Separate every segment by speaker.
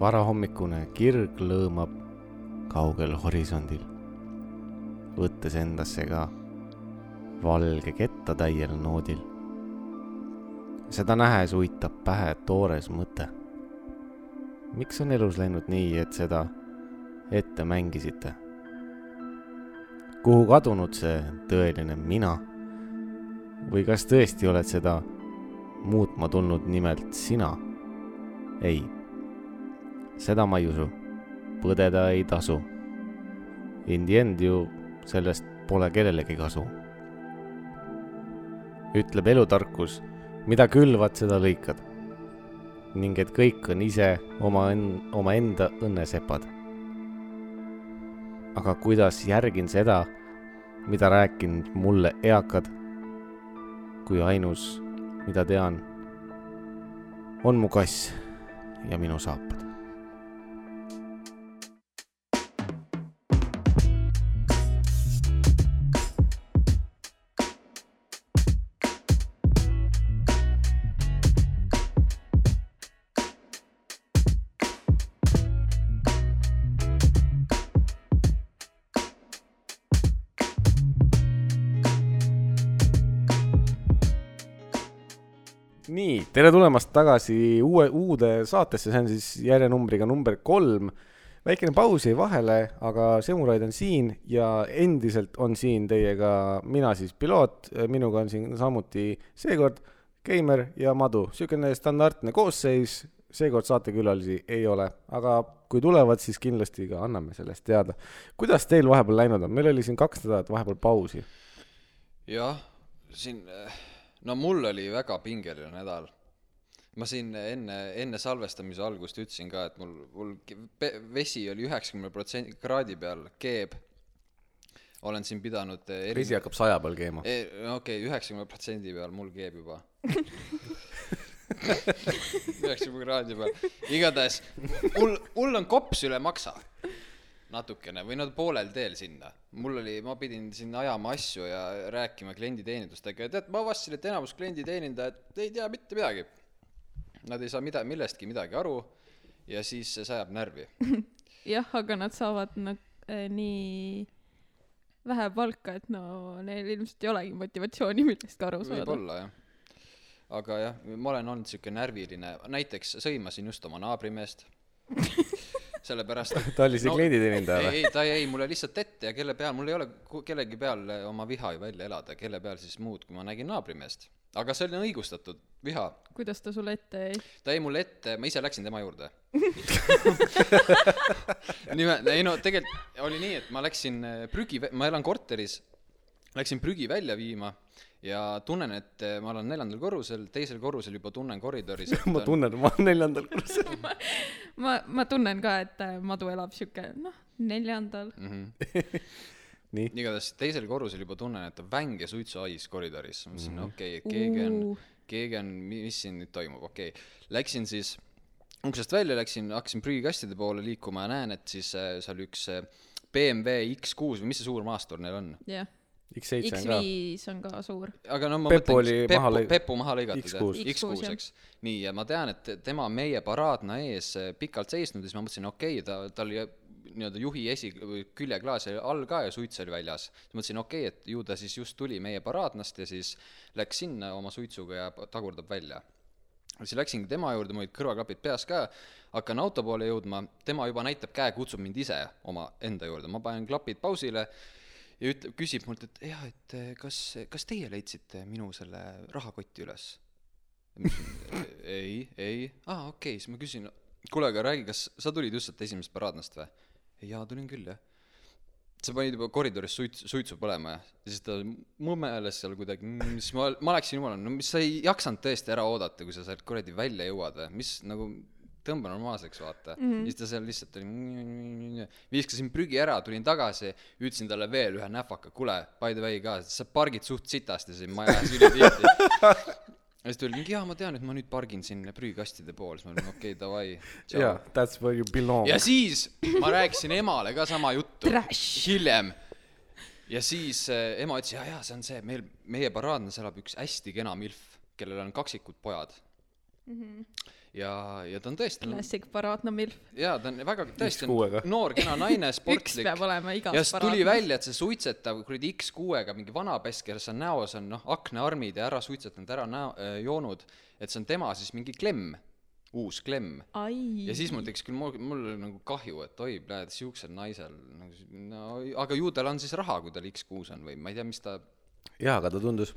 Speaker 1: varahommikune kirg lõõmab kaugel horisondil, võttes endasse ka valge kettatäiel noodil. seda nähes uitab pähe toores mõte. miks on elus läinud nii, et seda ette mängisite? kuhu kadunud see tõeline mina? või kas tõesti oled seda muutma tulnud nimelt sina? ei, seda ma ei usu. põdeda ei tasu. In the end ju sellest pole kellelegi kasu. ütleb elutarkus, mida külvad, seda lõikad. ning et kõik on ise oma, omaenda õnnesepad. aga kuidas järgin seda, mida rääkinud mulle eakad, kui ainus, mida tean, on mu kass ja minu saapad. nii , tere tulemast tagasi uue , uude saatesse , see on siis järjenumbriga number kolm . väikene paus jäi vahele , aga Semuraid on siin ja endiselt on siin teiega mina siis piloot , minuga on siin samuti seekord Keimer ja Madu , niisugune standardne koosseis , seekord saatekülalisi ei ole , aga kui tulevad , siis kindlasti ka anname sellest teada . kuidas teil vahepeal läinud on , meil oli siin kaks nädalat vahepeal pausi .
Speaker 2: jah , siin , no mul oli väga pingeline nädal . ma siin enne , enne salvestamise algust ütlesin ka , et mul , mul ke- pe- vesi oli üheksakümne protsendi kraadi peal , keeb . olen siin pidanud eh, eri-
Speaker 1: vesi hakkab saja peal keema .
Speaker 2: eh, no okei , üheksakümne protsendi peal , mul keeb juba . üheksakümne kraadi peal , igatahes mul , mul on kops üle maksa natukene või no poolel teel sinna . mul oli , ma pidin sinna ajama asju ja rääkima klienditeenindustega ja tead , ma avastasin , et enamus klienditeenindajad ei tea mitte midagi . Nad ei saa mida- , millestki midagi aru ja siis see sajab närvi .
Speaker 3: jah , aga nad saavad nad, äh, nii vähe palka , et no neil ilmselt ei olegi motivatsiooni millestki aru saada .
Speaker 2: võib-olla jah aga jah ma olen olnud siuke närviline näiteks sõimasin just oma naabrimeest sellepärast et
Speaker 1: ta oli see klienditeenindaja või ?
Speaker 2: ei ei ta jäi mulle lihtsalt ette ja kelle peal mul ei ole ku- kellegi peal oma viha ju välja elada kelle peal siis muud kui ma nägin naabrimeest aga see oli õigustatud viha
Speaker 3: kuidas ta sulle ette jäi ?
Speaker 2: ta jäi mulle ette , ma ise läksin tema juurde nime , ei no tegelikult oli nii , et ma läksin eh, prügi , ma elan korteris , läksin prügi välja viima ja tunnen , et eh, ma olen neljandal korrusel , teisel korrusel juba tunnen koridoris , et
Speaker 1: ma
Speaker 2: on-
Speaker 1: tunnen , et ma olen neljandal korrusel .
Speaker 3: ma , ma tunnen ka , et äh, Madu elab sihuke , noh , neljandal .
Speaker 2: Mhm.
Speaker 1: Nii.
Speaker 2: igatahes teisel korrusel juba tunnen , et on väng ja suitsuais koridoris , ma mõtlesin okei , et keegi on keegi on , mis siin nüüd toimub , okei okay. . Läksin siis uksest välja , läksin , hakkasin prügikastide poole liikuma ja näen , et siis äh, seal üks äh, BMW X6 või mis see suur maastur neil on .
Speaker 3: jah ,
Speaker 1: X7 on ka .
Speaker 3: X5 on ka suur .
Speaker 2: aga no ma
Speaker 1: Pepu
Speaker 2: mõtlen ,
Speaker 1: oli maha
Speaker 2: Pepu
Speaker 1: lõi- ,
Speaker 2: Pepu maha lõigatud jah.
Speaker 1: X6.
Speaker 3: X6,
Speaker 2: X6
Speaker 3: jah.
Speaker 2: eks . nii , ja ma tean , et tema on meie paraadna ees äh, pikalt seisnud ja siis ma mõtlesin , okei okay, , ta , tal oli eh, nii-öelda juhi esi- või küljeklaas oli all ka ja suits oli väljas . siis mõtlesin , okei okay, , et ju ta siis just tuli meie paraadnast ja siis läks sinna oma suitsuga ja p- tagurdab välja . siis läksingi tema juurde , mul olid kõrvaklapid peas ka , hakkan auto poole jõudma , tema juba näitab käe , kutsub mind ise oma enda juurde , ma panen klapid pausile ja ütleb , küsib mult , et jah , et eh, kas , kas teie leidsite minu selle rahakoti üles ? "E-, ei , ei , aa ah, okei okay, , siis ma küsin , kuule , aga räägi , kas sa tulid just sealt esimesest paraadnast või ? jaa , tulin küll , jah . sa panid juba koridoris suits , suitsu põlema ja siis ta mõmeles seal kuidagi , siis ma , ma läksin jumala , no mis sa ei jaksanud tõesti ära oodata , kui sa sealt kuradi välja jõuad või , mis nagu tõmba normaalseks , vaata mm . mm, -hmm. siis ta seal lihtsalt oli , viskasin prügi ära , tulin tagasi , ütlesin talle veel ühe näfaka , kuule , by the way ka , sa pargid suht sitasti siin maja ees ülitihti . ja siis ta oli mingi , jaa , ma tean , et ma nüüd pargin siin prügikastide pool , siis ma olin okei okay, , davai
Speaker 1: jaa ,. that's where you belong .
Speaker 2: ja siis ma rääkisin emale ka sama juttu
Speaker 3: Trash.
Speaker 2: hiljem . ja siis äh, ema ütles , jaa , jaa , see on see , meil , meie paraadnas elab üks hästi kena milf , kellel on kaksikud pojad .
Speaker 3: Mhm.
Speaker 2: ja , ja ta on tõesti ,
Speaker 3: klassik paraadne milf .
Speaker 2: jaa , ta on väga , tõesti
Speaker 1: kuuega.
Speaker 2: on noor kena naine ,
Speaker 3: üks
Speaker 2: sportlik
Speaker 3: peab olema igas
Speaker 2: ja siis tuli . välja , et see suitsetav kuradi X6-ga mingi vana pess , kellel seal näos on noh , aknaarmid ja ära suitsetanud , ära näo- , joonud , et see on tema siis mingi klemm , uus klemm .
Speaker 3: ai .
Speaker 2: ja siis mul tekkis küll , mul oli nagu kahju , et oi , näed , siuksel naisel nagu, , no aga ju tal on siis raha , kui tal X6 on või ma ei tea , mis ta ,
Speaker 1: jaa , aga ta tundus ,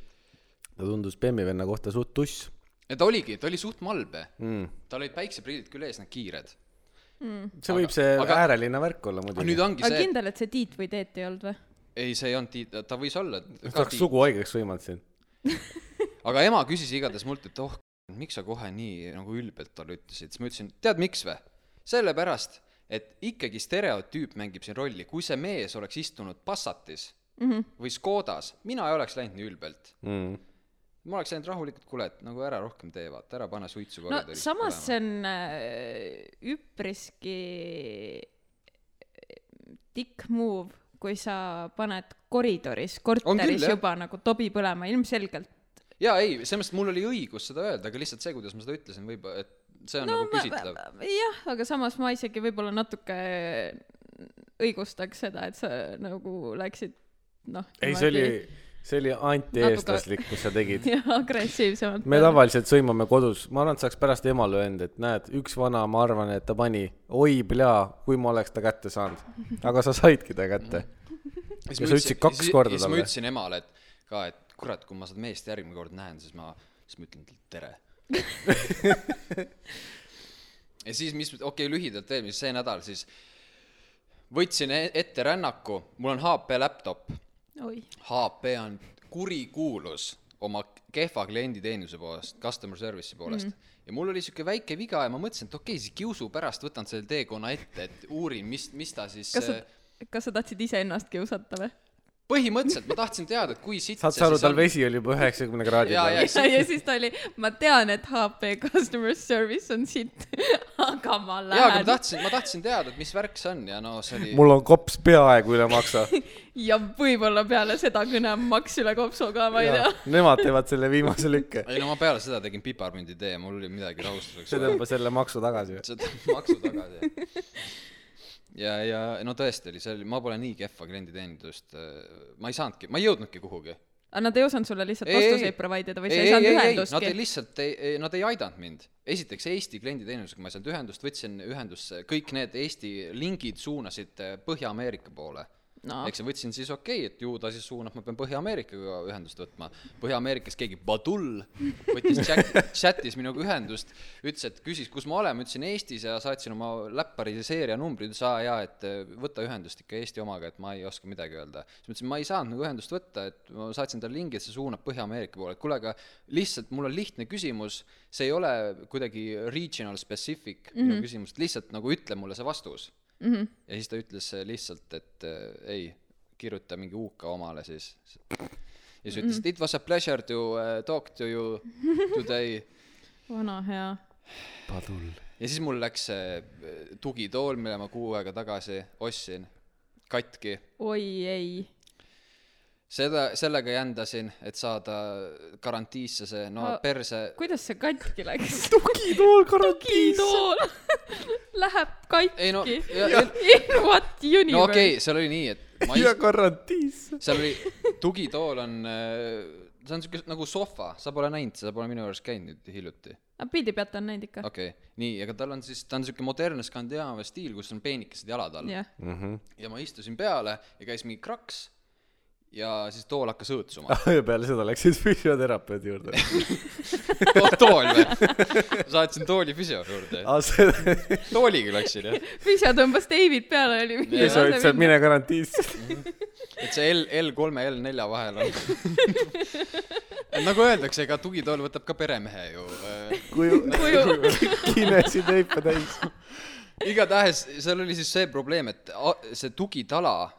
Speaker 1: ta tundus Bemmi venna kohta suht tuss
Speaker 2: ta oligi , ta oli suht malbe ,
Speaker 1: mm. .
Speaker 2: tal olid päikseprillid küll ees , need kiired .
Speaker 1: see
Speaker 2: Aga-
Speaker 1: võib see
Speaker 2: aga-
Speaker 1: aga... äärelinna värk olla muidugi
Speaker 2: nüüd . ongi
Speaker 3: aga
Speaker 2: see ,
Speaker 3: kindel , et see Tiit või Teet ei olnud või ?
Speaker 2: ei , see ei olnud Tiit , ta võis olla
Speaker 1: ta
Speaker 2: ka
Speaker 1: oleks
Speaker 2: Tiit ,
Speaker 1: sugu haigeks võimanud siin .
Speaker 2: aga ema küsis igatahes mult , et oh , miks sa kohe nii nagu ülbelt talle ütlesid , siis ma ütlesin , tead miks või ? sellepärast , et ikkagi stereotüüp mängib siin rolli , kui see mees oleks istunud Passatis
Speaker 3: Mm -hmm.
Speaker 2: või Škodas , mina ei oleks läinud nii ülbelt .
Speaker 1: mm. .
Speaker 2: ma oleks läinud rahulikult , kuule , et nagu ära rohkem tee , vaata , ära pane suitsu
Speaker 3: no
Speaker 2: koridoris
Speaker 3: samas see on äh, üpriski tikk move , kui sa paned koridoris , korteris
Speaker 2: jah.
Speaker 3: juba nagu tobi põlema , ilmselgelt .
Speaker 2: jaa , ei , selles mõttes mul oli õigus seda öelda , aga lihtsalt see , kuidas ma seda ütlesin , võib-olla , et see on no, nagu küsitav .
Speaker 3: jah , aga samas ma isegi võib-olla natuke õigustaks seda , et sa nagu läksid noh .
Speaker 1: ei , see oli , see oli anti-eestlaslik , mis sa tegid .
Speaker 3: jah , agressiivsemalt .
Speaker 1: me tavaliselt sõimame kodus , ma arvan , et saaks pärast emale öelda , et näed , üks vana , ma arvan , et ta pani , oi plea , kui ma oleks ta kätte saanud . aga sa saidki ta kätte .
Speaker 2: Siis
Speaker 1: Ja
Speaker 2: ma
Speaker 1: sa
Speaker 2: ütlesin-
Speaker 1: ütlesid kaks
Speaker 2: siis-
Speaker 1: korda
Speaker 2: siis ma
Speaker 1: talle.
Speaker 2: ütlesin emale , et ka , et kurat , kui ma seda meest järgmine kord näen , siis ma , siis ma ütlen talle tere . ja siis , mis , okei okay, , lühidalt veel , mis see nädal siis , võtsin e- ette rännaku , mul on HP laptop ,
Speaker 3: oi ,
Speaker 2: HP on kurikuulus oma kehva klienditeenuse poolest , customer service'i poolest
Speaker 3: Mhm.
Speaker 2: mm. . ja mul oli sihuke väike viga ja ma mõtlesin , et okei okay, , siis kiusu pärast võtan selle teekonna ette , et uurin , mis , mis ta siis
Speaker 3: kas sa
Speaker 2: äh, ,
Speaker 3: kas sa tahtsid iseennast kiusata või ?
Speaker 2: põhimõtteliselt ma tahtsin teada , et kui sitt
Speaker 1: saad sa aru , tal vesi oli juba üheksakümne kraadi
Speaker 2: Jaa,
Speaker 1: peal
Speaker 2: jaa. .
Speaker 3: ja , ja siis ta oli , ma tean , et HP customer service on siit , aga
Speaker 2: jaa , aga ma
Speaker 3: ma lähen
Speaker 2: tahtsin , ma tahtsin teada , et mis värk see on ja no see oli
Speaker 1: mul on kops peaaegu üle maksa .
Speaker 3: ja võib-olla peale seda kõne on maks üle kopsu ka , ma ei tea .
Speaker 1: Nemad teevad selle viimase lükke .
Speaker 2: ei no ma peale seda tegin piparmündi tee , mul oli midagi rahustuseks
Speaker 1: see tõmbas jälle maksu tagasi .
Speaker 2: see tõmbas maksu tagasi ja , ja no tõesti oli , see oli , ma pole nii kehva klienditeenindust , ma ei saanudki , ma ei jõudnudki kuhugi .
Speaker 3: aga nad ei osanud sulle lihtsalt
Speaker 2: Ei, ei.
Speaker 3: vastuseid provide ida või sa ei saanud
Speaker 2: nad ei
Speaker 3: ühendustki ?
Speaker 2: lihtsalt ei, ei , nad ei aidanud mind . esiteks Eesti klienditeenindusega ma ei saanud ühendust , võtsin ühendusse , kõik need Eesti lingid suunasid äh, Põhja-Ameerika poole
Speaker 3: No.
Speaker 2: eks ma võtsin siis okei okay, , et ju ta siis suunab , ma pean Põhja-Ameerikaga ühendust võtma . Põhja-Ameerikas keegi Badul võttis chat, chatis minuga ühendust , ütles , et küsis , kus ma olen , ma ütlesin Eestis ja saatsin oma läppari seeria numbrid , ütles aa jaa , et äh, võta ühendust ikka Eesti omaga , et ma ei oska midagi öelda . siis ma ütlesin , ma ei saanud nagu ühendust võtta , et ma saatsin talle lingi , et see suunab Põhja-Ameerika poole , et kuule , aga lihtsalt mul on lihtne küsimus , see ei ole kuidagi regional specific mm -hmm. minu küsimus , lihtsalt nagu ütle mulle see vastus
Speaker 3: Mhm.
Speaker 2: ja siis ta ütles lihtsalt , et äh, ei , kirjuta mingi UK omale siis . ja siis ütles mm , -hmm. it was a pleasure to uh, talk to you today .
Speaker 3: vana hea .
Speaker 1: padul .
Speaker 2: ja siis mul läks see äh, tugitool , mille ma kuu aega tagasi ostsin , katki .
Speaker 3: oi ei .
Speaker 2: seda , sellega jändasin , et saada garantiisse see , no
Speaker 3: Aga-
Speaker 2: perse ,
Speaker 3: kuidas see katki läks ?
Speaker 1: tugitool garantiis .
Speaker 3: tugitool läheb
Speaker 2: Ei,
Speaker 3: katki .
Speaker 2: no, ja-
Speaker 3: In what universe
Speaker 2: no okei okay, , seal oli nii , et ma
Speaker 1: ja
Speaker 2: ist- ,
Speaker 1: garantiis .
Speaker 2: seal oli , tugitool on , see on siuke nagu sohva , sa pole näinud , sa pole minu juures käinud nüüd hiljuti .
Speaker 3: aga Ah, pildi pealt on näinud ikka .
Speaker 2: okei okay. , nii , aga tal on siis , ta on siuke modernne Skandinaavia stiil , kus on peenikesed jalad all
Speaker 3: jah ,
Speaker 1: Mhm.
Speaker 2: ja ma istusin peale ja käis mingi kraks ja siis tool hakkas õõtsuma .
Speaker 1: peale seda läksid füsioterapeudi juurde .
Speaker 2: tool või ? saatsin tooli füsio juurde .
Speaker 1: aa , see ,
Speaker 2: tooliga läksin jah .
Speaker 3: Fisja tõmbas David peale , oli mingi
Speaker 1: ja sa ütlesid , et mine garantiisse .
Speaker 2: et see L , L3 ja L4 vahel on . nagu öeldakse , ega tugitool äh, võtab ka peremehe ju .
Speaker 1: kuju ,
Speaker 3: Kuju.
Speaker 1: kinesid leipa täis .
Speaker 2: igatahes seal oli siis see probleem , et a- see tugitala ,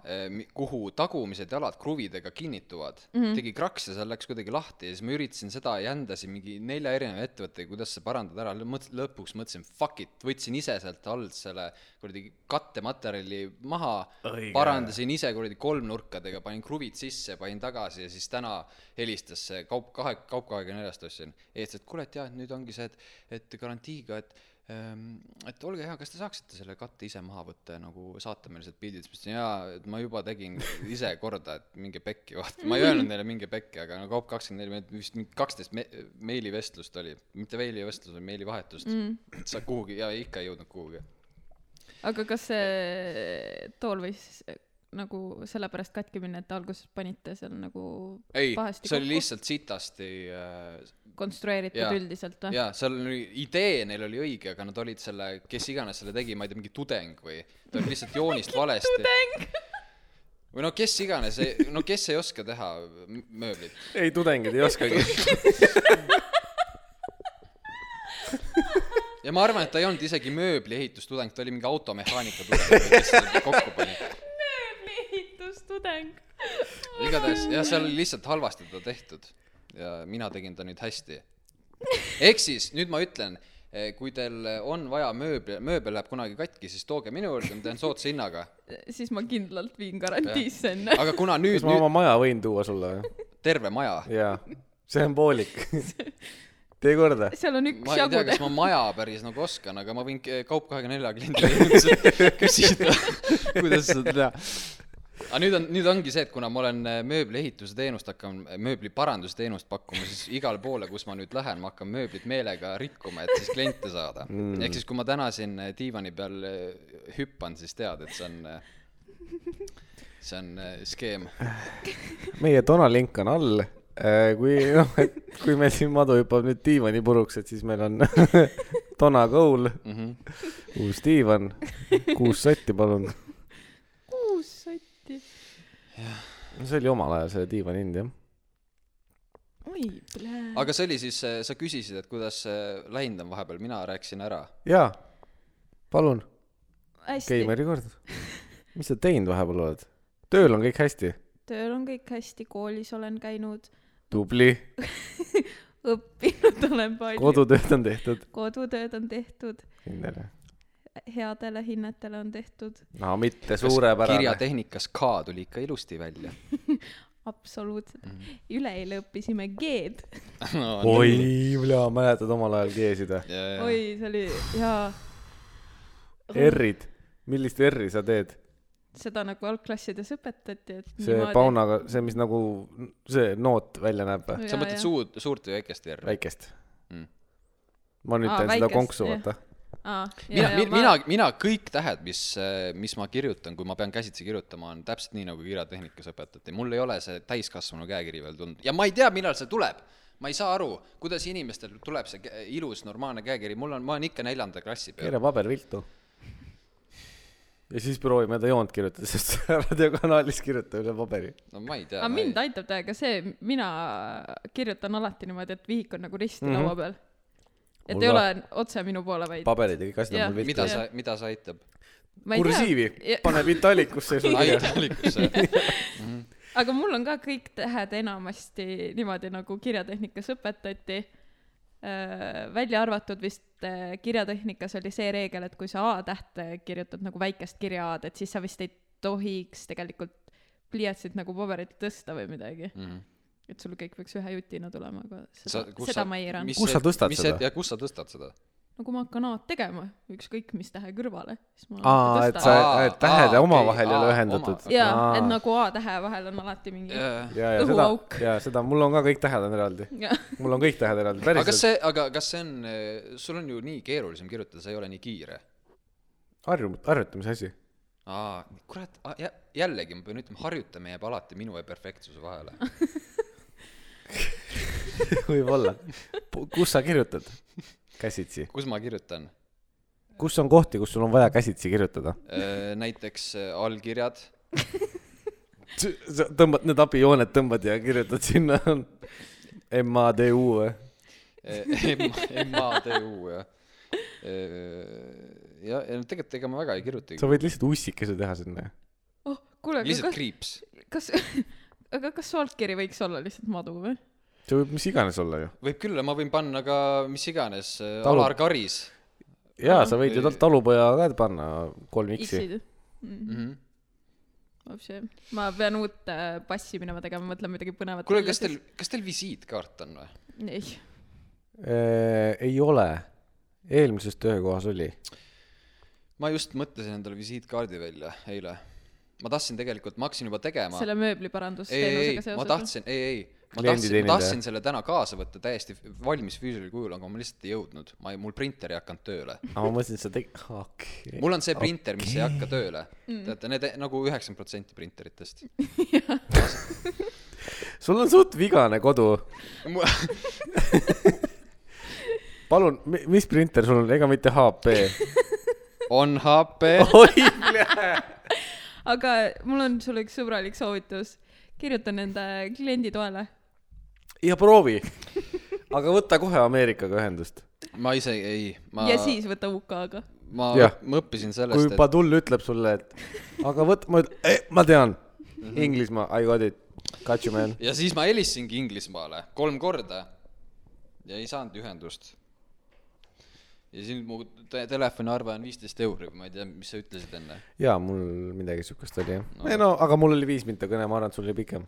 Speaker 2: kuhu tagumised jalad kruvidega kinnituvad mm , -hmm. tegi kraks ja seal läks kuidagi lahti ja siis ma üritasin seda jändasin mingi nelja erineva ettevõttega , kuidas see parandada ära , mõt- , lõpuks mõtlesin fuck it , võtsin ise sealt alt selle kuradi kattematerjali maha ,
Speaker 1: Õige.
Speaker 2: parandasin ise kuradi kolmnurkadega , panin kruvid sisse , panin tagasi ja siis täna helistas see kaup kahe , kaup kahekümne neljast ostsin , ja ütles , et kuule , et jah , et nüüd ongi see , et , et garantiiga , et Ehm, et olge hea , kas te saaksite selle katte ise maha võtta ja nagu saata meile sealt pildid , siis ma ütlesin jaa , et ma juba tegin ise korda , et minge pekki vaata , ma ei öelnud neile minge pekki , aga no kaup kakskümmend neli minutit , vist mingi kaksteist me- , meilivestlust oli , mitte meilivestlust , vaid meilivahetust mm. , sa kuhugi ja ikka ei jõudnud kuhugi .
Speaker 3: aga kas see tool võis nagu sellepärast katki minna , et alguses panite seal nagu
Speaker 2: ei ,
Speaker 3: Pahasti
Speaker 2: see oli
Speaker 3: kokku?
Speaker 2: lihtsalt sitasti äh,
Speaker 3: konstrueeritud
Speaker 2: Jaa.
Speaker 3: üldiselt või ?
Speaker 2: jaa , seal oli idee neil oli õige , aga nad olid selle , kes iganes selle tegi , ma ei tea , mingi tudeng või ta oli lihtsalt joonist valesti . või no kes iganes , no kes ei oska teha m- mööblit .
Speaker 1: ei , tudengid ei oskagi .
Speaker 2: ja ma arvan , et ta ei olnud isegi mööbliehitustudeng , ta oli mingi automehaanika tudeng , kes selle kokku pani .
Speaker 3: mööbliehitustudeng .
Speaker 2: igatahes jah , seal oli lihtsalt halvasti teda tehtud ja mina tegin ta nüüd hästi . ehk siis nüüd ma ütlen , kui teil on vaja mööbli , mööbel läheb kunagi katki , siis tooge minu juurde , ma teen soodsa hinnaga .
Speaker 3: siis ma kindlalt viin garantiisse enne .
Speaker 2: aga kuna nüüd ,
Speaker 1: kas ma
Speaker 2: nüüd
Speaker 1: oma maja võin tuua sulle või ?
Speaker 2: terve maja .
Speaker 1: jaa , see on poolik . tee korda .
Speaker 3: seal on
Speaker 2: ma
Speaker 3: üks
Speaker 2: ei
Speaker 3: jagu
Speaker 2: tea , kas ma maja päris nagu oskan , aga ma võin ke- Kaup kahekümne nelja kliendile küsida , kuidas seda teha . aga nüüd on , nüüd ongi see , et kuna ma olen äh, mööbliehituse teenust hakkan , mööbliparandusteenust pakkuma , siis igale poole , kus ma nüüd lähen , ma hakkan mööblit meelega rikkuma , et siis kliente saada mm. . ehk siis , kui ma täna siin äh, diivani peal äh, hüppan , siis tead , et see on , see on äh, skeem .
Speaker 1: meie Donald link on all . kui noh , et kui meil siin madu hüppab nüüd diivani puruks , et siis meil on Donna Cole mm ,
Speaker 2: Mhm.
Speaker 1: -hmm. uus diivan , kuus sotti , palun .
Speaker 3: kuus sotti .
Speaker 1: see oli omal ajal selle diivani hind jah .
Speaker 3: oi , plää .
Speaker 2: aga see oli siis , sa küsisid , et kuidas äh, läinud on vahepeal , mina rääkisin ära
Speaker 1: jaa , palun ,
Speaker 3: hästi ,
Speaker 1: Keimeri kord . mis sa teinud vahepeal oled ? tööl on kõik hästi ?
Speaker 3: tööl on kõik hästi , koolis olen käinud ,
Speaker 1: tubli ,
Speaker 3: õppinud olen palju Kodu. ,
Speaker 1: kodutööd on tehtud .
Speaker 3: kodutööd on tehtud ,
Speaker 1: kindel jah ?
Speaker 3: headele hinnetele on tehtud ,
Speaker 1: no mitte
Speaker 2: Kas
Speaker 1: suurepärane .
Speaker 2: kirjatehnikas K tuli ikka ilusti välja
Speaker 3: absoluutselt mm . -hmm. üleeile õppisime G-d ,
Speaker 2: no,
Speaker 1: oi , mäletad omal ajal G-sid või ?
Speaker 2: nii.
Speaker 3: oi , see oli jaa ,
Speaker 1: R-id , millist R-i sa teed ?
Speaker 3: seda nagu algklassides õpetati , et
Speaker 1: see Niimoodi. . paunaga , see , mis nagu see noot välja näeb või ?
Speaker 2: sa mõtled ? suud , suurt või väikest R-i ?
Speaker 1: väikest
Speaker 2: Mm.
Speaker 1: mm. . ma nüüd
Speaker 3: Aa,
Speaker 1: teen seda
Speaker 3: väikest,
Speaker 1: konksu ,
Speaker 3: jah.
Speaker 1: vaata .
Speaker 3: aa ,
Speaker 2: mina
Speaker 3: jaa ,, jaa ,
Speaker 2: mina , mina kõik tähed , mis , mis ma kirjutan , kui ma pean käsitsi kirjutama , on täpselt nii , nagu kirjatehnikas õpetati . mul ei ole see täiskasvanu käekiri veel tulnud ja ma ei tea , millal see tuleb ma ei saa aru , kuidas inimestel tuleb see kä- ilus normaalne käekiri , mul on , ma olen ikka neljanda klassi peal .
Speaker 1: keera paber viltu . ja siis proovime seda joont kirjutada , sest raadiokanalis kirjutab üle paberi .
Speaker 2: no ma ei tea .
Speaker 3: aga mind aitab täiega see , mina kirjutan alati niimoodi , et vihik on nagu risti mm -hmm. laua peal . et
Speaker 1: Mul
Speaker 3: ei
Speaker 1: ka.
Speaker 3: ole otse minu poole , vaid
Speaker 1: paberid ja kõik asjad
Speaker 3: Jah.
Speaker 1: on mul viltu
Speaker 2: mida
Speaker 1: sa... .
Speaker 2: sa , mida see aitab ?
Speaker 3: ma ei
Speaker 1: kursiivi
Speaker 3: tea ,
Speaker 1: paneb italikusse ja sul on kirjas .
Speaker 2: aitalikusse .
Speaker 3: aga mul on ka kõik tähed enamasti niimoodi , nagu kirjatehnikas õpetati . välja arvatud vist äh, kirjatehnikas oli see reegel , et kui sa A-tähte kirjutad nagu väikest kirja A-d , et siis sa vist ei tohiks tegelikult pliiatsit nagu paberit tõsta või midagi , et sul kõik peaks ühe jutina tulema , aga seda , seda ma ei eiranud .
Speaker 1: Kus sa tõstad seda?
Speaker 2: ja kus sa tõstad seda ?
Speaker 3: no kui ma hakkan A-d tegema , ükskõik mis tähe kõrvale , siis ma
Speaker 1: aa ,
Speaker 3: alati
Speaker 1: et sa
Speaker 3: tõstan .
Speaker 2: Aa, ,
Speaker 1: et tähed
Speaker 2: aa,
Speaker 1: omavahel
Speaker 2: okei,
Speaker 1: ei ole
Speaker 2: aa,
Speaker 1: ühendatud
Speaker 2: oma- .
Speaker 3: jaa , et . nagu A-tähe vahel on alati mingi
Speaker 1: ja , ja seda
Speaker 3: õhuauk. ,
Speaker 1: ja seda , mul on ka kõik tähed on eraldi .
Speaker 3: jah
Speaker 1: mul on kõik tähed eraldi ,
Speaker 2: aga kas
Speaker 1: päriselt .
Speaker 2: see , aga kas see on , sul on ju nii keerulisem kirjutada , see ei ole nii kiire .
Speaker 1: harjumus , harjutamise asi .
Speaker 2: aa , kurat , jällegi ma pean ütlema , harjutamine jääb alati minu ja perfektsuse vahele .
Speaker 1: võib-olla . kus sa kirjutad ? käsitsi .
Speaker 2: kus ma kirjutan ?
Speaker 1: kus on kohti , kus sul on vaja käsitsi kirjutada ?
Speaker 2: näiteks äh, allkirjad ,
Speaker 1: sa tõmbad need abijooned , tõmbad ja kirjutad sinna MADU
Speaker 2: eh,
Speaker 1: või ?
Speaker 2: MADU ja , Eh, ja , ja no tegelikult ega ma väga ei kirjutagi
Speaker 1: sa . võid lihtsalt ussikese teha sinna .
Speaker 3: oh , kuule , aga
Speaker 2: lihtsalt kriips .
Speaker 3: kas , kas , aga kas su allkiri võiks olla lihtsalt madu või ?
Speaker 1: see võib mis iganes olla ju .
Speaker 2: võib küll , ma võin panna ka mis iganes ,
Speaker 1: Talu-
Speaker 2: Alar Karis
Speaker 1: jaa , sa võid ju tal- talupoja ka panna kolm X-i .
Speaker 3: X-id .
Speaker 2: mm . -hmm.
Speaker 3: vapsi , ma pean uut äh, passi minema tegema , mõtlen midagi põnevat .
Speaker 2: kuule , kas teil , kas teil visiitkaart on või ?
Speaker 3: ei ,
Speaker 1: Äh, ei ole . eelmises töökohas oli .
Speaker 2: ma just mõtlesin endale visiitkaardi välja eile . ma tahtsin tegelikult , ma hakkasin juba tegema .
Speaker 3: selle
Speaker 2: ei , ei ,
Speaker 3: mööbliparandusteenusega
Speaker 2: ei , ma
Speaker 3: seoses .
Speaker 2: tahtsin , ei , ei , ma tahtsin , ma
Speaker 1: Klienditeenindaja.
Speaker 2: tahtsin selle täna kaasa võtta täiesti valmis füüsilisel kujul , aga ma lihtsalt ei jõudnud . ma ei , mul printer ei hakanud tööle .
Speaker 1: aga ma mõtlesin , et sa tegid , okei .
Speaker 2: mul on see printer , mis ei hakka tööle .
Speaker 3: Mm.
Speaker 2: teate , need nagu üheksakümmend protsenti printeritest .
Speaker 1: sul on suht vigane kodu . palun , mis printer sul on , ega mitte HP ?
Speaker 2: on HP .
Speaker 1: oi ,
Speaker 3: aga mul on sulle üks sõbralik soovitus . kirjuta nende kliendi toele .
Speaker 1: ja proovi . aga võta kohe Ameerikaga ühendust .
Speaker 2: ma ise ei , ma
Speaker 3: ja , siis võta UK-ga .
Speaker 2: ma
Speaker 1: Jah. ,
Speaker 2: ma õppisin
Speaker 1: kui
Speaker 2: sellest , et
Speaker 1: Padul ütleb sulle , et aga võt- , ma ütlen eh, , ma tean . Mhm. Inglismaa , I got it . Got you man .
Speaker 2: ja siis ma helistasingi Inglismaale kolm korda ja ei saanud ühendust . ja siis mu te telefoniarve on viisteist euri , ma ei tea , mis sa ütlesid enne .
Speaker 1: jaa , mul midagi siukest oli jah no. . ei no , aga mul oli viis minta kõne , ma arvan , et sul oli pikem .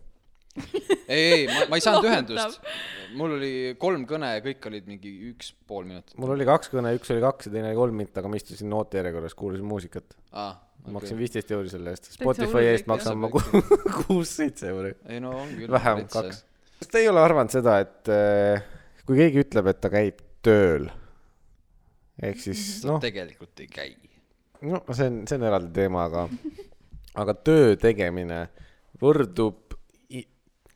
Speaker 2: ei , ei , ma , ma ei saanud ühendust
Speaker 3: Lohutab. .
Speaker 2: mul oli kolm kõne ja kõik olid mingi üks pool minutit .
Speaker 1: mul oli kaks kõne , üks oli kaks ja teine oli kolm minta , aga ma istusin ootejärjekorras , kuulasin muusikat .
Speaker 2: aa ,
Speaker 1: maksin . viisteist euri selle eest .
Speaker 3: Täitsa
Speaker 1: Spotify
Speaker 3: hull
Speaker 1: eest
Speaker 3: kõik,
Speaker 1: maksan ma
Speaker 2: jah.
Speaker 1: kuus-seitse euri .
Speaker 2: ei no on küll .
Speaker 1: vähem , kaks .. kas te ei ole arvanud seda , et äh, kui keegi ütleb , et ta käib tööl , ehk siis noh ,
Speaker 2: tegelikult ei käi .
Speaker 1: no see on , see on eraldi teema , aga , aga töö tegemine võrdub i-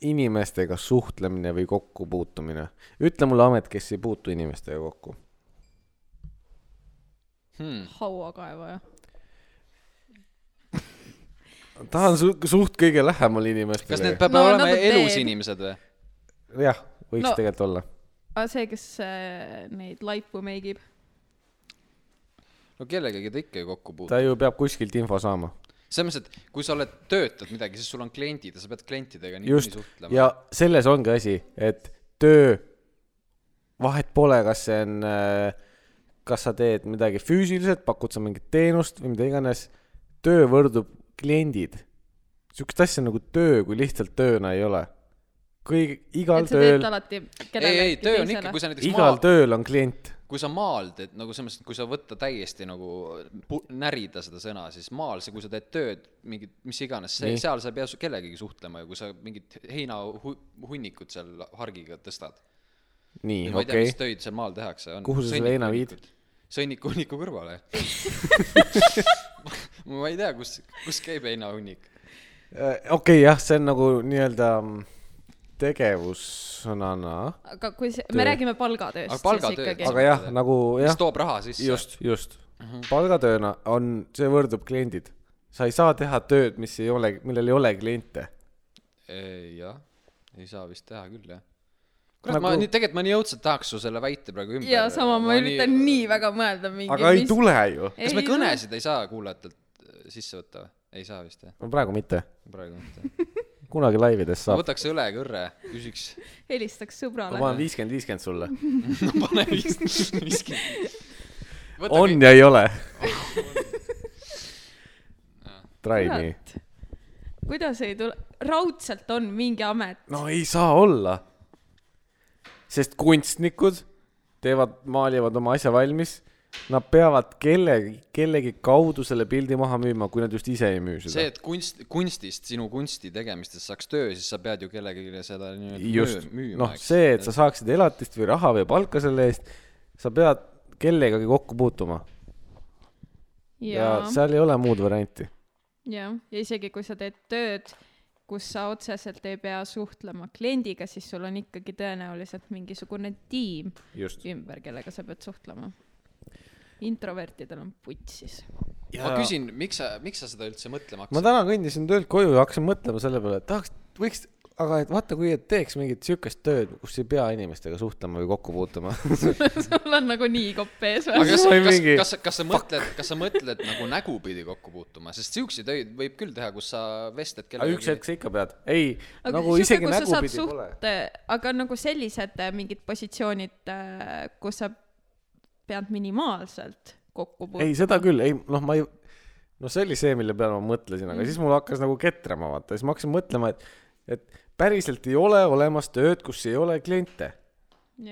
Speaker 1: inimestega suhtlemine või kokkupuutumine . ütle mulle amet , kes ei puutu inimestega kokku .
Speaker 2: Hmm.
Speaker 3: hauakaevaja .
Speaker 1: tahan su suht kõige lähemal
Speaker 2: kas need
Speaker 1: inimestele .
Speaker 2: peavad
Speaker 3: No
Speaker 2: no, olema
Speaker 3: nad on
Speaker 2: elus
Speaker 3: dead.
Speaker 2: inimesed või ?
Speaker 1: jah , võiks
Speaker 3: No.
Speaker 1: no. tegelikult olla .
Speaker 3: aga Ah, see , kes äh, neid laipu meigib .
Speaker 2: no kellegagi ta ikka ju kokku puutub .
Speaker 1: ta ju peab kuskilt info saama .
Speaker 2: selles mõttes , et kui sa oled , töötad midagi , siis sul on kliendid ja sa pead klientidega niikuinii
Speaker 1: just ,
Speaker 2: suhtlema .
Speaker 1: ja selles ongi asi , et töö , vahet pole , kas see on , kas sa teed midagi füüsiliselt , pakud sa mingit teenust või mida iganes , töö võrdub kliendid . sihukest asja nagu töö , kui lihtsalt tööna ei ole . kõik , igal
Speaker 3: et sa teed
Speaker 1: tööl ,
Speaker 3: alati
Speaker 2: ei , ei
Speaker 3: kellelegi
Speaker 2: töö on ikka ,
Speaker 3: teisele
Speaker 2: kui . sa näiteks
Speaker 1: igal
Speaker 2: maal ,
Speaker 1: tööl on klient .
Speaker 2: kui sa maal teed nagu selles mõttes , et kui sa võtta täiesti nagu pu- närida seda sõna , siis maal see , kui sa teed tööd mingit , mis iganes , see
Speaker 1: Nii. ,
Speaker 2: seal sa ei pea su- kellegagi suhtlema ju , kui sa mingit heinahunnikut seal hargiga tõstad .
Speaker 1: nii ,
Speaker 2: ma ei tea ,
Speaker 1: okei
Speaker 2: mis . töid seal maal tehakse .
Speaker 1: Kuhu sa selle heina viid? ?
Speaker 2: sõnniku-hunniku kõrvale . ma ei tea , kus , kus käib heinahunnik .
Speaker 1: Äh, okei okay, , jah , see on nagu nii-öelda mm, tegevussõnana ,
Speaker 3: aga kui see , me
Speaker 1: Töö.
Speaker 3: räägime palgatööst ,
Speaker 2: Aga
Speaker 3: siis
Speaker 2: palgatöö-
Speaker 3: ikkagi .
Speaker 1: aga jah , nagu jah
Speaker 2: mis . toob raha sisse .
Speaker 1: just , just . palgatööna on , see võrdub kliendid . sa ei saa teha tööd , mis ei ole , millel ei ole kliente .
Speaker 2: jah , ei saa vist teha küll , jah . kurat nagu... , ma
Speaker 1: Nagu-
Speaker 2: nii , tegelikult ma nii õudselt tahaks su selle väite praegu ümber .
Speaker 3: ja sama , ma üritan nii... nii väga mõelda mingi .
Speaker 1: aga ei tule ju .
Speaker 2: kas me kõnesid ei saa kuulajatelt äh, sisse võtta või ? ei saa vist jah ,
Speaker 1: no praegu mitte ,
Speaker 2: praegu mitte .
Speaker 1: kunagi laivides
Speaker 2: ma
Speaker 1: saab .
Speaker 2: võtaks õle ja kõrre , küsiks ,
Speaker 3: helistaks
Speaker 1: ma
Speaker 3: sõbrale .
Speaker 1: panen viiskümmend , viiskümmend sulle .
Speaker 2: no pane vist miski .
Speaker 1: on ja ei ole . Try me .
Speaker 3: kurat , kuidas ei tule , raudselt on mingi amet ,
Speaker 1: no ei saa olla . sest kunstnikud teevad , maalivad oma asja valmis . Nad peavad kellegi , kellegi kaudu selle pildi maha müüma , kui nad just ise ei müü
Speaker 2: see ,
Speaker 1: seda .
Speaker 2: et kunst , kunstist , sinu kunsti tegemistest saaks töö , siis sa pead ju kellelegi seda
Speaker 1: just
Speaker 2: nii-öelda , müüma .
Speaker 1: noh , see , et sa saaksid elatist või raha või palka selle eest , sa pead kellegagi kokku puutuma ja
Speaker 3: ja ,
Speaker 1: seal ei ole muud varianti .
Speaker 3: ja , ja isegi kui sa teed tööd , kus sa otseselt ei pea suhtlema kliendiga , siis sul on ikkagi tõenäoliselt mingisugune tiim
Speaker 1: just .
Speaker 3: ümber , kellega sa pead suhtlema . introvertidel on putsis .
Speaker 2: ma . küsin , miks sa , miks sa seda üldse
Speaker 1: ma
Speaker 2: mõtlema hakkasid ?
Speaker 1: täna kõndisin töölt koju ja hakkasin mõtlema selle peale , et tahaks , võiks aga et vaata , kui et teeks mingit siukest tööd , kus ei pea inimestega suhtlema või kokku puutuma .
Speaker 3: sul on nagunii kopp ees
Speaker 2: aga
Speaker 3: või ?
Speaker 2: kas ,
Speaker 1: Või
Speaker 2: kas
Speaker 1: mingi- ,
Speaker 2: kas , kas sa mõtled , kas sa mõtled nagu nägupidi kokku puutuma , sest siukseid töid võib küll teha , kus sa vestled
Speaker 1: aga üks
Speaker 2: kellegagi .
Speaker 1: hetk sa ikka pead . ei ,
Speaker 3: aga
Speaker 1: nagu isegi nägupidi pole .
Speaker 3: aga nagu sellised äh, mingid positsioonid , kus sa pead minimaalselt kokku
Speaker 1: ei ,
Speaker 3: puutuma .
Speaker 1: seda küll , ei noh , ma ei , noh , see oli see , mille peale ma mõtlesin ,
Speaker 3: Mm.
Speaker 1: aga siis mul hakkas nagu ketrama , vaata , siis ma hakkasin mõtlema , et , et päriselt ei ole olemas tööd , kus ei ole kliente .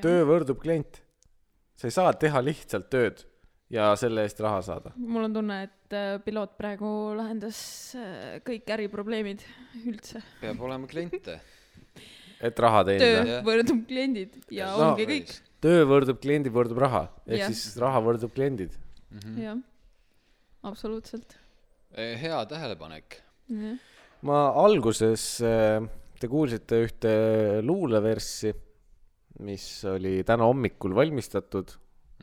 Speaker 1: töö võrdub klient . sa ei saa teha lihtsalt tööd ja selle eest raha saada .
Speaker 3: mul on tunne , et äh, piloot praegu lahendas äh, kõik äriprobleemid üldse .
Speaker 2: peab olema kliente .
Speaker 1: et raha teenida .
Speaker 3: töö
Speaker 2: Jah.
Speaker 3: võrdub kliendid ja
Speaker 1: No.
Speaker 3: ongi kõik .
Speaker 1: töö võrdub kliendi , võrdub raha . ehk
Speaker 3: Jah.
Speaker 1: siis raha võrdub kliendid .
Speaker 3: jah , absoluutselt .
Speaker 2: E, hea tähelepanek .
Speaker 3: jah ,
Speaker 1: ma alguses , te kuulsite ühte luuleverssi , mis oli täna hommikul valmistatud .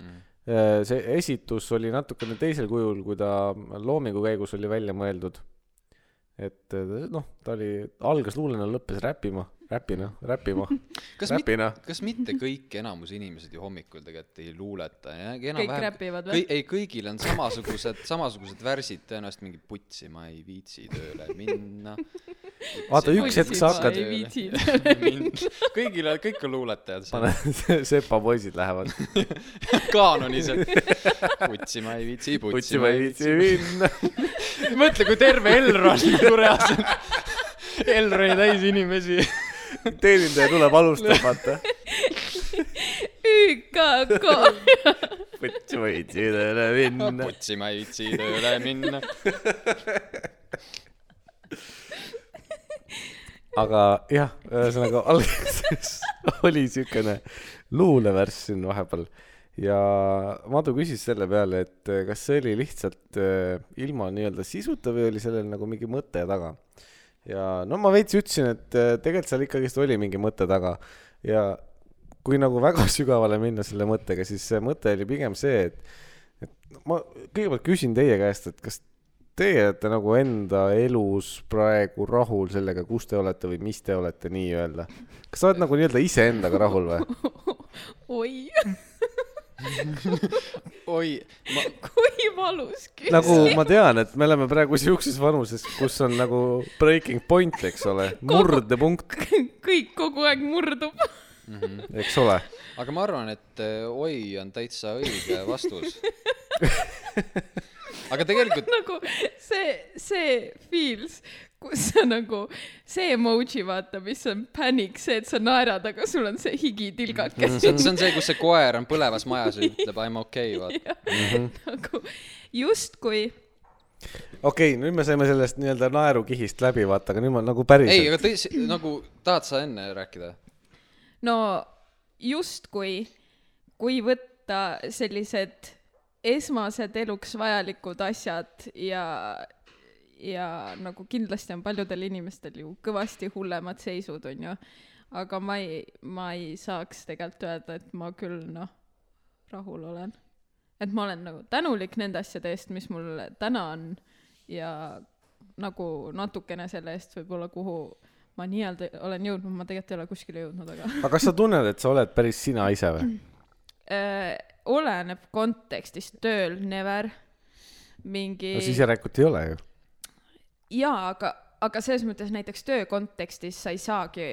Speaker 2: Mm.
Speaker 1: Äh, see esitus oli natukene teisel kujul , kui ta loomingu käigus oli välja mõeldud . et noh , ta oli , algas luulena , lõppes räppima , räpina , räppima ,
Speaker 2: kas mitte ,
Speaker 1: räpina .
Speaker 2: kas mitte kõik enamus inimesed ju hommikul tegelikult ei luuleta ja
Speaker 3: kõik
Speaker 2: enam-vähem
Speaker 3: räpivad või
Speaker 2: kõi- ?, ei , kõigil on samasugused , samasugused värsid , tõenäoliselt mingi putsi , ma ei viitsi tööle minna .
Speaker 1: Vaata, üks hetk sa hakkad-
Speaker 3: Ei viitsi
Speaker 2: kõigil on , kõik on luuletajad seal .
Speaker 1: pane , sepapoisid lähevad .
Speaker 2: kaanoniselt . putsi ma ei viitsi ,
Speaker 1: putsi ma ei viitsi . minna .
Speaker 2: mõtle , kui terve Elron nagu reaalselt , Elroni täis inimesi .
Speaker 1: teenindaja tuleb , alustab , vaata .
Speaker 3: ÜKK .
Speaker 1: putsi ma ei viitsi tööle minna .
Speaker 2: putsi ma ei viitsi tööle minna .
Speaker 1: aga jah , ühesõnaga alguses oli siukene luulevärss siin vahepeal ja Madu küsis selle peale , et eh, kas see oli lihtsalt äh, ilma nii-öelda sisuta või oli sellel nagu mingi mõte taga . ja no ma veits ütlesin , et äh, tegelikult seal ikkagist oli mingi mõte taga ja kui nagu väga sügavale minna selle mõttega , siis see mõte oli pigem see , et , et ma kõigepealt küsin teie käest , et kas teie olete nagu enda elus praegu rahul sellega , kus te olete või mis te olete nii-öelda ? kas sa oled nagu nii-öelda iseendaga rahul või ?
Speaker 3: oi ,
Speaker 2: oi , ma ,
Speaker 3: kui valus küsimus
Speaker 1: nagu ma tean , et me oleme praegu siukses vanuses , kus on nagu breaking point , eks ole , murdepunkt ,
Speaker 3: kõik kogu aeg murdub .
Speaker 1: eks ole .
Speaker 2: mhm. aga ma arvan , et äh, oi on täitsa õige vastus . aga tegelikult ,
Speaker 3: nagu see , see feels , kus sa nagu , see emoji vaata , mis on panic , see , et sa naerad , aga sul on see higitilgakas
Speaker 2: Mhm. see on , see on see , kus see koer on põlevas majas ja ütleb I m okei okay, , vaata .
Speaker 3: nagu justkui
Speaker 1: okei , nüüd me saime sellest nii-öelda naerukihist läbi , vaata , aga nüüd ma nagu päriselt .
Speaker 2: ei , aga tõsi , nagu tahad sa enne rääkida ?
Speaker 3: no justkui , kui võtta sellised esmased eluks vajalikud asjad ja , ja nagu kindlasti on paljudel inimestel ju kõvasti hullemad seisud , on ju , aga ma ei , ma ei saaks tegelikult öelda , et ma küll noh , rahul olen . et ma olen nagu tänulik nende asjade eest , mis mul täna on ja nagu natukene selle eest võib-olla , kuhu ma nii-öelda olen jõudnud , ma tegelikult ei ole kuskile jõudnud , aga
Speaker 1: aga kas sa tunned , et sa oled päris sina ise või ?
Speaker 3: äh, oleneb kontekstist , tööl never mingi
Speaker 1: no siis järelikult ei ole ju .
Speaker 3: jaa , aga , aga selles mõttes näiteks töö kontekstis sa ei saagi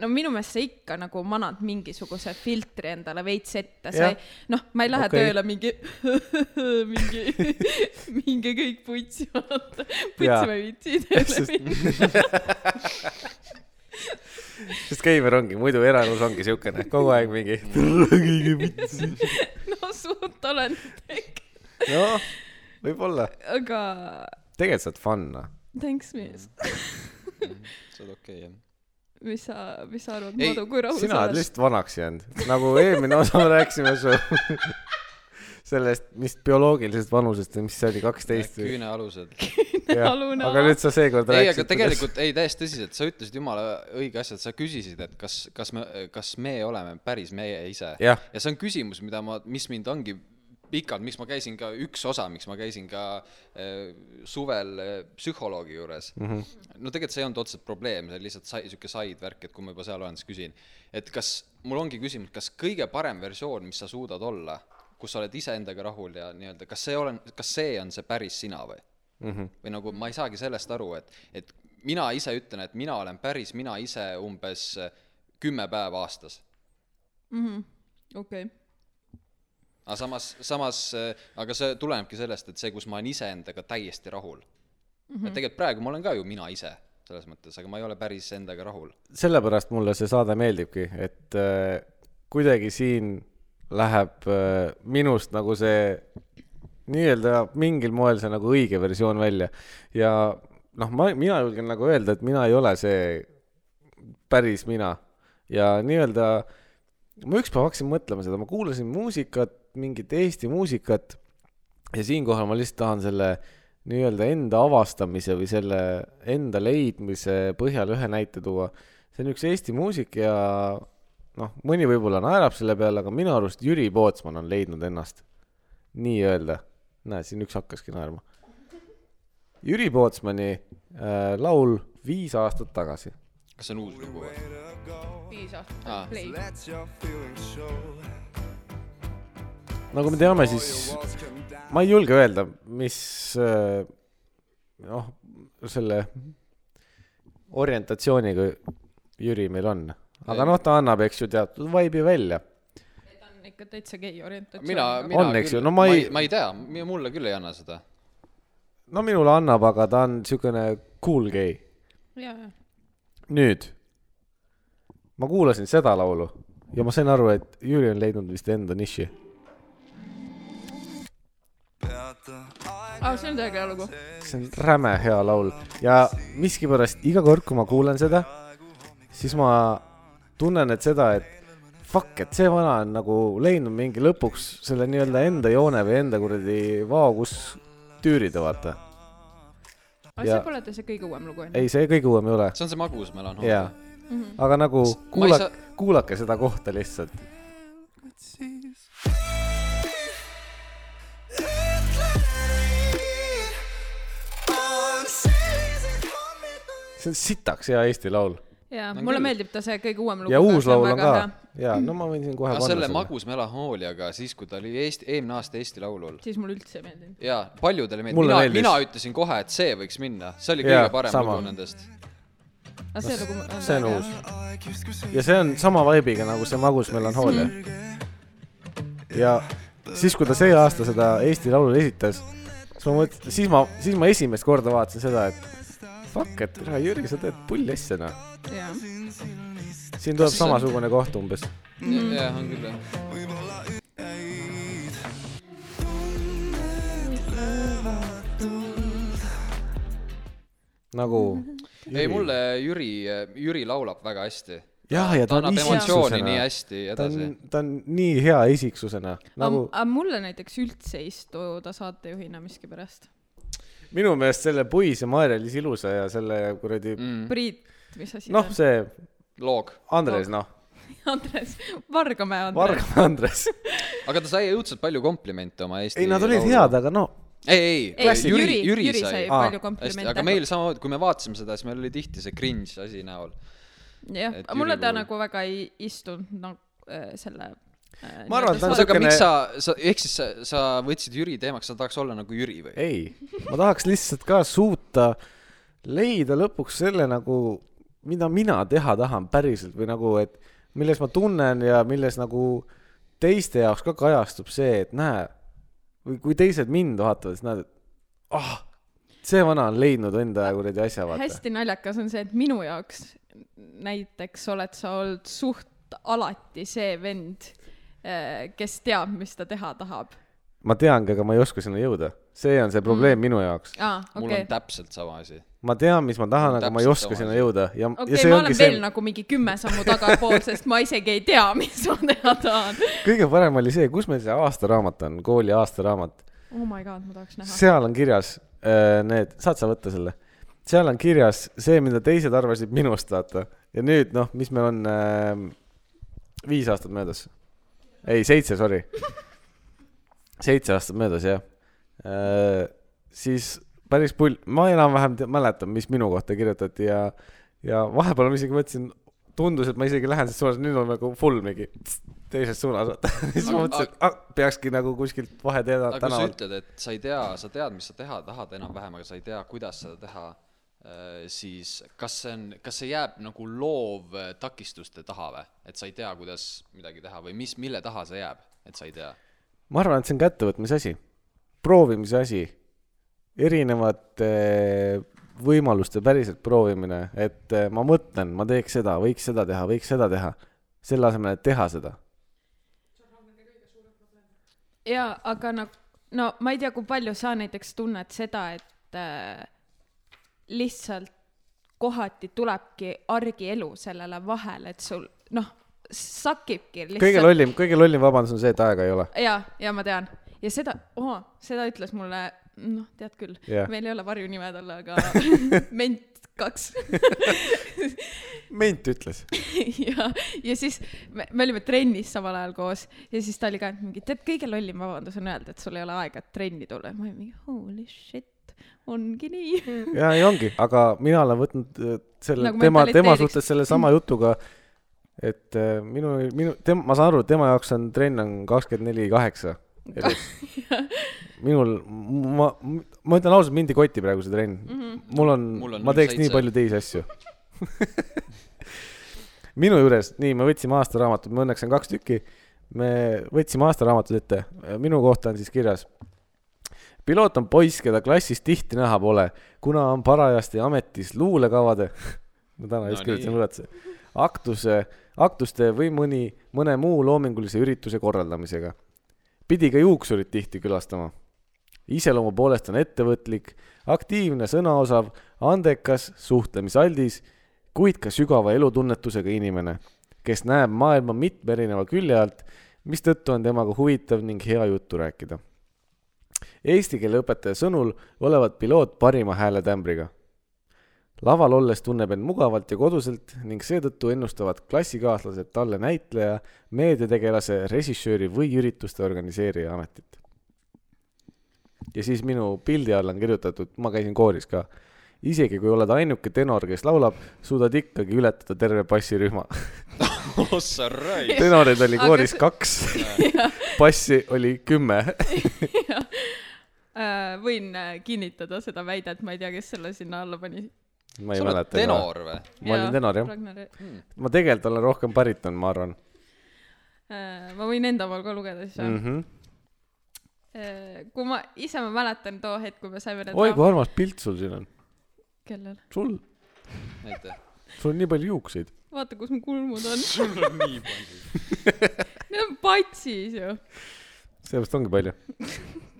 Speaker 3: no minu meelest sa ikka nagu manad mingisuguse filtri endale veits ette , sa
Speaker 1: Jah.
Speaker 3: ei , noh , ma ei lähe
Speaker 1: Okei.
Speaker 3: okay. tööle mingi mingi , minge kõik putsi vaata ,
Speaker 1: Jaa.
Speaker 3: putsi ma ei viitsi tööle
Speaker 1: Sest-
Speaker 3: minna .
Speaker 1: sest Keiver ongi , muidu eraelus ongi siukene kogu aeg mingi .
Speaker 3: no suht olen teg- ,
Speaker 1: noh , võib-olla .
Speaker 3: aga
Speaker 1: tegelikult sa oled fun , noh .
Speaker 3: thanks mees ,
Speaker 2: Mhm. sa oled okei okay, , jah ?
Speaker 3: mis sa , mis sa arvad ,
Speaker 2: Ei,
Speaker 3: Madu , kui rahul
Speaker 1: sina
Speaker 3: sa
Speaker 1: oled
Speaker 3: oled ?
Speaker 1: lihtsalt vanaks jäänud , nagu eelmine osa me rääkisime su sellest , mis bioloogilisest vanusest või mis see oli , kaksteist või ?
Speaker 2: küünealused .
Speaker 3: alune
Speaker 1: aga
Speaker 3: ala.
Speaker 1: nüüd sa seekord
Speaker 2: ei ,
Speaker 1: rääkisid
Speaker 2: aga . tegelikult ei , täiesti tõsiselt , sa ütlesid jumala õige asja , et sa küsisid , et kas , kas me , kas me oleme päris meie ise .
Speaker 1: jah ,
Speaker 2: ja see on küsimus , mida ma , mis mind ongi pikalt , miks ma käisin ka , üks osa , miks ma käisin ka äh, suvel äh, psühholoogi juures mm .
Speaker 1: Mhm.
Speaker 2: -hmm. no tegelikult see ei olnud otseselt probleem , see oli lihtsalt sai, sihuke side värk , et kui ma juba seal olen , siis küsin , et kas , mul ongi küsimus , kas kõige parem versioon , mis sa suudad olla , kus sa oled iseendaga rahul ja nii-öelda , kas see olen , kas see on see päris sina või ? või nagu ma ei saagi sellest aru , et , et mina ise ütlen , et mina olen päris mina ise umbes äh, kümme päeva aastas
Speaker 3: Mhm. okei .
Speaker 2: aga samas , samas , aga see tulenebki sellest , et see , kus ma olen iseendaga täiesti rahul mm .
Speaker 1: Mhm.
Speaker 2: -hmm. et tegelikult praegu ma olen ka ju mina ise , selles mõttes , aga ma ei ole päris endaga rahul .
Speaker 1: sellepärast mulle see saade meeldibki , et äh, kuidagi siin läheb äh, minust nagu see nii-öelda mingil moel see nagu õige versioon välja ja noh , ma , mina julgen nagu öelda , et mina ei ole see päris mina ja nii-öelda ma ükspäev hakkasin mõtlema seda , ma kuulasin muusikat , mingit Eesti muusikat ja siinkohal ma lihtsalt tahan selle nii-öelda enda avastamise või selle enda leidmise põhjal ühe näite tuua . see on üks Eesti muusik ja noh , mõni võib-olla naerab selle peale , aga minu arust Jüri Pootsman on leidnud ennast . nii-öelda , näed , siin üks hakkaski naerma . Jüri Pootsmani äh, laul viis aastat tagasi .
Speaker 2: kas see on uus lugu või ?
Speaker 3: viis
Speaker 2: Aa.
Speaker 3: aastat play .
Speaker 4: Let your feelings show.
Speaker 1: nagu me teame , siis
Speaker 4: Your walls come down.
Speaker 1: ma ei julge öelda , mis äh, noh , selle orientatsiooniga Jüri meil on , aga noh , ta annab , eks ju , teatud vaibi välja .
Speaker 3: ta on ikka täitsa gei orientatsioon .
Speaker 2: mina , mina
Speaker 1: On, eks ju,
Speaker 2: küll ,
Speaker 1: no ma ei-
Speaker 2: ma ei tea , mulle küll ei anna seda .
Speaker 1: no minule annab , aga ta on niisugune cool gay .
Speaker 3: jaa , jaa .
Speaker 1: nüüd , ma kuulasin seda laulu ja ma sain aru , et Jüri on leidnud vist enda niši .
Speaker 4: Peata aega
Speaker 3: aa , see on täiega hea lugu .
Speaker 1: see on räme hea laul ja miskipärast iga kord , kui ma kuulan seda , siis ma tunnen , et seda , et fuck , et see vana on nagu leidnud mingi lõpuks selle nii-öelda enda joone või enda kuradi vao , kus tüürida , vaata .
Speaker 3: aga see
Speaker 1: Ja-
Speaker 3: pole täitsa kõige uuem lugu , onju . Mhm.
Speaker 1: ei , see kõige uuem ei ole ,
Speaker 2: see on see magus melanhoolia
Speaker 1: jaa . aga nagu
Speaker 2: Ma ei
Speaker 1: kuula-
Speaker 2: saa- ,
Speaker 1: kuulake seda kohta lihtsalt .
Speaker 4: siis . ütle nii , on sellised hommikuid .
Speaker 1: see on sitaks hea Eesti laul
Speaker 3: jaa ,
Speaker 2: On
Speaker 3: mulle
Speaker 2: küll.
Speaker 3: meeldib ta see kõige uuem lugu .
Speaker 1: ja uus laul on ka . jaa , no ma võin siin kohe
Speaker 2: aga
Speaker 1: panna
Speaker 2: selle
Speaker 1: selle .
Speaker 2: magus melanhooliaga siis , kui ta oli Eesti , eelmine aasta Eesti Laulul
Speaker 3: siis mulle üldse ei meeldinud .
Speaker 2: jaa , paljudele meeldib ,
Speaker 1: Mulle
Speaker 2: mina ,
Speaker 1: meeldis.
Speaker 2: mina ütlesin kohe , et see võiks minna , see oli
Speaker 1: Jaa,
Speaker 2: kõige parem
Speaker 1: sama.
Speaker 2: lugu nendest .
Speaker 3: aga see lugu on
Speaker 1: see on
Speaker 3: täiega
Speaker 1: uus
Speaker 3: hea.
Speaker 4: aeg justkui
Speaker 1: ja see on sama vaibiga nagu see magus melanhoolia . ja siis , kui ta see aasta seda Eesti Laulul esitas , siis ma mõtlesin , siis ma , siis ma esimest korda vaatasin seda , et fuck , et tere , Jüri , sa teed pulli asja , noh .
Speaker 3: jaa .
Speaker 1: siin tuleb
Speaker 2: Kas see on-
Speaker 1: samasugune koht umbes .
Speaker 3: Mm.
Speaker 2: jah , on küll jah .
Speaker 4: võib-olla jäid . tunned löövad tuld .
Speaker 1: nagu .
Speaker 2: ei , mulle Jüri , Jüri laulab väga hästi .
Speaker 1: jah , ja ta
Speaker 2: ta
Speaker 1: on
Speaker 2: annab emotsiooni nii
Speaker 1: isiksusena .
Speaker 2: hästi
Speaker 1: ta
Speaker 2: edasi
Speaker 1: on , ta on nii hea isiksusena , nagu
Speaker 3: aga mulle näiteks üldse ei istu ta saatejuhina miskipärast .
Speaker 1: minu meelest selle Puis ja Maarja-Liis Ilusa ja selle kuradi ,
Speaker 2: mm. .
Speaker 3: Priit , mis asi
Speaker 1: noh ,
Speaker 3: see
Speaker 1: see
Speaker 2: loog .
Speaker 1: Andres , noh ,
Speaker 3: on ? Andres , Vargamäe Andres .
Speaker 1: Vargamäe Andres .
Speaker 2: aga ta sai õudselt palju komplimente oma Eesti
Speaker 1: ei , nad olid head , aga no
Speaker 2: ei , ei,
Speaker 3: ei ,
Speaker 2: ei ,
Speaker 3: Jüri , Jüri sai
Speaker 1: Aa,
Speaker 3: palju
Speaker 2: hästi ,
Speaker 3: komplimente .
Speaker 2: aga meil samamoodi , kui me vaatasime seda , siis meil oli tihti see cringe asi näol .
Speaker 3: jah
Speaker 2: et ,
Speaker 3: mulle
Speaker 2: Jüri
Speaker 3: ta
Speaker 2: puhul-
Speaker 3: nagu väga ei istunud nagu äh, selle äh,
Speaker 1: Ma arvan, et ta on
Speaker 3: nii-öelda
Speaker 2: aga
Speaker 1: Natukene-
Speaker 2: miks sa , sa , ehk siis sa, sa võtsid Jüri teemaks , sa tahaks olla nagu Jüri või ?
Speaker 1: ei , ma tahaks lihtsalt ka suuta leida lõpuks selle nagu , mida mina teha tahan päriselt või nagu , et milles ma tunnen ja milles nagu teiste jaoks ka kajastub see , et näe , või kui teised mind vaatavad , siis näed , et ah , see vana on leidnud enda kuradi asja ,
Speaker 3: saad-
Speaker 1: vaata .
Speaker 3: hästi naljakas on see , et minu jaoks näiteks oled sa olnud suht alati see vend , kes teab , mis ta teha tahab .
Speaker 1: ma teangi , aga ma ei oska sinna jõuda . see on see probleem mm. minu jaoks .
Speaker 3: aa ,
Speaker 2: mul
Speaker 3: okei
Speaker 2: okay. on . täpselt sama asi .
Speaker 1: ma tean , mis ma tahan , aga ma ei
Speaker 2: Täpselt
Speaker 1: oska
Speaker 2: sama
Speaker 1: sinna
Speaker 2: asi.
Speaker 1: jõuda ja , ja
Speaker 3: okei ,
Speaker 1: see
Speaker 3: ma
Speaker 1: ongi
Speaker 3: olen
Speaker 1: see
Speaker 3: veel , nagu mingi kümme sammu tagapool , sest ma isegi ei tea , mis ma teha tahan .
Speaker 1: kõige parem oli see , kus meil see aastaraamat on , kooli aastaraamat .
Speaker 3: Oh my god , ma tahaks näha .
Speaker 1: seal on kirjas öö, need , saad sa võtta selle , seal on kirjas see , mida teised arvasid minust , vaata . ja nüüd noh , mis meil on äh, viis aastat möödas . ei , seitse , sorry . seitse aastat möödas jah äh, . siis päris pull , ma enam-vähem te- mäletan , mis minu kohta kirjutati ja , ja vahepeal ma isegi mõtlesin , tundus , et ma isegi lähen selles suunas , nüüd on nagu full mingi teises suunas , vaata . siis ma mõtlesin , et ah, peakski nagu kuskilt vaheteeda
Speaker 2: aga kui sa
Speaker 1: tänavalt .
Speaker 2: ütled , et sa ei tea , sa tead , mis sa teha tahad enam-vähem , aga sa ei tea , kuidas seda teha , siis kas see on , kas see jääb nagu loov äh, takistuste taha või ? et sa ei tea , kuidas midagi teha või mis , mille taha see jääb , et sa ei tea ?
Speaker 1: ma arvan , et see on kättevõtmise asi , proovimise asi , erinevate eh, võimaluste päriselt proovimine , et eh, ma mõtlen , ma teeks seda , võiks seda teha , võiks seda teha , selle asemel , et teha seda .
Speaker 3: jaa , aga no , no ma ei tea , kui palju sa näiteks tunned seda , et äh, lihtsalt kohati tulebki argielu sellele vahele , et sul noh , sakibki lihtsalt .
Speaker 1: kõige lollim , kõige lollim vabandus on see , et aega ei ole .
Speaker 3: jaa , ja ma tean . ja seda oh, , seda ütles mulle , noh , tead küll
Speaker 1: Jah.
Speaker 3: meil ei ole varjunimed all , aga ment kaks
Speaker 1: ment ütles .
Speaker 3: ja , ja siis me, me olime trennis samal ajal koos ja siis ta oli ka et mingi , tead , kõige lollim vabandus on öelda , et sul ei ole aega et trenni tulla ja ma olin mingi holy shit , ongi nii .
Speaker 1: ja ei ongi , aga mina olen võtnud eh, selle
Speaker 3: Nagu
Speaker 1: nagu tema , tema
Speaker 3: mentaliteediks. Mm.
Speaker 1: suhtes sellesama jutuga , et eh, minu , minu , tema , ma saan aru , et tema jaoks on trenn on kakskümmend neli kaheksa . minul , ma , ma ütlen ausalt , mind ei koti praegu see trenn mm . -hmm.
Speaker 3: Mhm.
Speaker 1: mul on,
Speaker 2: Mul on
Speaker 1: on , ma teeks
Speaker 2: seitse.
Speaker 1: nii palju teisi asju . minu juures , nii , me võtsime aastaraamatud , ma õnneks on kaks tükki . me võtsime aastaraamatud ette , minu kohta on siis kirjas . piloot on poiss , keda klassis tihti näha pole , kuna on parajasti ametis luulekavade , ma täna just
Speaker 2: No
Speaker 1: kirjutasin
Speaker 2: nii.
Speaker 1: luuletuse , aktuse , aktuste või mõni , mõne muu loomingulise ürituse korraldamisega . pidi ka juuksurit tihti külastama . iseloomu poolest on ettevõtlik , aktiivne , sõnaosav , andekas , suhtlemisaldis , kuid ka sügava elutunnetusega inimene , kes näeb maailma mitme erineva külje alt , mistõttu on temaga huvitav ning hea juttu rääkida . Eesti keele õpetaja sõnul olevat piloot parima hääletämbriga . laval olles tunneb end mugavalt ja koduselt ning seetõttu ennustavad klassikaaslased talle näitleja , meediategelase , režissööri või ürituste organiseerija ametit . ja siis minu pildi all on kirjutatud , ma käisin kooris ka , isegi kui oled ainuke tenor , kes laulab , suudad ikkagi ületada terve bassirühma .
Speaker 2: ossa raisk .
Speaker 1: tenoreid oli
Speaker 3: Aga
Speaker 1: kooris
Speaker 3: see-
Speaker 1: kaks , bassi oli kümme .
Speaker 3: võin äh, kinnitada seda väidet , ma ei tea , kes selle sinna alla pani .
Speaker 1: ma ei
Speaker 2: sa oled
Speaker 1: mäleta .
Speaker 2: tenor või ? Hmm,
Speaker 1: ma olin tenor, jah.
Speaker 3: Ragnar ,
Speaker 1: ma tegelikult olen rohkem bariton , ma arvan
Speaker 3: Äh, ma võin enda omal ka lugeda siis või
Speaker 1: mm ? -hmm.
Speaker 3: Äh, kui ma ise ma mäletan too hetk , kui me saime need
Speaker 1: oi kui armas pilt sul siin on ,
Speaker 3: raam- kellel ,
Speaker 1: sul ,
Speaker 2: aitäh .
Speaker 1: sul on nii palju juukseid .
Speaker 3: vaata , kus mu kulmud on ,
Speaker 2: sul on nii palju .
Speaker 3: need on patsis ju ,
Speaker 1: sellepärast ongi palju ,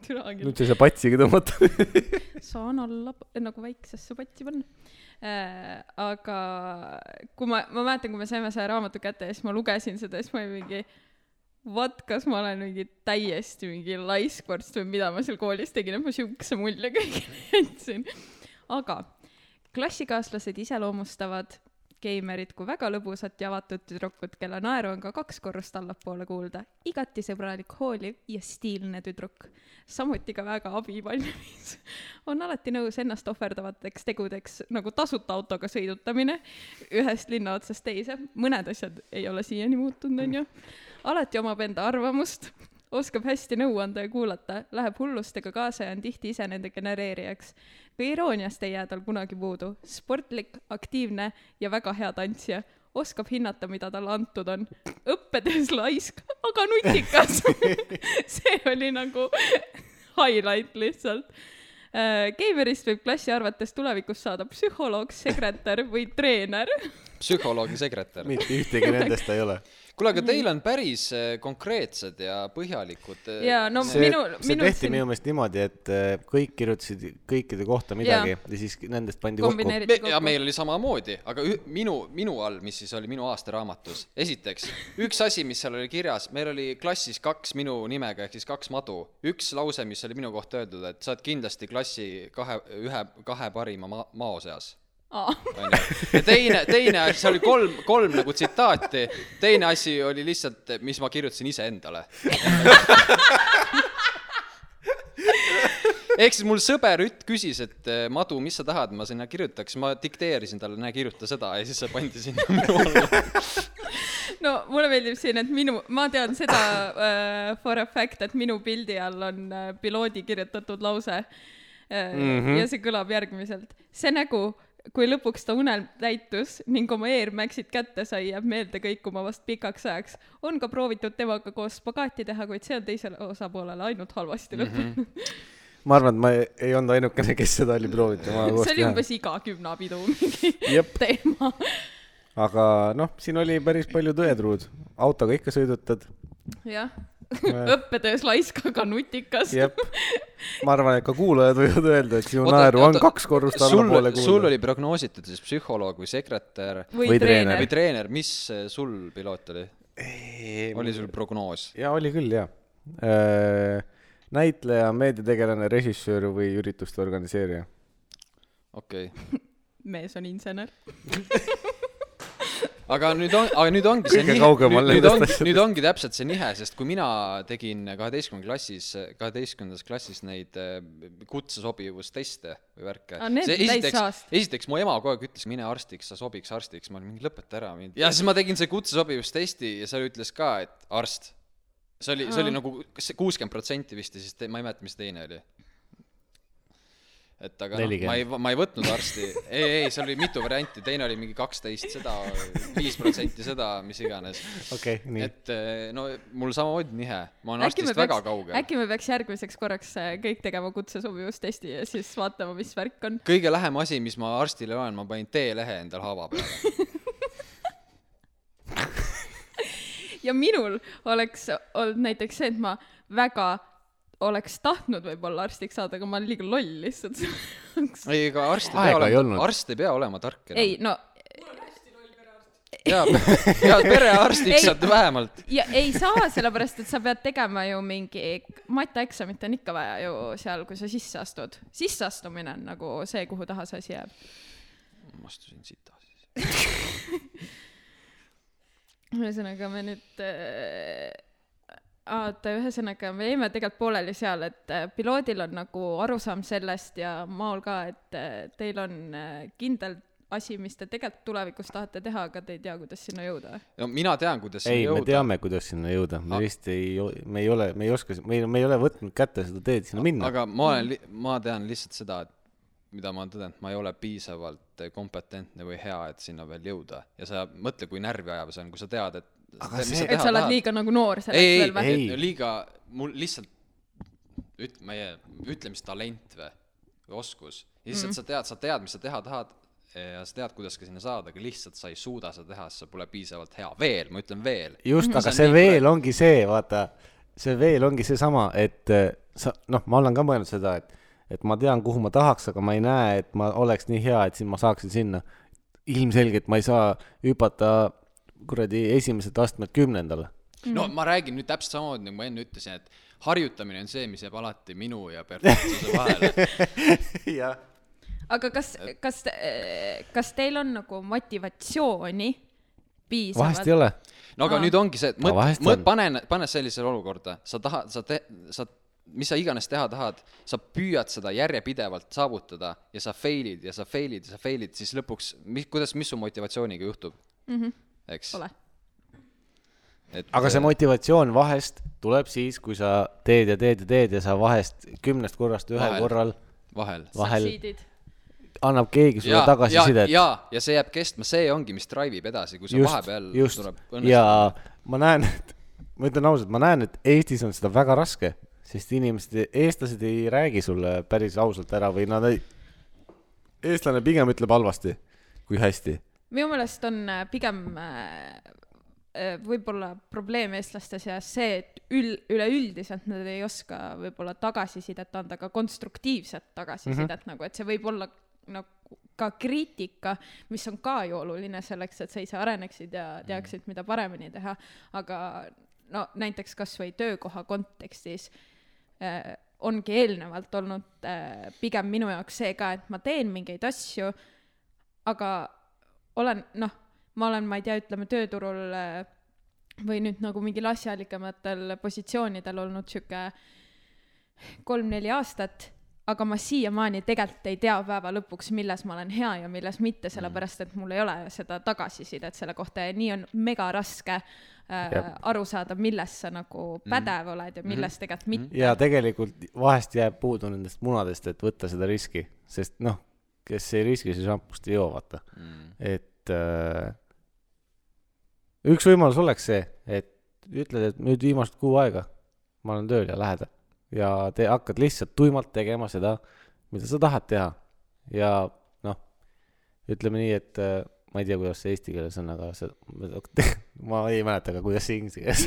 Speaker 3: türa küll
Speaker 1: nüüd . sa ei saa patsigi tõmmata .
Speaker 3: saan alla , nagu väiksesse patti panna äh, . aga kui ma , ma mäletan , kui me saime selle raamatu kätte ja siis ma lugesin seda ja siis ma olin mingi , vat , kas ma olen mingi täiesti mingi laiskvorst või mida ma seal koolis tegin , et ma siukse mulje kõigile jätsin . aga klassikaaslased iseloomustavad geimerid kui väga lõbusat ja avatud tüdrukut , kelle naeru on ka kaks korrust allapoole kuulda , igati sõbralik , hooliv ja stiilne tüdruk , samuti ka väga abivalmis on alati nõus ennast ohverdavateks tegudeks nagu tasuta autoga sõidutamine ühest linna otsast teise , mõned asjad ei ole siiani muutunud , onju . alati omab enda arvamust , oskab hästi nõu anda ja kuulata , läheb hullustega kaasa ja on tihti ise nende genereerijaks . ka irooniast ei jää tal kunagi puudu , sportlik , aktiivne ja väga hea tantsija oskab hinnata , mida talle antud on . õppetöös laisk , aga nutikas . see oli nagu highlight lihtsalt . Geimerist Äh, võib klassi arvates tulevikus saada psühholoog , sekretär või treener .
Speaker 2: psühholoogi sekretär .
Speaker 1: mitte ühtegi nendest ei ole .
Speaker 2: kuule , aga teil on päris eh, konkreetsed ja põhjalikud . äh,
Speaker 3: ja no
Speaker 1: see ,
Speaker 3: minu ,
Speaker 1: see
Speaker 3: minu
Speaker 1: tehti minu meelest niimoodi , et eh, kõik kirjutasid kõikide kohta midagi ja, ja siis nendest pandi kokku .
Speaker 3: kombineeriti
Speaker 2: me, ja meil
Speaker 3: kokku .
Speaker 2: oli samamoodi , aga üh, minu , minu all , mis siis oli minu aastaraamatus , esiteks üks asi , mis seal oli kirjas , meil oli klassis kaks minu nimega ehk siis kaks madu , üks lause , mis oli minu kohta öeldud , et sa oled kindlasti klassi kahe , ühe , kahe parima ma- , mao seas . ja teine , teine asi , seal oli kolm , kolm nagu tsitaati , teine asi oli lihtsalt , mis ma kirjutasin iseendale . ehk siis mul sõber Ütt küsis , et eh, Madu , mis sa tahad , ma sinna kirjutaks , ma dikteerisin talle , näe , kirjuta seda ja siis see pandi sinna minu alla .
Speaker 3: no mulle meeldib siin , et minu , ma tean seda uh, for a fact , et minu pildi all on uh, piloodi kirjutatud lause uh, . Mm -hmm. ja see kõlab järgmiselt . see nägu , kui lõpuks ta unelm täitus ning oma Air Maxid kätte sai , jääb meelde kõikuma vast pikaks ajaks . on ka proovitud temaga koos spagaati teha , kuid see on teisele osapoolele ainult halvasti lõppenud mm .
Speaker 1: ma arvan , et ma ei- ei olnud ainukene , kes seda oli proovinud
Speaker 3: -hmm.
Speaker 1: temaga
Speaker 3: see
Speaker 1: koos
Speaker 3: oli
Speaker 1: teha .
Speaker 3: umbes iga kümnapidu mingi
Speaker 1: jep ,
Speaker 3: teema .
Speaker 1: aga noh , siin oli päris palju tõetruud . autoga ikka sõidutad ,
Speaker 3: jah , õppetöös laisk , aga nutikas .
Speaker 1: jep . ma arvan , et ka kuulajad võivad öelda , et sinu
Speaker 2: Oota,
Speaker 1: naeru on
Speaker 2: oota.
Speaker 1: kaks korrust
Speaker 2: sul
Speaker 1: allapoole ,
Speaker 2: sul
Speaker 1: kuulda .
Speaker 2: oli prognoositud siis psühholoog või sekretär
Speaker 1: Või
Speaker 3: või
Speaker 1: treener.
Speaker 3: treener
Speaker 2: või . treener , mis eh, sul piloot oli ? oli sul prognoos ?
Speaker 1: jaa , oli küll , jaa . näitleja , meediategelane , režissöör või ürituste organiseerija .
Speaker 2: okei okay. .
Speaker 3: mees on insener .
Speaker 2: aga nüüd on , aga nüüd ongi see
Speaker 1: Kõige
Speaker 2: nihe ,
Speaker 1: kaugemal
Speaker 2: nüüd, nüüd
Speaker 1: nendest
Speaker 2: ongi ,
Speaker 1: asjadest.
Speaker 2: nüüd ongi täpselt see nihe , sest kui mina tegin kaheteistkümnendas klassis , kaheteistkümnendas klassis neid eh, kutsesobivusteste või värke
Speaker 3: Aa, need on täis
Speaker 2: esiteks
Speaker 3: saast. ,
Speaker 2: esiteks mu ema kogu aeg ütles , mine arstiks , sa sobiks arstiks , ma olin mingi lõpeta ära mind . ja siis ma tegin see kutsesobivustesti ja seal ütles ka , et arst . see oli , see oli
Speaker 3: Aa.
Speaker 2: nagu , kas see kuuskümmend protsenti vist ja siis te, ma ei mäleta , mis teine oli et aga noh , ma ei , ma ei võtnud arsti , ei , ei , seal oli mitu varianti , teine oli mingi kaksteist seda , viis protsenti seda , mis iganes .
Speaker 1: okei okay, , nii .
Speaker 2: et eh, no mul samamoodi nihe , ma olen
Speaker 3: äkki me
Speaker 2: arstist väga
Speaker 3: peaks ,
Speaker 2: kaugel äkki... .
Speaker 3: äkki me peaks järgmiseks korraks äh, kõik tegema kutsesobivustesti ja siis vaatama , mis värk on .
Speaker 2: kõige lähem asi , mis ma arstile olen , ma panin teelehe endal haava peale .
Speaker 3: ja minul oleks olnud näiteks see , et ma väga oleks tahtnud võib-olla arstiks saada , aga ma olen liiga loll lihtsalt selleks .
Speaker 2: ei , ega arst ei
Speaker 1: Aega
Speaker 2: pea
Speaker 1: ei
Speaker 2: olema
Speaker 1: olnud. ,
Speaker 2: arst ei pea olema tark
Speaker 3: ei
Speaker 2: enam .
Speaker 3: no ,
Speaker 2: ja , ja perearstiks
Speaker 3: Ei.
Speaker 2: saad vähemalt .
Speaker 3: ja ei saa , sellepärast et sa pead tegema ju mingi , matjaeksamit on ikka vaja ju seal , kui sa sisse astud . sisseastumine on nagu see , kuhu taha see asi jääb .
Speaker 2: ma astusin sita siis .
Speaker 3: ühesõnaga me nüüd äh, , oota , ühesõnaga me jäime tegelikult pooleli seal , et äh, piloodil on nagu arusaam sellest ja maol ka , et äh, teil on äh, kindel asi , mis te tegelikult tulevikus tahate teha , aga te ei tea , kuidas sinna jõuda .
Speaker 2: no mina tean , kuidas
Speaker 1: ei ,
Speaker 2: sinna
Speaker 1: me
Speaker 2: jõuda .
Speaker 1: teame , kuidas sinna jõuda , me
Speaker 2: Ah.
Speaker 1: vist ei , me ei ole , me ei oska , me ei , me ei ole võtnud kätte seda teed sinna minna . Mm.
Speaker 2: aga ma olen , ma tean lihtsalt seda , et mida ma olen tõdenud , ma ei ole piisavalt eh, kompetentne või hea , et sinna veel jõuda ja sa mõtle , kui närvi ajav see on , kui sa tead , et
Speaker 1: Aga
Speaker 2: tead, mis
Speaker 1: see-
Speaker 3: et sa oled liiga nagu noor
Speaker 2: ei ,
Speaker 3: selleks
Speaker 2: ei
Speaker 3: veel , või ?
Speaker 2: ei
Speaker 1: Ei. ,
Speaker 2: liiga , mul lihtsalt üt- , meie , ütleme siis talent või , või oskus ,
Speaker 3: Mhm.
Speaker 2: lihtsalt mm. sa tead , sa tead , mis sa teha tahad ja sa tead , kuidas ka sinna saada , aga lihtsalt sa ei suuda seda teha , sest sa pole piisavalt hea veel , ma ütlen veel .
Speaker 1: just ,
Speaker 2: see
Speaker 1: aga
Speaker 2: on
Speaker 1: see
Speaker 2: nii
Speaker 1: veel ongi see , vaata , see veel ongi seesama , et eh, sa , noh , ma olen ka mõelnud seda , et , et ma tean , kuhu ma tahaks , aga ma ei näe , et ma oleks nii hea , et siis ma saaksin sinna . ilmselgelt ma ei saa hüpata kuradi esimeselt astmelt kümnendale .
Speaker 2: no ma räägin nüüd täpselt samamoodi , nagu ma enne ütlesin , et harjutamine on see , mis jääb alati minu ja perfektsuse vahele .
Speaker 1: jah .
Speaker 3: aga kas ,
Speaker 1: Äh.
Speaker 3: kas , kas teil on nagu motivatsiooni
Speaker 1: vahest
Speaker 3: piisavalt
Speaker 1: ei ? ole .
Speaker 2: no aga
Speaker 3: Aa.
Speaker 2: nüüd ongi see , et mõt-
Speaker 1: Aga vahest ,
Speaker 2: mõt- ,
Speaker 1: on.
Speaker 2: pane , pane sellisele olukorda , sa tahad , sa te- , sa , mis sa iganes teha tahad , sa püüad seda järjepidevalt saavutada ja sa fail'id ja sa fail'id ja sa fail'id , siis lõpuks , mis , kuidas , mis su motivatsiooniga juhtub mm ? -hmm. eks .
Speaker 3: Pole .
Speaker 2: et
Speaker 1: aga see motivatsioon vahest tuleb siis , kui sa teed ja teed ja teed ja sa vahest kümnest korrast ühel
Speaker 2: Vahel.
Speaker 1: korral
Speaker 2: vahel .
Speaker 1: vahel
Speaker 3: Succeed'id.
Speaker 1: annab keegi sulle tagasisidet .
Speaker 2: ja , ja see jääb kestma , see ongi , mis drive ib edasi , kui see vahepeal
Speaker 1: just.
Speaker 2: tuleb
Speaker 1: ja ma näen , et , ma ütlen ausalt , ma näen , et Eestis on seda väga raske , sest inimesed , eestlased ei räägi sulle päris ausalt ära või nad ei , eestlane pigem ütleb halvasti kui hästi .
Speaker 3: minu meelest on äh, pigem äh, äh, võib-olla probleem eestlaste seas see , et ül- , üleüldiselt nad ei oska võib-olla tagasisidet anda , ka konstruktiivset tagasisidet mm -hmm. nagu , et see võib olla nagu ka kriitika , mis on ka ju oluline selleks , et sa ise areneksid ja teaksid , mida paremini teha , aga no näiteks kas või töökoha kontekstis äh, ongi eelnevalt olnud äh, pigem minu jaoks see ka , et ma teen mingeid asju , aga olen noh , ma olen , ma ei tea , ütleme tööturul äh, või nüüd nagu mingil asjalikematel positsioonidel olnud sihuke kolm-neli aastat , aga ma siiamaani tegelikult ei tea päeva lõpuks , milles ma olen hea ja milles mitte , sellepärast et mul ei ole seda tagasisidet selle kohta ja nii on mega raske äh,
Speaker 1: Jep.
Speaker 3: aru saada , milles sa nagu pädev oled ja milles tegelikult mitte .
Speaker 1: ja tegelikult vahest jääb puudu nendest munadest , et võtta seda riski , sest noh , kes ei riski , see šampust ei joo , vaata mm. . et äh, üks võimalus oleks see , et ütled , et nüüd viimased kuu aega ma olen tööl ja lähed ja te hakkad lihtsalt tuimalt tegema seda , mida sa tahad teha ja noh , ütleme nii , et äh, ma ei tea , kuidas see eesti keeles on , aga see , ma ei mäleta ka , kuidas see inglise keeles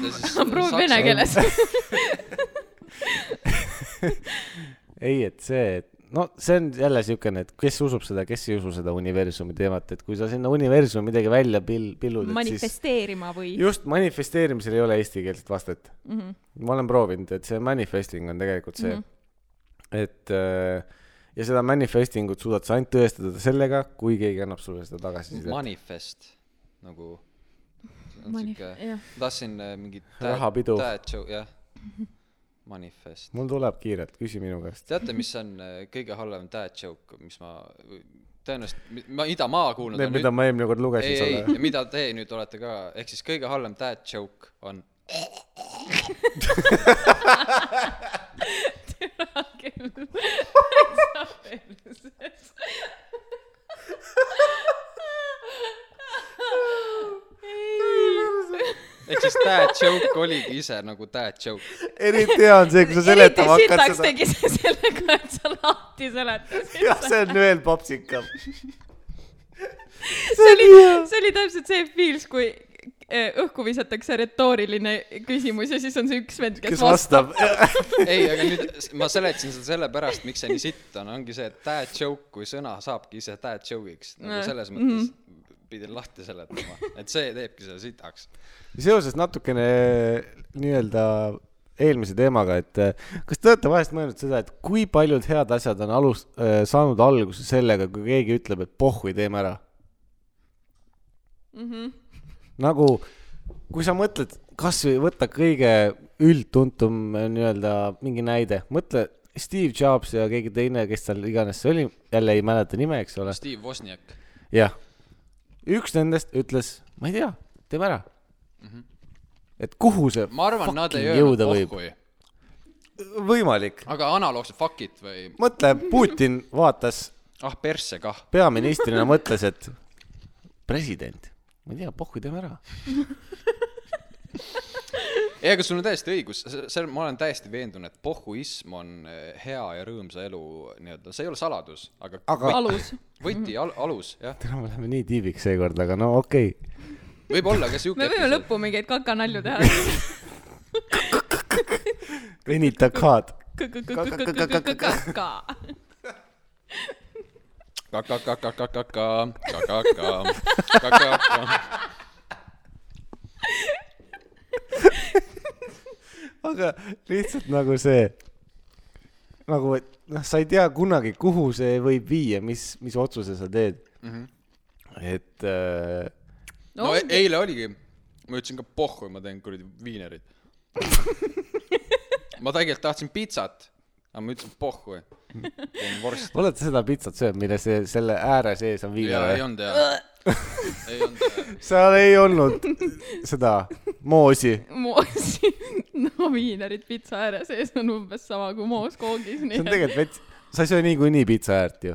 Speaker 2: ütle siis .
Speaker 3: proovi vene . keeles .
Speaker 1: ei , et see , no see on jälle siukene , et kes usub seda , kes ei usu seda universumi teemat , et kui sa sinna universumi midagi välja pill- , pillud , et siis
Speaker 3: manifesteerima või ?
Speaker 1: just manifesteerimisel ei ole eestikeelset vastet mm .
Speaker 3: Mhm.
Speaker 1: -hmm. ma olen proovinud , et see manifesting on tegelikult see mm , -hmm. et äh, ja seda manifestingut suudad sa ainult tõestada sellega , kui keegi annab sulle seda tagasisidet .
Speaker 2: Manifest nagu .
Speaker 3: Manif-
Speaker 2: sihuke
Speaker 3: jah. ,
Speaker 2: tahtsin äh, mingit .
Speaker 1: Rahapidu.
Speaker 2: jah . Manifest .
Speaker 1: mul tuleb kiirelt , küsi minu käest .
Speaker 2: teate , mis on äh, kõige halvem dad joke , mis ma , tõenäoliselt , ma , mida ma kuulnud
Speaker 1: Need , mida ma eelmine kord lugesin
Speaker 2: ei , ei ,
Speaker 1: sulle .
Speaker 2: mida te nüüd olete ka , ehk siis kõige halvem dad joke on . ehk siis dad joke oligi ise nagu dad joke .
Speaker 1: eriti hea on see , kui sa
Speaker 3: eriti
Speaker 1: seletama hakkad
Speaker 3: sitaks
Speaker 1: seda .
Speaker 3: tegi see sellega , et sa lahti seletasid .
Speaker 1: jah , see on veel popsikam
Speaker 3: see oli , see oli täpselt see feels , kui eh, õhku visatakse retooriline küsimus ja siis on see üks vend , kes
Speaker 1: kes
Speaker 3: vastab .
Speaker 1: vastab .
Speaker 2: ei , aga nüüd s- ma seletasin seda sellepärast , miks see nii sitt on , ongi see , et dad joke kui sõna saabki ise dad joke'iks nagu
Speaker 3: Mm.
Speaker 2: selles mõttes pidin lahti seletama , et see teebki selle sitaks .
Speaker 1: seoses natukene eh, nii-öelda eelmise teemaga , et äh, kas te olete vahest mõelnud seda , et kui paljud head asjad on alus , saanud alguse sellega , kui keegi ütleb , et pohhui , teeme ära mm ? -hmm. nagu , kui sa mõtled , kasvõi võta kõige üldtuntum äh, nii-öelda mingi näide , mõtle Steve Jobs ja keegi teine , kes tal iganes see oli , jälle ei mäleta nime , eks ole .
Speaker 2: Steve Wozniak .
Speaker 1: jah , üks nendest ütles , ma ei tea , teeme ära mm . -hmm. et kuhu see
Speaker 2: ma arvan , nad ei
Speaker 1: fucking
Speaker 2: öelnud
Speaker 1: jõuda võib ?
Speaker 2: pohhui ,
Speaker 1: võimalik ,
Speaker 2: aga analoogselt fuck it või
Speaker 1: mõtle , Putin vaatas
Speaker 2: ah persse kah .
Speaker 1: peaministrina , mõtles , et president , ma ei tea , pohhu , teeme ära .
Speaker 2: ei , aga sul on täiesti õigus , seal ma olen täiesti veendunud , et pohhuism on eh, hea ja rõõmsa elu nii-öelda , see ei ole saladus , aga,
Speaker 1: Aga-
Speaker 3: alus .
Speaker 2: võti al, alus jah ,
Speaker 1: täna me läheme nii tiibiks seekord , aga no okei okay. .
Speaker 2: võib-olla ka siuke
Speaker 3: me võime . lõppu mingeid kakanalju teha .
Speaker 1: venita kaad .
Speaker 3: kaka .
Speaker 1: aga lihtsalt nagu see , nagu , et noh , sa ei tea kunagi , kuhu see võib viia , mis , mis otsuse sa teed mm . -hmm. et äh,
Speaker 2: no e- eile oligi , ma ütlesin ka pohhu , ma teen kuradi viinerit . ma tegelikult tahtsin pitsat , aga ma ütlesin pohhu . teen vorsti .
Speaker 1: oled sa seda pitsat söönud , mille see , selle ääre sees on viina
Speaker 2: ja ei
Speaker 1: või ?
Speaker 2: olnud
Speaker 3: Äh,
Speaker 2: hea , ei olnud hea .
Speaker 1: seal ei olnud seda moosi .
Speaker 3: moos , no viinerid pitsa ääre sees on umbes sama kui moos koogis ,
Speaker 1: see
Speaker 3: nii
Speaker 1: on
Speaker 3: et
Speaker 1: tegelikult vets- , sa ei söö niikuinii pitsa äärt ju .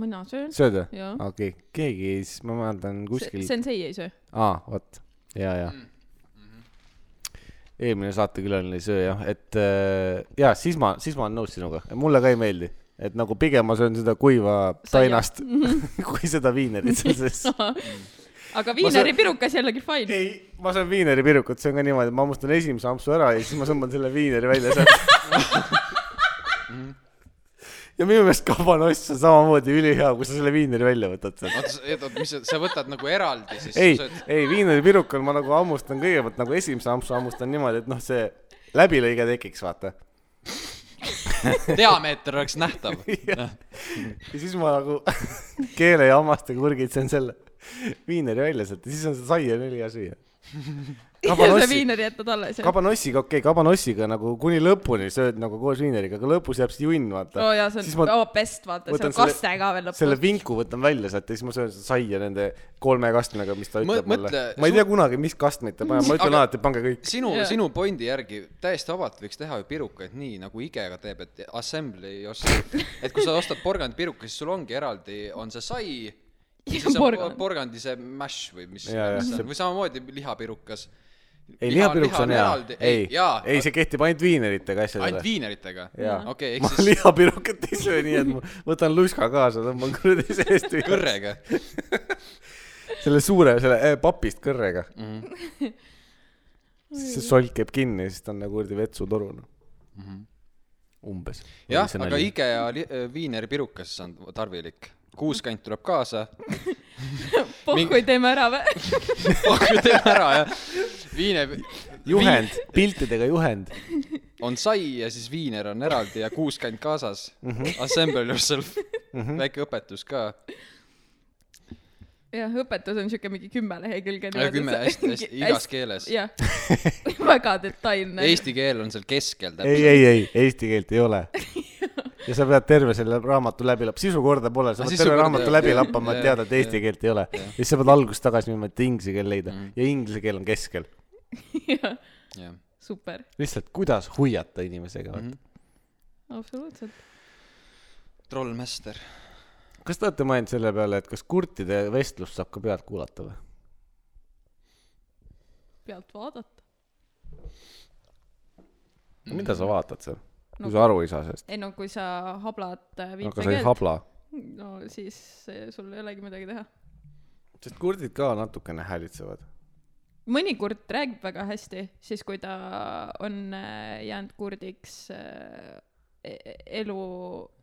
Speaker 3: mina söön .
Speaker 1: sööd või ?
Speaker 3: jah ,
Speaker 1: okei okay. , keegi , siis ma mäletan kuskil ,
Speaker 3: sensei ei söö .
Speaker 1: aa , vot , ja , ja .
Speaker 2: Mm, mm-hmm.
Speaker 1: eelmine saatekülaline ei söö jah , et äh, ja siis ma , siis ma olen nõus sinuga , mulle ka ei meeldi , et nagu pigem ma söön seda kuiva
Speaker 3: Saia.
Speaker 1: tainast
Speaker 2: Mm-hmm.
Speaker 1: kui seda viinerit seal sees .
Speaker 3: aga viineripirukas jällegi fine .
Speaker 1: ei , ma söön viineripirukut , see on ka niimoodi , ma hammustan esimese ampsu ära ja siis ma sõmban selle viineri välja sealt ja minu meelest kabanoss on samamoodi ülihea , kui sa selle viineri välja võtad sealt .
Speaker 2: oota , oota , mis sa , sa võtad nagu eraldi siis
Speaker 1: ei
Speaker 2: sa sööd ,,
Speaker 1: ei viineripirukal ma nagu hammustan kõigepealt nagu esimese ampsu hammustan niimoodi , et noh , see läbilõige tekiks , vaata .
Speaker 2: diameeter oleks nähtav .
Speaker 1: ja siis ma nagu keele ja hammastega urgitsen selle viineri välja sealt ja siis on see saia nii hea süüa .
Speaker 3: ja viineri jätad alles .
Speaker 1: kabanossiga , okei okay, , kabanossiga nagu kuni lõpuni sööd nagu koos viineriga , aga lõpus jääb see junn , vaata
Speaker 3: oo Oh, jaa , see
Speaker 1: siis
Speaker 3: on ,
Speaker 1: ma
Speaker 3: oo best , vaata , seal
Speaker 1: võtan
Speaker 3: on kaste ka veel
Speaker 1: selle
Speaker 3: lõpus .
Speaker 1: vinku võtan välja sealt ja siis ma söön seda saia nende kolme kastmega , mis ta
Speaker 2: Mõ-
Speaker 1: ütleb mulle
Speaker 2: mõtle- .
Speaker 1: ma ei tea kunagi , mis kastmeid ta paneb , ma ütlen
Speaker 2: Aga-
Speaker 1: alati , pange kõik .
Speaker 2: sinu
Speaker 3: Jaa.
Speaker 2: yeah. , sinu pointi järgi täiesti vabalt võiks teha ju pirukaid nii nagu IKEA teeb , et assembly yourself . et kui sa ostad porgandi piruka , siis sul ongi eraldi , on see sai ja
Speaker 3: Ja
Speaker 2: siis on
Speaker 3: porgand.
Speaker 2: porgand. porgandi see mash või mis
Speaker 1: Jaa, jah,
Speaker 2: iganes see
Speaker 1: see-
Speaker 2: on , või samamoodi lihapirukas .
Speaker 1: ei , lihapiruks on hea . ei , ei , see kehtib ainult viineritega
Speaker 2: ainult
Speaker 1: asjadele .
Speaker 2: viineritega ?
Speaker 1: jaa
Speaker 2: okei ,
Speaker 1: ma
Speaker 2: ehk siis
Speaker 1: lihapirukat ei söö , nii et ma võtan luska kaasa , tõmban kuradi seest üle .
Speaker 2: kõrrega .
Speaker 1: selle suure , selle eh, papist kõrrega .
Speaker 2: Mm
Speaker 1: siis see solkib kinni ja siis ta on nagu kuradi vetsutoru , noh .
Speaker 2: -hmm.
Speaker 1: umbes .
Speaker 2: jah , aga . IKEA li- äh, viineripirukas on tarvilik . kuuskant tuleb kaasa ,
Speaker 3: pohhui teeme ära või ?
Speaker 2: pakku teeme ära ja viine .
Speaker 1: juhend , piltidega juhend .
Speaker 2: on sai ja siis viiner on eraldi ja kuuskümmend kaasas mm .
Speaker 1: Mhm.
Speaker 2: -hmm. Assemble yourself mm , -hmm. väike õpetus ka .
Speaker 3: jah , õpetus on siuke mingi kümme lehekülge .
Speaker 2: kümme hästi , hästi igas keeles .
Speaker 3: jah , väga detailne .
Speaker 2: Eesti keel on seal keskel
Speaker 1: ei ,
Speaker 2: täpselt .
Speaker 1: ei , ei , eesti keelt ei ole . ja sa pead terve selle raamatu läbi lappama , sisu korda pole , sa
Speaker 2: Ah,
Speaker 1: pead
Speaker 2: sisu
Speaker 1: terve
Speaker 2: korda,
Speaker 1: raamatu
Speaker 2: jah.
Speaker 1: läbi lappama , et
Speaker 2: Jah,
Speaker 1: teada , et eesti
Speaker 2: jah. Mhm.
Speaker 1: keelt ei ole . ja siis sa pead algusest tagasi minema , et inglise keel leida ja inglise keel on keskel .
Speaker 2: jah ,
Speaker 3: super ,
Speaker 1: lihtsalt , kuidas hoiata inimesega
Speaker 2: Mhm.
Speaker 1: mm . -hmm.
Speaker 3: absoluutselt .
Speaker 2: trollmeister .
Speaker 1: kas te olete mõelnud selle peale , et kas kurtide vestlust saab ka pealt kuulata või ?
Speaker 3: pealt vaadata .
Speaker 2: Mhm.
Speaker 1: mida sa vaatad seal , kui
Speaker 3: No-
Speaker 1: sa aru ei saa sellest ?
Speaker 3: ei no kui sa hablad äh,
Speaker 1: aga sa ei
Speaker 3: viipekeelt ,
Speaker 1: habla .
Speaker 3: no siis eh, sul ei olegi midagi teha .
Speaker 1: sest kurdid ka natukene häälitsevad .
Speaker 3: mõnikord räägib väga hästi , siis kui ta on äh, jäänud kurdiks äh, e- elu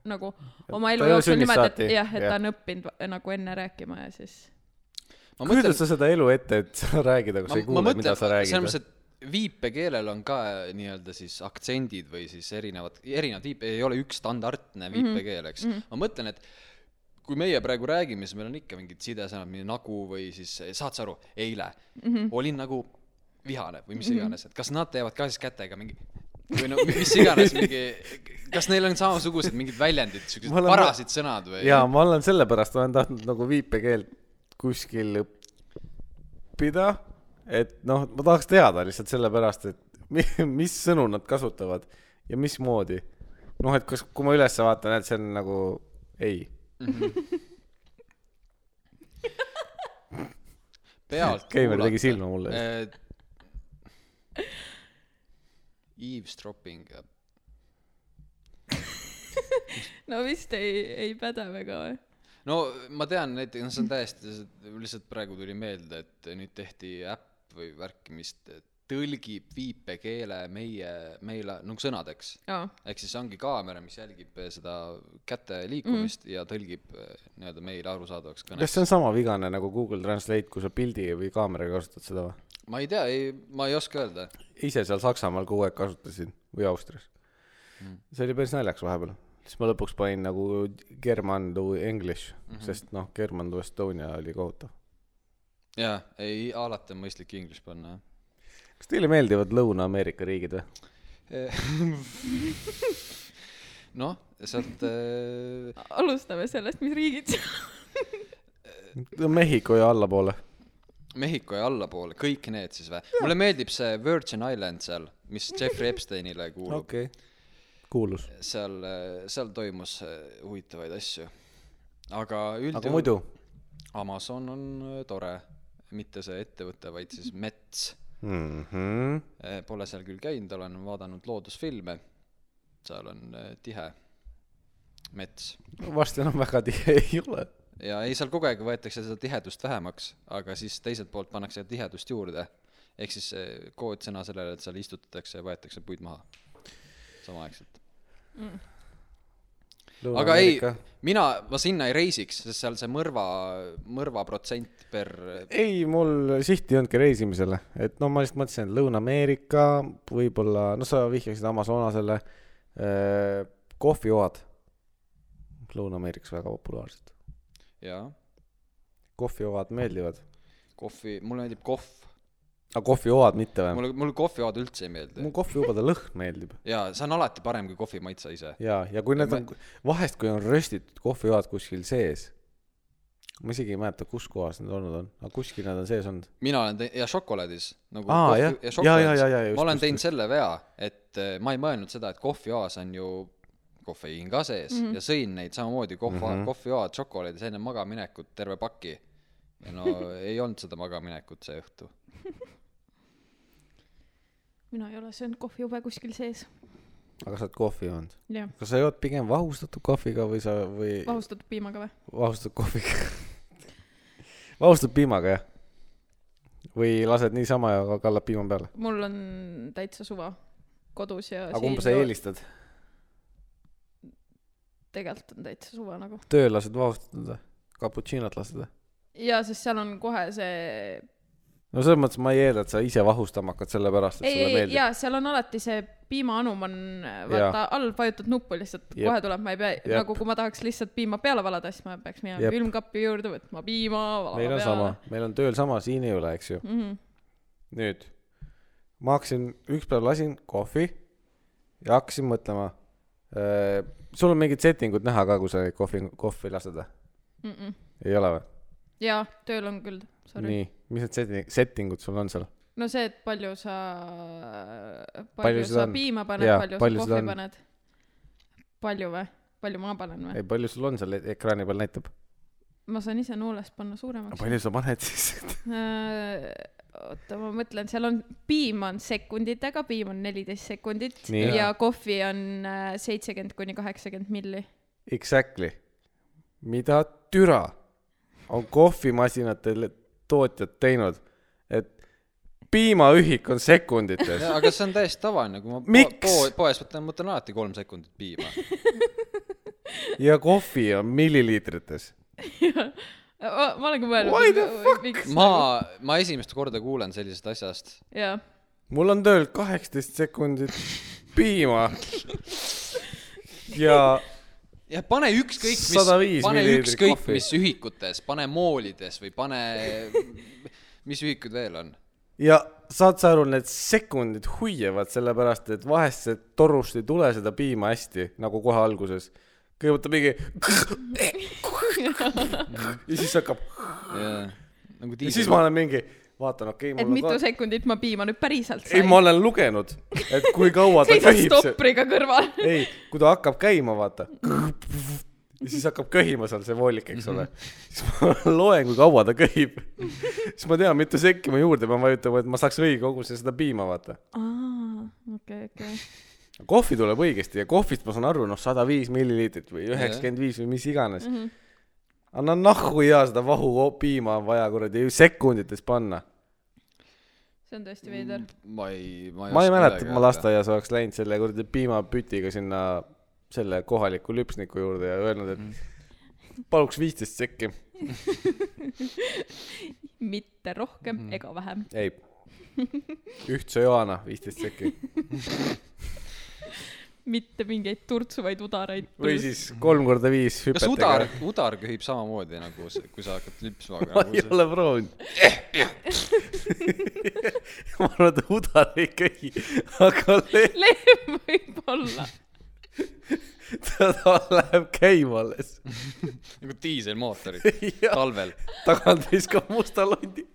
Speaker 3: nagu oma
Speaker 1: ta
Speaker 3: elu
Speaker 1: ei ole
Speaker 3: jooksul
Speaker 1: sünnist
Speaker 3: niimoodi , et
Speaker 1: saati,
Speaker 3: jah , et
Speaker 1: jah.
Speaker 3: ta on õppinud va- nagu enne rääkima ja siis
Speaker 2: ma
Speaker 1: kujutad
Speaker 2: mõtlen ,
Speaker 1: sa seda elu ette , et sa räägid , aga
Speaker 2: ma,
Speaker 1: sa ei
Speaker 2: ma
Speaker 1: kuule , mida
Speaker 2: mõtlen ,
Speaker 1: sa
Speaker 2: selles
Speaker 1: räägid
Speaker 2: mõttes ,? et viipekeelel on ka eh, nii-öelda siis aktsendid või siis erinevad , erinevad viipe , ei ole üks standardne viipekeel , eks mm . -hmm. ma mõtlen , et kui meie praegu räägime , siis meil on ikka mingid sidesõnad , mingi nagu või siis , saad sa aru , eile mm -hmm. olin nagu vihane või mis iganes , et kas nad teevad ka siis kätega mingi või no mis iganes mingi , kas neil on samasugused mingid väljendid ,
Speaker 1: Ma
Speaker 2: siuksed
Speaker 1: olen-
Speaker 2: parasid sõnad või ?
Speaker 1: jaa , ma olen sellepärast , olen tahtnud nagu viipekeelt kuskil õppida , et noh , ma tahaks teada lihtsalt sellepärast , et mi- mis sõnu nad kasutavad ja mismoodi . noh , et kas , kui ma ülesse vaatan , et see on nagu ei .
Speaker 2: pealt
Speaker 1: Keimer tegi
Speaker 2: kuulata.
Speaker 1: silma mulle.
Speaker 2: Eh, Eavesdropping ,
Speaker 3: no vist ei , ei päde väga või ?
Speaker 2: no ma tean näiteks , no see on täiesti , lihtsalt praegu tuli meelde , et nüüd tehti äpp või värk , mis t- tõlgib viipekeele meie , meile nagu sõnadeks .
Speaker 3: aa ,
Speaker 2: ehk siis see ongi kaamera , mis jälgib eh, seda käte liikumist mm. ja tõlgib eh, nii-öelda meile arusaadavaks
Speaker 1: kas
Speaker 2: kõneks .
Speaker 1: see on sama vigane nagu Google Translate , kui sa pildi või kaameraga kasutad seda või ?
Speaker 2: ma ei tea , ei , ma ei oska öelda .
Speaker 1: ise seal Saksamaal kuu aeg kasutasin või Austrias .
Speaker 2: Mm.
Speaker 1: see oli päris naljakas vahepeal , siis ma lõpuks panin nagu German to English
Speaker 2: Mhm.
Speaker 1: mm , -hmm. sest noh , German to Estonia oli kohutav .
Speaker 2: jaa , ei , alati on mõistlik inglise panna , jah .
Speaker 1: kas teile meeldivad Lõuna-Ameerika riigid või ?
Speaker 2: noh , sealt eh,
Speaker 3: alustame sellest , mis riigid seal
Speaker 1: Mehhiko ja allapoole .
Speaker 2: Mehhiko ja allapoole , kõik need siis või ? mulle meeldib see Virgin Island seal , mis Jeffrey Epsteinile kuulub okay. .
Speaker 1: okei okay. . kuulus .
Speaker 2: seal , seal toimus äh, huvitavaid asju . aga
Speaker 1: aga
Speaker 2: üldjuhul
Speaker 1: muidu
Speaker 2: Amazon on äh, tore , mitte see ettevõte , vaid siis mets .
Speaker 1: mm ? -hmm.
Speaker 2: Pole seal küll käinud , olen vaadanud loodusfilme . seal on äh, tihe mets
Speaker 1: varsti enam väga tihe ei ole .
Speaker 2: ja ei , seal kogu aeg võetakse seda tihedust vähemaks , aga siis teiselt poolt pannakse tihedust juurde . ehk siis eh, koodsõna sellele , et seal istutatakse ja võetakse puid maha samaaegselt . aga ei , mina , ma sinna ei reisiks , sest seal see mõrva , mõrvaprotsent per ,
Speaker 1: ei , mul sihti ei olnudki reisimisele , et no ma lihtsalt mõtlesin , et Lõuna-Ameerika võib-olla , no sa vihjasid Amazonasele , kohvijoad . Lõuna-Ameerikas väga populaarsed ,
Speaker 2: jaa ,
Speaker 1: kohvijoad meeldivad .
Speaker 2: kohvi , mulle meeldib kohv .
Speaker 1: aga kohvijoad mitte või ?
Speaker 2: mulle , mulle kohvijood üldse ei meeldi
Speaker 1: mul . kohvijubade lõhn meeldib .
Speaker 2: jaa , see on alati parem kui kohvi maitse ise .
Speaker 1: ja , ja kui need
Speaker 2: Ma-
Speaker 1: on , vahest kui on röstitud kohvijoad kuskil sees , ma isegi ei mäleta , kus kohas need olnud on , aga kuskil nad on sees olnud .
Speaker 2: mina olen teinud , ja šokolaadis nagu
Speaker 1: Aa,
Speaker 2: kohvi-
Speaker 1: jah.
Speaker 2: ja
Speaker 1: Jaa, jaa, jaa, jaa,
Speaker 2: šokolaadis ,
Speaker 1: just,
Speaker 2: ma olen
Speaker 1: just,
Speaker 2: teinud
Speaker 1: just.
Speaker 2: selle vea , et eh, ma ei mõelnud seda , et kohviaas on ju kofeiin ka sees mm -hmm. ja sõin neid samamoodi kohva mm
Speaker 1: Mhm.
Speaker 2: -hmm. , kohviaad šokolaadis enne magaminekut terve paki . ja no ei olnud seda magaminekut see õhtu .
Speaker 3: mina ei ole söönud kohvijube kuskil sees .
Speaker 1: aga sa oled kohvi joonud ?
Speaker 3: jah ,
Speaker 1: kas sa jood pigem vahustatud kohviga või sa , või
Speaker 3: vahustatud piimaga või ?
Speaker 1: vahustatud kohviga ? vahustatud piimaga , jah ? või lased niisama ja kallad piima peale ?
Speaker 3: mul on täitsa suva kodus ja
Speaker 1: aga kumba sa ? eelistad ?
Speaker 3: tegelikult on täitsa suva nagu .
Speaker 1: tööl lased vahustatud või ? cappuccino't lased või ?
Speaker 3: jaa , sest seal on kohe see
Speaker 1: no selles mõttes ma ei eelda , et sa ise vahustama hakkad sellepärast , et
Speaker 3: ei ,
Speaker 1: sulle
Speaker 3: ei ,
Speaker 1: meeldib .
Speaker 3: jaa , seal on alati see piimaanum on , vaata all vajutad nuppu lihtsalt ,
Speaker 1: Jep.
Speaker 3: kohe tuleb , ma ei pea ,
Speaker 1: Jep.
Speaker 3: nagu kui ma tahaks lihtsalt piima peale valada , siis ma peaks minema
Speaker 1: Jep.
Speaker 3: külmkapi juurde võtma piima ,
Speaker 1: meil on
Speaker 3: valama peale
Speaker 1: sama ., meil on tööl sama , siin ei ole , eks ju .
Speaker 3: Mm -hmm.
Speaker 1: nüüd ma hakkasin , üks päev lasin kohvi ja hakkasin mõtlema . sul on mingid settingud näha ka , kui sa neid kohvi , kohvi lased või ?
Speaker 3: mm -mm.
Speaker 1: ei ole või ?
Speaker 3: jaa , tööl on küll , sorry .
Speaker 1: nii , mis need setting , settingud sul on seal ?
Speaker 3: no see , et palju sa ,
Speaker 1: Palju
Speaker 3: palju
Speaker 1: seda
Speaker 3: sa
Speaker 1: on?
Speaker 3: piima paned ,
Speaker 1: Jaa,
Speaker 3: palju sa
Speaker 1: palju seda
Speaker 3: kohvi
Speaker 1: on?
Speaker 3: paned . palju või ? palju ma panen või ?
Speaker 1: ei , palju sul on seal e- ekraani peal näitab ?
Speaker 3: ma saan ise nuulest panna suuremaks .
Speaker 1: palju sa paned siis ?
Speaker 3: Äh, oota , ma mõtlen , seal on , piim on sekunditega , piim on neliteist sekundit
Speaker 1: Nii.
Speaker 3: ja kohvi on äh, seitsekümmend kuni kaheksakümmend milli .
Speaker 1: Exactly . mida türa on kohvimasinate tootjad teinud , et piimaühik on sekundites .
Speaker 2: aga see on täiesti tavaline , kui ma
Speaker 1: Miks?
Speaker 2: po- po- poes võtan , võtan alati kolm sekundit piima .
Speaker 1: ja kohvi on milliliitrites .
Speaker 3: ma olen ka
Speaker 1: Why the fuck?
Speaker 3: mõelnud .
Speaker 2: ma , ma esimest korda kuulen sellisest asjast .
Speaker 3: jah ,
Speaker 1: mul on tööl kaheksateist sekundit piima . ja
Speaker 2: jah , pane ükskõik mis
Speaker 1: 105 ,
Speaker 2: pane
Speaker 1: milliliitrit
Speaker 2: ükskõik
Speaker 1: kohvi.
Speaker 2: mis ühikutes , pane moolides või pane , mis ühikud veel on
Speaker 1: ja saad sa aru , need sekundid huiavad , sellepärast et vahest see torust ei tule seda piima hästi nagu kohe alguses . kõigepealt ta mingi ja siis hakkab
Speaker 2: Jaa. nagu
Speaker 1: ja
Speaker 2: diisel .
Speaker 1: siis ma olen mingi , vaatan , okei okay, ,
Speaker 3: et
Speaker 1: mul on
Speaker 3: mitu
Speaker 1: ka...
Speaker 3: sekundit ma piima nüüd päriselt
Speaker 1: ei ,
Speaker 3: sain .
Speaker 1: ma olen lugenud , et kui kaua ta
Speaker 3: seisan
Speaker 1: köhib ,
Speaker 3: stopriga kõrval .
Speaker 1: ei , kui ta hakkab käima , vaata . ja siis hakkab köhima seal see voolik , eks ole . siis ma loen , kui kaua ta köhib . siis ma tean , mitu sekki ma juurde pean vajutama , et ma saaks õige koguse seda piima , vaata .
Speaker 3: okei , okei .
Speaker 1: kohvi tuleb õigesti ja kohvist ma saan aru , noh , sada viis milliliitrit või üheksakümmend viis või mis iganes .
Speaker 3: Mhm.
Speaker 1: anna nahku ja seda vahu piima on vaja kuradi sekundites panna .
Speaker 3: see on tõesti veider .
Speaker 1: Mm.
Speaker 2: ma ei , ma ei .
Speaker 1: ma ei mäleta , et ma . lasteaias oleks läinud selle kuradi piimapütiga sinna selle kohaliku lüpsniku juurde ja öelnud , et
Speaker 2: Mhm.
Speaker 1: paluks viisteist sekki .
Speaker 3: mitte rohkem
Speaker 1: Mhm.
Speaker 3: mm. ega vähem .
Speaker 1: ei , ühtse Joana viisteist sekki
Speaker 3: mitte mingeid turtsuvaid udaraid .
Speaker 1: või siis kolm korda viis
Speaker 2: kas udar
Speaker 1: hüpetega .,
Speaker 2: udar köhib samamoodi nagu see , kui sa hakkad nagu lüpsma ?
Speaker 1: ma ei ole proovinud . ma arvan , et udar ei köhi , aga le-
Speaker 3: lehm võib-olla .
Speaker 1: ta läheb käima alles .
Speaker 2: nagu diiselmootorid talvel .
Speaker 1: tagant viskab musta londi .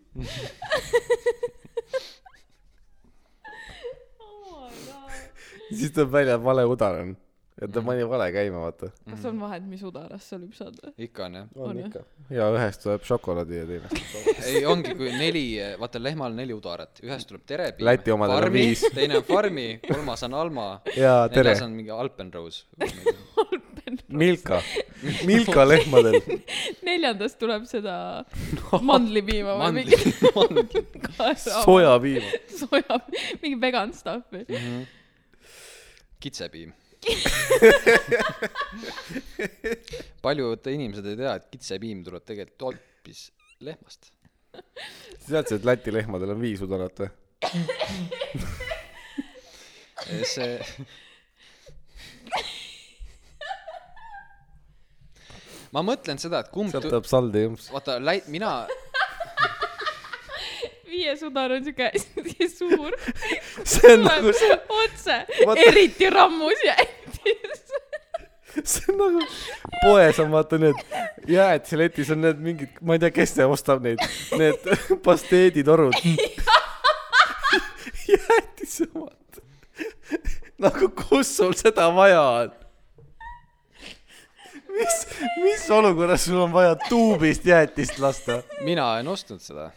Speaker 1: siis tuleb välja , et vale udar on . et ta pani vale käima , vaata .
Speaker 3: kas on vahet , mis udaras sa lüpsad või ?
Speaker 2: ikka on jah .
Speaker 3: On ikka. .
Speaker 1: ja ühest tuleb šokolaadi ja teine .
Speaker 2: ei , ongi , kui neli , vaata lehmal on neli udarat , ühest tuleb terepiim .
Speaker 1: Läti omadel on viis.
Speaker 2: teine on farmi , kolmas on Alma .
Speaker 1: Jaa, tere.
Speaker 2: neljas on mingi Alpenrose .
Speaker 1: Milka , Milka lehmadel .
Speaker 3: neljandas tuleb seda mandlipiima või mingi soja ,
Speaker 1: sojapiima .
Speaker 3: soja , mingi vegan stuff
Speaker 1: Mm.
Speaker 3: või ?
Speaker 2: Mhm. kitsepiim paljud inimesed ei tea , et kitsepiim tuleb tegelikult hoopis lehmast .
Speaker 1: sa teadsid , et Läti lehmadel on viis udarat või ?
Speaker 2: see . ma mõtlen seda , et kumb
Speaker 1: sealt , tuleb saldi jõmps .
Speaker 2: vaata , mina ,
Speaker 3: viie sudar on siuke siuke suur ,
Speaker 1: see on nagu ,
Speaker 3: tuleb otse
Speaker 1: Vaata- ,
Speaker 3: eriti rammus ja endis .
Speaker 1: see on nagu , poes on vaata need jäätiseletis on need mingid , ma ei tea , kes see ostab neid , need pasteeditorud . jäätise omad . nagu kus sul seda vaja on ? mis , mis olukorras sul on vaja tuubist jäätist lasta ?
Speaker 2: mina en ostnud seda .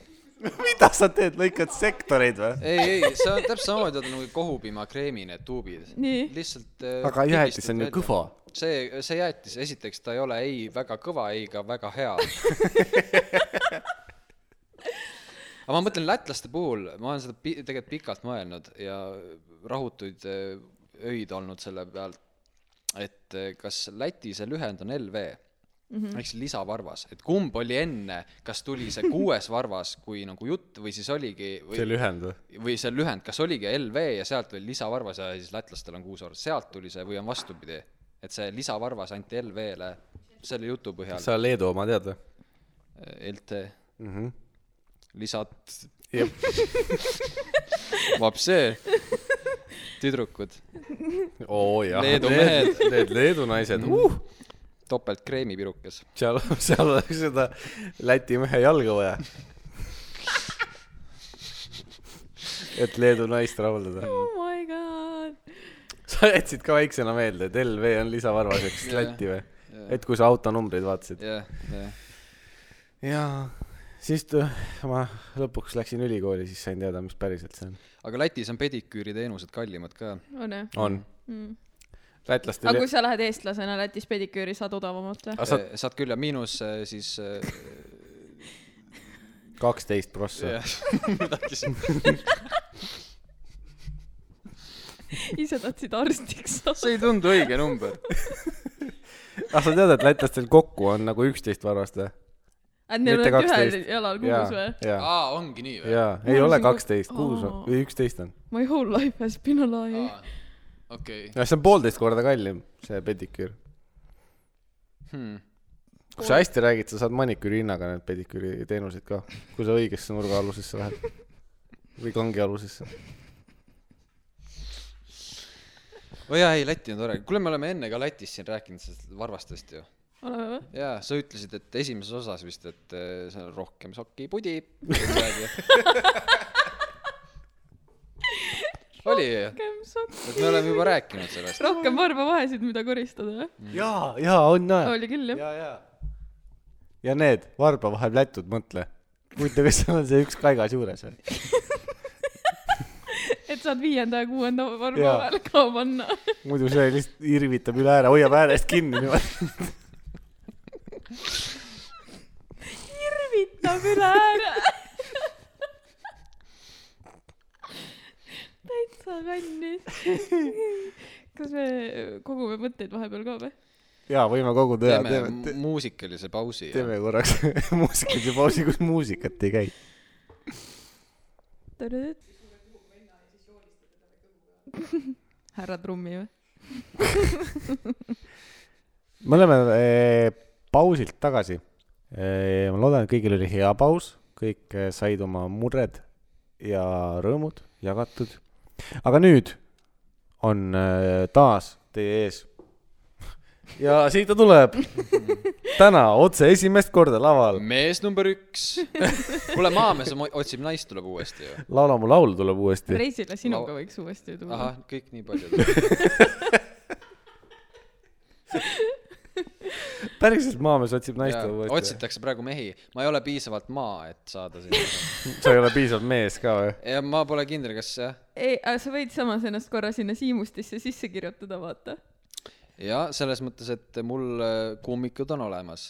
Speaker 1: mida sa teed , lõikad sektoreid või ?
Speaker 2: ei , ei , see on täpselt samamoodi , et nagu kohupiimakreemi need tuubid .
Speaker 3: Nii.
Speaker 2: lihtsalt . äh,
Speaker 1: aga jäätis on ju . kõva .
Speaker 2: see , see jäätis , esiteks ta ei ole ei väga kõva , ei ka väga hea . aga ma mõtlen lätlaste puhul , ma olen seda pi- tegelikult pikalt mõelnud ja rahutuid eh, öid olnud selle pealt , et eh, kas Läti see lühend on LV mm -hmm. ehk siis lisavarvas , et kumb oli enne , kas tuli see kuues varvas kui nagu jutt või siis oligi või...
Speaker 1: lühend või ?
Speaker 2: või see lühend , kas oligi LV ja sealt oli lisavarvas ja siis lätlastel on kuus varvas , sealt tuli see või on vastupidi , et see lisavarvas anti LV-le selle jutu põhjal sa... ,
Speaker 1: sa Leedu oma tead või ?
Speaker 2: LT
Speaker 1: Mhm.
Speaker 2: lisad ,
Speaker 1: jah ,
Speaker 2: vapsee , tüdrukud ,
Speaker 1: oo jah .
Speaker 2: Leedu mehed. . Mm.
Speaker 1: Need Leedu naised uh! ,
Speaker 2: topelt kreemipirukas .
Speaker 1: seal , seal oleks seda Läti mehe jalga vaja . et Leedu naist rahuldada .
Speaker 3: oh my god .
Speaker 1: sa jätsid ka väiksena meelde , et LV on lisavarvas , eks
Speaker 2: Jaa.
Speaker 1: Läti või ?
Speaker 2: jah ,
Speaker 1: et kui sa autonumbreid vaatasid .
Speaker 2: jah ,
Speaker 1: jaa , siis t- ma lõpuks läksin ülikooli , siis sain teada , mis päriselt see on .
Speaker 2: aga Lätis on pediküüriteenused kallimad ka .
Speaker 3: on jah ?
Speaker 1: on .
Speaker 3: aga
Speaker 1: lätlastel
Speaker 3: kui . sa lähed eestlasena Lätis pediküüri , saad odavamalt või ?
Speaker 1: aga sa
Speaker 2: Saad... saad küll ja miinus eh, siis äh,
Speaker 1: kaksteist prossa .
Speaker 2: jah , midagi siin .
Speaker 3: ise tahtsid arstiks saada .
Speaker 2: see ei tundu õige number .
Speaker 1: aga Ah, sa tead , et lätlastel kokku on nagu üksteist varvast või ?
Speaker 3: Neil
Speaker 1: mitte
Speaker 3: on ühel
Speaker 1: 12.
Speaker 3: jalal
Speaker 1: jaa
Speaker 3: kuus või ?,
Speaker 1: jaa ,
Speaker 2: aa , ongi nii või ?
Speaker 1: jaa , ei
Speaker 3: Ma
Speaker 1: ole
Speaker 3: arvasin,
Speaker 1: kaksteist ,
Speaker 3: et-
Speaker 1: kuus on
Speaker 3: aa.
Speaker 1: või üksteist on .
Speaker 3: My whole life has been a lie .
Speaker 2: okei .
Speaker 1: noh , see on poolteist korda kallim , see pediküür .
Speaker 2: Hmm.
Speaker 1: kui sa hästi räägid , sa saad maniküüri hinnaga need pediküüri teenuseid ka , kui sa õigesse nurgaalusesse lähed või kangialusesse .
Speaker 2: oo jaa , ei Läti on tore , kuule , me oleme enne ka Lätis siin rääkinud sellest varvastest ju .
Speaker 3: oleme või ?
Speaker 2: jaa , sa ütlesid , et esimeses osas vist , et eh, seal on rohkem sokipudi . oli ju ,
Speaker 3: rohkem sokk ,
Speaker 2: et me oleme juba rääkinud sellest .
Speaker 3: rohkem varvavahesid , mida koristada või ?
Speaker 1: jaa , jaa , on jaa .
Speaker 3: oli küll jah .
Speaker 1: jaa , jaa . ja need varba vahel lätud , mõtle . huvitav , kas seal on see üks kaigas juures või ?
Speaker 3: et saad viienda ja kuuenda varva
Speaker 1: Jaa.
Speaker 3: vahele ka panna .
Speaker 1: muidu see lihtsalt irvitab üle ääre , hoiab äärest kinni niimoodi .
Speaker 3: irvitab üle ääre . täitsa kallis . kas me kogume mõtteid vahepeal ka või ?
Speaker 1: jaa , võime koguda ja
Speaker 2: teeme
Speaker 1: teeme ,
Speaker 2: mu- muusikalise pausi .
Speaker 1: teeme korraks muusikalise pausi , kus muusikat ei käi .
Speaker 3: härra Trummi või ?
Speaker 1: me oleme eh, pausilt tagasi eh, . ma loodan , et kõigil oli hea paus , kõik eh, said oma mured ja rõõmud jagatud . aga nüüd on eh, taas teie ees . ja siit ta tuleb täna otse esimest korda laval .
Speaker 2: mees number üks . kuule , Maamees om- otsib naist tuleb uuesti ju .
Speaker 1: laula mu laul tuleb uuesti .
Speaker 3: reisile sinuga võiks uuesti ju tulla .
Speaker 2: ahah , kõik nii palju .
Speaker 1: päriselt Maamees otsib naist tuleb uuesti .
Speaker 2: otsitakse praegu mehi , ma ei ole piisavalt maa , et saada sinna .
Speaker 1: sa ei ole piisavalt mees ka või ?
Speaker 2: ja ma pole kindel , kas jah
Speaker 3: ei , aga sa võid samas ennast korra sinna Siimustisse sisse kirjutada , vaata .
Speaker 2: ja selles mõttes , et mul äh, kummikud on olemas .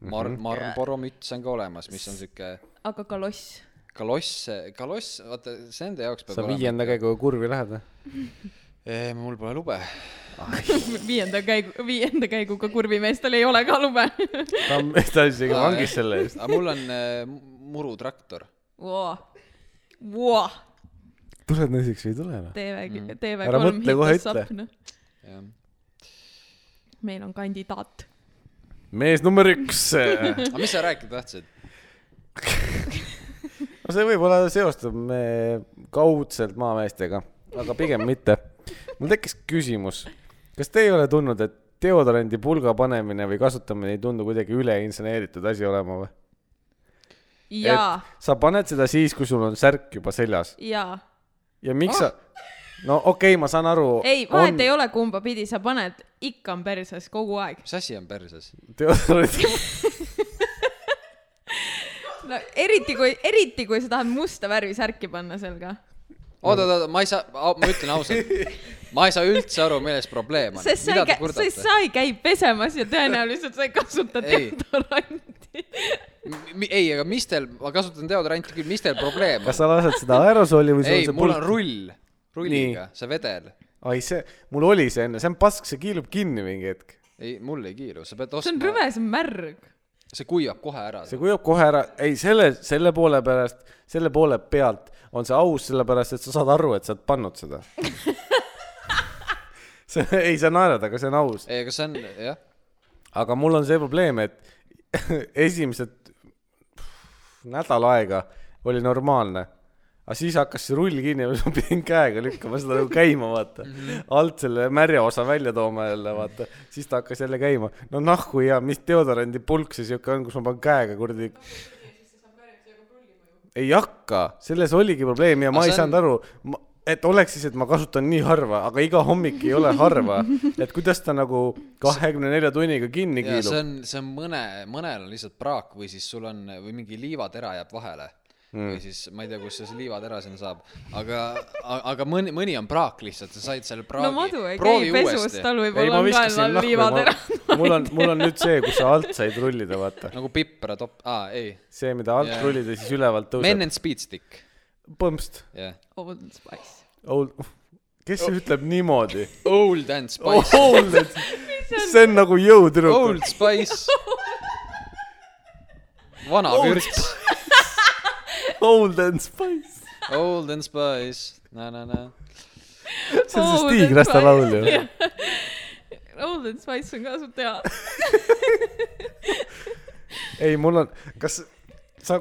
Speaker 1: Mhm.
Speaker 2: Mar- , Marlboro müts on ka olemas , mis on sihuke
Speaker 3: aga kaloss .
Speaker 2: kaloss , kaloss , vaata see nende jaoks peab
Speaker 1: sa viienda . käiguga kurvi lähed või ?
Speaker 2: mul pole lube .
Speaker 3: viienda käigu , viienda käiguga kurvimeestel ei ole ka lube .
Speaker 1: ta on , ta on isegi vangis selle eest .
Speaker 2: aga mul on äh, murutraktor .
Speaker 1: tuled naiseks või ei tule või ?
Speaker 3: TV , TV3
Speaker 1: Ära mõtle, kohe
Speaker 3: hitas
Speaker 1: ütle.
Speaker 3: sapna.
Speaker 2: aga
Speaker 3: meil on kandidaat .
Speaker 1: mees number üks
Speaker 2: mis sa rääkida tahtsid ?
Speaker 1: no see võib-olla seostub me kaudselt maameestega , aga pigem mitte . mul tekkis küsimus , kas te ei ole tundnud , et deodorandi pulga panemine või kasutamine ei tundu kuidagi üle inseneeritud asi olema või ?
Speaker 3: jaa ,
Speaker 1: sa paned seda siis , kui sul on särk juba seljas
Speaker 3: jaa .
Speaker 1: ja miks ah. sa , no okei okay, , ma saan aru .
Speaker 3: ei , vahet on... ei ole , kumba pidi sa paned , ikka on perses kogu aeg .
Speaker 2: mis asi on perses ?
Speaker 1: deodorandi
Speaker 3: no eriti kui , eriti kui sa tahad musta värvi särki panna selga .
Speaker 2: oota , oota , oota , ma ei saa , ma ütlen ausalt , ma ei saa üldse aru , milles probleem on .
Speaker 3: sest sa
Speaker 2: mida te
Speaker 3: ei käi , sest
Speaker 2: kurdate ?
Speaker 3: sa ei käi pesemas ja tõenäoliselt sa ei kasuta
Speaker 2: Ei.
Speaker 3: deodoranti .
Speaker 2: ei , aga mis teil , ma kasutan deodoranti küll , mis teil probleem
Speaker 1: kas sa
Speaker 2: on ?
Speaker 1: lased seda aerosooli või sul
Speaker 2: ei
Speaker 1: on , see
Speaker 2: mul on
Speaker 1: pulk ?
Speaker 2: rull , rulliga , see vedel .
Speaker 1: ai , see , mul oli see enne , see on pask , see kiilub kinni mingi hetk .
Speaker 2: ei , mul ei kiilu , sa pead
Speaker 3: see on
Speaker 2: ostma ,
Speaker 3: rõve , see on märg .
Speaker 2: see kuivab kohe ära .
Speaker 1: see kujub kohe ära , ei selle , selle poole pärast , selle poole pealt on see aus , sellepärast et sa saad aru , et sa oled pannud seda . see , ei sa naerad , aga see on aus .
Speaker 2: ei , aga see on , jah ,
Speaker 1: aga mul on see probleem , et esimesed nädal aega oli normaalne , aga siis hakkas see rull kinni ja ma pidin käega lükkama seda nagu käima , vaata .
Speaker 2: Mhm.
Speaker 1: alt selle märja osa välja tooma jälle , vaata . siis ta hakkas jälle käima . no nahku ja mis deodorandi pulk see siuke on , kus ma panen käega kuradi . ei hakka , selles oligi probleem ja ma ei
Speaker 2: Aga see on-
Speaker 1: saanud aru , et oleks siis , et ma kasutan nii harva , aga iga hommik ei ole harva , et kuidas ta nagu kahekümne nelja tunniga kinni
Speaker 2: ja see
Speaker 1: kiilub .
Speaker 2: on , see on mõne , mõnel on lihtsalt praak või siis sul on , või mingi liivatera jääb vahele mm. . või siis ma ei tea , kust see see liivatera sinna saab , aga , aga mõni , mõni on praak lihtsalt , sa said selle praagi .
Speaker 3: no madu ei käi pesus , tal
Speaker 1: ei ,
Speaker 3: võib-olla
Speaker 1: ma
Speaker 3: on
Speaker 1: viskasin
Speaker 3: kaelal liivad ära .
Speaker 1: nahku , mul on , mul on nüüd see , kus sa alt said rullida , vaata .
Speaker 2: nagu pipratop- , aa ei ,
Speaker 1: see , mida alt
Speaker 2: Jaa.
Speaker 1: yeah. rullid ja siis ülevalt
Speaker 2: Men
Speaker 1: tõuseb .
Speaker 2: and Speed Stick ,
Speaker 1: põmst ,
Speaker 2: jah .
Speaker 3: Old Spice .
Speaker 1: old , kes
Speaker 3: Oh.
Speaker 1: see ütleb niimoodi ?
Speaker 2: Old and Spice ,
Speaker 1: Old , see on nagu jõutüdruk .
Speaker 2: Old Spice . vana vürts ,
Speaker 1: Old and Spice .
Speaker 2: Old and Spice , na-na-na .
Speaker 1: see on see Stig Rästa laul ju .
Speaker 3: Old and Spice on ka su tea .
Speaker 1: ei , mul on , kas sa ,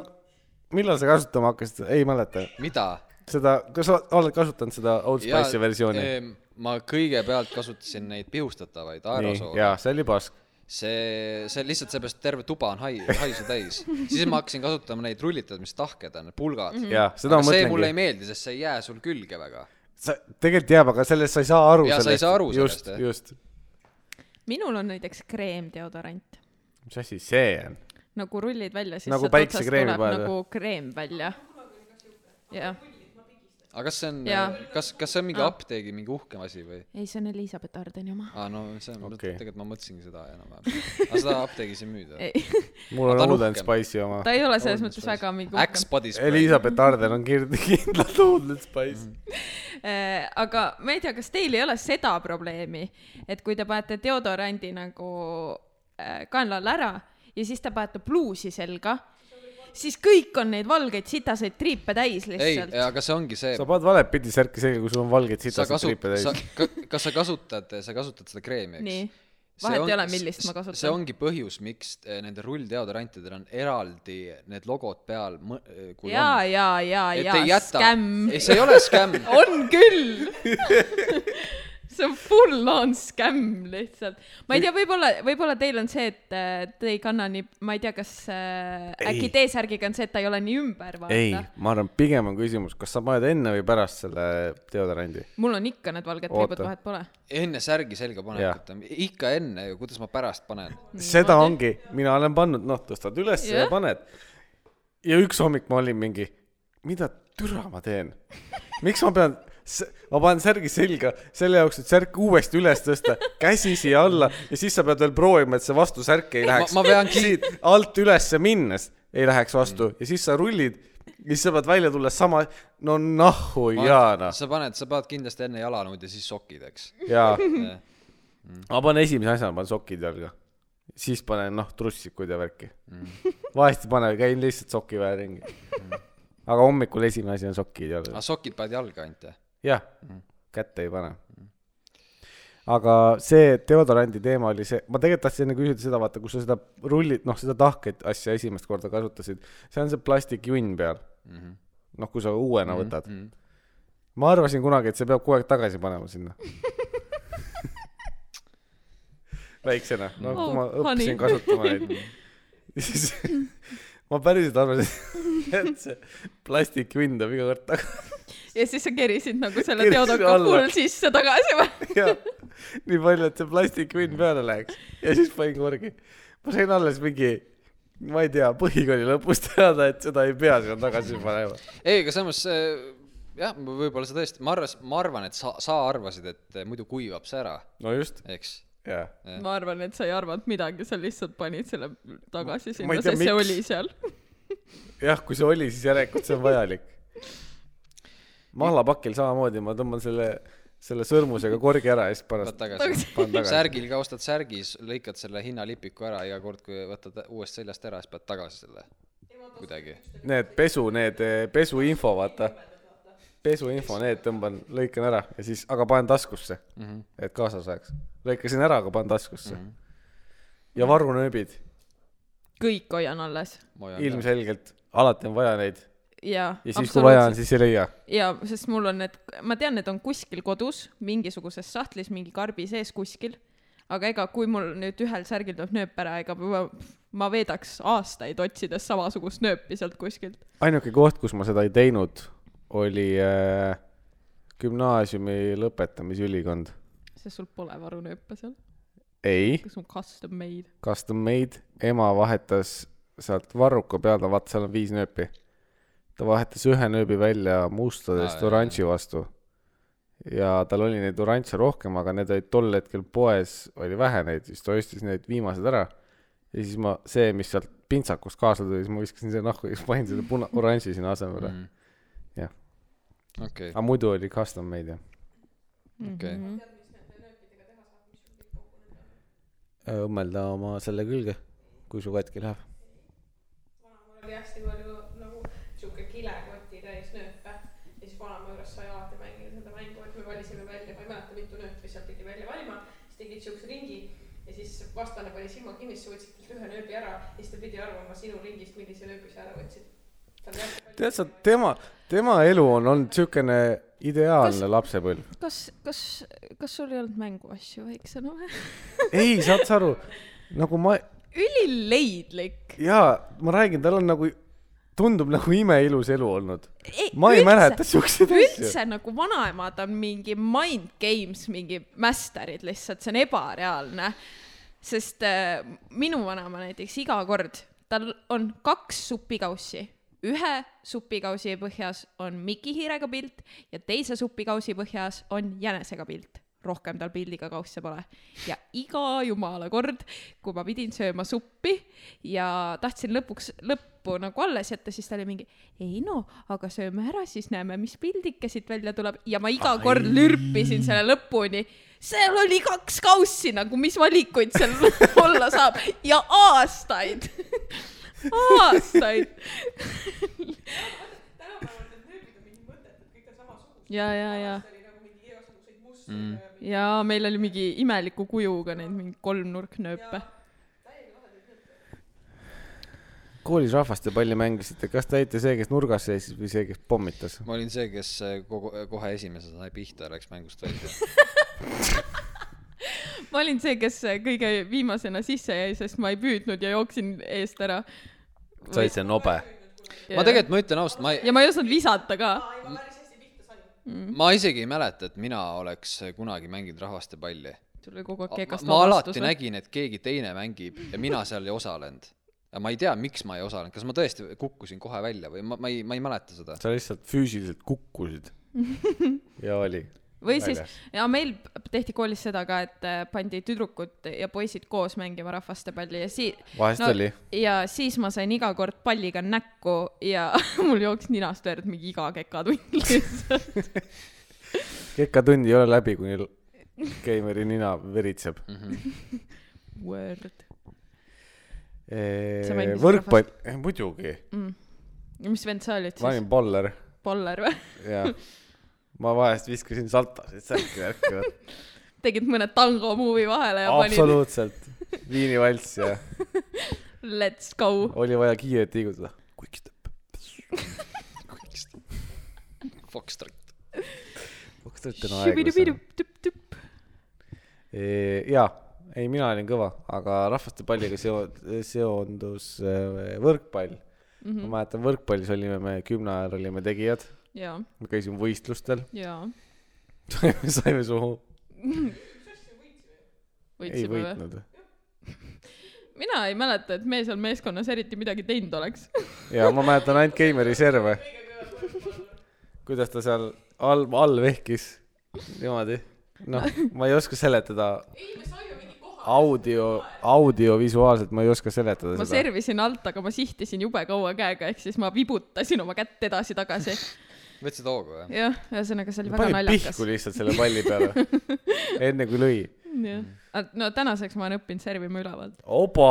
Speaker 1: millal sa kasutama hakkasid , ei mäleta .
Speaker 2: mida ?
Speaker 1: seda , kas sa oled kasutanud seda Old Spice'i versiooni ?
Speaker 2: ehm, ma kõigepealt kasutasin neid pihustatavaid
Speaker 1: nii ,
Speaker 2: aerosoole .
Speaker 1: jaa , see oli pask .
Speaker 2: see , see lihtsalt seepärast , et terve tuba on hai- , haisu täis . siis ma hakkasin kasutama neid rullitad , mis tahked on , pulgad mm .
Speaker 1: Mhm. Jaa, seda ma
Speaker 2: see
Speaker 1: mõtlengi.
Speaker 2: mulle ei meeldi , sest see ei jää sul külge väga .
Speaker 1: sa , tegelikult jääb , aga sellest sa ei saa aru .
Speaker 2: Jaa, sa ei saa aru
Speaker 1: just,
Speaker 2: sellest, jah.
Speaker 1: just , just .
Speaker 3: minul on näiteks kreemdeodorant .
Speaker 1: mis asi see on ?
Speaker 3: nagu rullid välja , siis
Speaker 1: Nagu
Speaker 3: sealt otsast
Speaker 1: päiksekreemi
Speaker 3: tuleb
Speaker 1: paned või?
Speaker 3: nagu kreem välja . jah ,
Speaker 2: aga kas see on
Speaker 3: Jaa. , Ah.
Speaker 2: kas , kas see on mingi
Speaker 3: Aa.
Speaker 2: apteegi mingi uhkem asi või ?
Speaker 3: ei , see on Elizabeth Ardeni oma .
Speaker 2: aa , no see on
Speaker 1: Okei.
Speaker 2: okay. , tegelikult ma mõtlesingi seda enam-vähem . aga seda apteegis ei
Speaker 1: Ah.
Speaker 2: müüda .
Speaker 3: ei ,
Speaker 1: mul on
Speaker 2: ta on
Speaker 1: Old and
Speaker 2: uhkem.
Speaker 1: Spice'i oma .
Speaker 3: ta ei ole selles mõttes väga mingi
Speaker 2: Axe body spray .
Speaker 1: Elizabeth Arden on kird- kindlalt Old and Spice .
Speaker 2: Mm.
Speaker 3: Eh, aga ma ei tea , kas teil ei ole seda probleemi , et kui te panete deodorandi nagu eh, kaenlale ära ja siis te panete pluusi selga , siis kõik on neid valgeid sitaseid triipe täis
Speaker 2: ei ,
Speaker 3: lihtsalt .
Speaker 2: aga see ongi see
Speaker 1: sa , paned valet pidi särki selga , kui sul on valgeid
Speaker 2: sa
Speaker 1: sitased triipe
Speaker 2: kasutad ,
Speaker 1: täis
Speaker 2: sa . ka, , kas sa kasutad , sa kasutad seda kreemi , eks ?
Speaker 3: nii ,
Speaker 2: See
Speaker 3: vahet
Speaker 2: on-
Speaker 3: ei ole , millist
Speaker 2: s-
Speaker 3: ma
Speaker 2: see
Speaker 3: kasutan .
Speaker 2: ongi põhjus , miks eh, nendel rulldeodorantidel on eraldi need logod peal , kui
Speaker 3: ja , ja , ja ,
Speaker 2: on .
Speaker 3: ja , skämm
Speaker 2: ei , see ei ole skämm .
Speaker 3: on küll . see on full on skämm lihtsalt . ma ei tea , võib-olla , võib-olla teil on see , et äh, te ei kanna nii , ma ei tea , kas äh,
Speaker 1: Ei.
Speaker 3: äkki T-särgiga on see , et ta ei ole nii ümber ,
Speaker 1: ei
Speaker 3: vaata .,
Speaker 1: ma arvan , pigem on küsimus , kas sa paned enne või pärast selle deodorandi .
Speaker 3: mul on ikka need valged
Speaker 1: Oota.
Speaker 3: triibud , vahet pole .
Speaker 2: enne särgi selga
Speaker 1: Jah.
Speaker 2: panekut on , ikka enne ju , kuidas ma pärast panen .
Speaker 1: seda ongi , mina olen pannud , noh , tõstad üles ja
Speaker 3: Jah.
Speaker 1: paned . ja üks hommik ma olin mingi , mida türa ma teen ? miks ma pean , ma panen särgi selga selle jaoks , et särk uuesti üles tõsta , käsi siia alla ja siis sa pead veel proovima , et see vastu särk ei läheks .
Speaker 2: ma pean Mm. ki-
Speaker 1: siit alt ülesse minnes ei läheks vastu ja siis sa rullid ja siis sa pead välja tulles sama , no nahhu jaana .
Speaker 2: sa paned , sa paned kindlasti enne jalanõud ja siis sokid , eks . Eh,
Speaker 1: jaa ,
Speaker 3: Mhm.
Speaker 1: ma panen esimese asjana panen sokid jalga , siis panen noh trussikud ja värki mm. . vahest ei pane , käin lihtsalt soki vähe ringi . aga hommikul esimene asi on sokid jalga ,
Speaker 2: aga sokid paned jalga ainult , jah ?
Speaker 1: jah , kätte ei pane . aga see deodorandi teema oli see , ma tegelikult tahtsin enne küsida seda , vaata , kus sa seda rullit , noh , seda tahket asja esimest korda kasutasid , see on see plastikjunn peal
Speaker 2: Mhm,
Speaker 1: noh , kui sa uuena
Speaker 2: mm.
Speaker 1: võtad . ma arvasin kunagi , et see peab kogu aeg tagasi panema sinna . väiksena , no kui ma
Speaker 3: Oh, honey.
Speaker 1: õppisin kasutama neid , siis ma päriselt arvasin , et see plastikvind on iga kord tagasi
Speaker 3: ja siis sa kerisid nagu selle
Speaker 1: Kerisin
Speaker 3: teodoka
Speaker 1: alla.
Speaker 3: puhul sisse tagasi või ?
Speaker 1: ja nii palju , et see plastikvind peale läheks ja siis panin korgi . ma sain alles mingi , ma ei tea , põhikooli lõpus teada , et seda ei pea sinna tagasi panema .
Speaker 2: ei , aga samas äh, jah , võib-olla sa tõesti , ma arvas- , ma arvan , et sa , sa arvasid , et äh, muidu kuivab see ära ,
Speaker 1: no just ,
Speaker 2: eks . Eh,
Speaker 1: jaa .
Speaker 3: ma arvan , et sa ei arvanud midagi , sa lihtsalt panid selle tagasi
Speaker 1: Ma ei ,
Speaker 3: sinna
Speaker 1: tea,
Speaker 3: sest see
Speaker 1: miks.
Speaker 3: oli seal .
Speaker 1: jah , kui see oli , siis järelikult see on vajalik . mahlapakil samamoodi , ma tõmban selle , selle sõrmusega korgi ära ja siis
Speaker 2: võtad
Speaker 1: pärast
Speaker 2: tagasi .
Speaker 1: panen tagasi .
Speaker 2: särgil ka ostad särgis , lõikad selle hinnalipiku ära iga kord , kui võtad uuest seljast ära , siis paned tagasi selle kuidagi .
Speaker 1: Need pesu , need eh, pesuinfo , vaata . pesuinfo , need tõmban , lõikan ära ja siis , aga panen taskusse mm , -hmm. et kaasas oleks . lõikasin ära , aga panen taskusse mm . -hmm. ja varunööbid ,
Speaker 3: kõik hoian alles .
Speaker 1: ilmselgelt , alati on vaja neid
Speaker 3: jaa .
Speaker 1: ja siis , kui vaja on , siis ei leia .
Speaker 3: jaa , sest mul on need , ma tean , need on kuskil kodus , mingisuguses sahtlis , mingi karbi sees kuskil , aga ega kui mul nüüd ühel särgil tuleb nööp ära , ega ma, ma veedaks aastaid otsides samasugust nööpi sealt kuskilt .
Speaker 1: ainuke koht , kus ma seda ei teinud , oli äh, gümnaasiumi lõpetamisülikond .
Speaker 3: sest sul pole varunööpe seal ,
Speaker 1: ei ,
Speaker 3: kas on custom made ?
Speaker 1: custom made , ema vahetas sealt varruka peale , vaata seal on viis nööpi . ta vahetas ühe nööbi välja
Speaker 2: Aa,
Speaker 1: mustadest
Speaker 2: jah,
Speaker 1: oranži vastu . ja tal oli neid oranže rohkem , aga need olid tol hetkel poes , oli vähe neid , siis ta ostis need viimased ära . ja siis ma , see , mis sealt pintsakust kaasa tuli , siis ma viskasin selle nahku ja siis panin selle puna- , oranži sinna asemele mm. . Jah. .
Speaker 2: okei ,
Speaker 1: aga muidu oli custom made jah .
Speaker 2: okei .
Speaker 1: Äh, õmmelda oma selle külge , kui su katki läheb .
Speaker 5: oli hästi palju nagu sihuke kilekoti täis nööpe ja siis vanaema juures sai alati mängida seda mängu , et me valisime välja , ma ei mäleta , mitu nööpi sealt pidi välja valima , siis tegid siukse ringi ja siis vastane pani silma kinni , siis sa võtsid talt ühe nööbi ära ja siis ta pidi arvama sinu ringist , millise nööbi sa ära võtsid . tal oli hästi palju
Speaker 1: tead sa , tema , tema elu on olnud siukene ideaalne lapsepõlv .
Speaker 3: kas , kas , kas sul ei olnud mänguasju väiksena või ?
Speaker 1: ei , saad sa aru , nagu ma ,
Speaker 3: ülileidlik .
Speaker 1: jaa , ma räägin , tal on nagu , tundub nagu imeilus elu olnud . ma ei mäleta siukseid asju .
Speaker 3: üldse nagu vanaemad on mingi mind games , mingi master'id lihtsalt , see on ebareaalne . sest äh, minu vanaema näiteks iga kord , tal on kaks supikaussi , ühe supikausi põhjas on Miki hiirega pilt ja teise supikausi põhjas on jänesega pilt rohkem tal pildiga kausse pole . ja iga jumala kord , kui ma pidin sööma suppi ja tahtsin lõpuks , lõppu nagu alles jätta , siis ta oli mingi , ei no , aga sööme ära , siis näeme , mis pildike siit välja tuleb ja ma iga kord lürpisin selle lõpuni . seal oli kaks kaussi nagu , mis valikuid seal olla saab ja aastaid , aastaid . ja , ja , ja jaa , meil oli mingi imeliku kujuga neid mingi kolmnurknööpe .
Speaker 1: koolis rahvastepalli mängisite , kas te olite see , kes nurgas seisis või see , kes pommitas ?
Speaker 2: ma olin see , kes äh, kogu , kohe esimesena sai pihta ja läks mängust välja .
Speaker 3: ma olin see , kes kõige viimasena sisse jäi , sest ma ei püüdnud ja jooksin eest ära .
Speaker 1: sa olid see nobe .
Speaker 2: ma . tegelikult , ma ütlen ausalt , ma ei ,
Speaker 3: ja ma ei osanud visata ka .
Speaker 2: ma isegi ei mäleta , et mina oleks eh, kunagi mänginud rahvastepalli .
Speaker 3: sul oli kogu aeg
Speaker 2: ma,
Speaker 3: keekas
Speaker 2: ma alati . nägin , et keegi teine mängib ja mina seal ei osalenud . ja ma ei tea , miks ma ei osalenud , kas ma tõesti kukkusin kohe välja või ma , ma ei , ma ei mäleta seda .
Speaker 1: sa lihtsalt füüsiliselt kukkusid . ja oli .
Speaker 3: või siis
Speaker 1: väljas. ,
Speaker 3: ja meil tehti koolis seda ka , et äh, pandi tüdrukud ja poisid koos mängima rahvastepalli ja sii- .
Speaker 1: vahest oli .
Speaker 3: ja siis ma sain iga kord palliga näkku ja mul jooksis ninast verd mingi iga kekatund lihtsalt .
Speaker 1: kekatund ei ole läbi , kuni l- keimeri nina veritseb .
Speaker 2: Mhm.
Speaker 3: Word . Sa mängisid
Speaker 1: võrkpall , muidugi ,
Speaker 3: Mm. mis vend sa olid
Speaker 1: ma
Speaker 3: siis ?
Speaker 1: olin baller
Speaker 3: Poller või ?
Speaker 1: jah , ma vahest viskasin saltasid särki värki ,
Speaker 3: tegid mõne tango movie vahele ja panid
Speaker 1: absoluutselt . viinivalss ja
Speaker 3: let's go .
Speaker 1: oli vaja kiirelt liigutada . Quick step .
Speaker 2: Foxtrot .
Speaker 1: kas te olete no aeglasem ?
Speaker 3: tüpp-tüpp .
Speaker 1: jaa , ei , mina olin kõva , aga rahvastepalliga seo- , seondus eh, võrkpall mm .
Speaker 3: Mhm.
Speaker 1: -hmm. ma mäletan , võrkpallis olime me , kümne ajal olime tegijad ,
Speaker 3: jaa ,
Speaker 1: me käisime võistlustel ,
Speaker 3: jaa .
Speaker 1: saime suhu , ei
Speaker 3: võitsime või ?
Speaker 1: võitnud .
Speaker 3: mina ei mäleta , et me seal meeskonnas eriti midagi teinud oleks .
Speaker 1: ja ma mäletan ainult Keimeri serve . kuidas ta seal all , all vehkis , niimoodi . noh , ma ei oska seletada . audio , audiovisuaalselt ma ei oska seletada
Speaker 3: ma
Speaker 1: seda .
Speaker 3: servisin alt , aga ma sihtisin jube kaua käega , ehk siis ma vibutasin oma kätt edasi-tagasi .
Speaker 2: võtsid hoogu või ?
Speaker 3: jah , ühesõnaga see oli väga
Speaker 1: panin
Speaker 3: naljakas
Speaker 1: pihku . lihtsalt selle palli peale , enne kui lõi .
Speaker 3: jah , no tänaseks ma olen õppinud servima ülevalt
Speaker 1: oba ,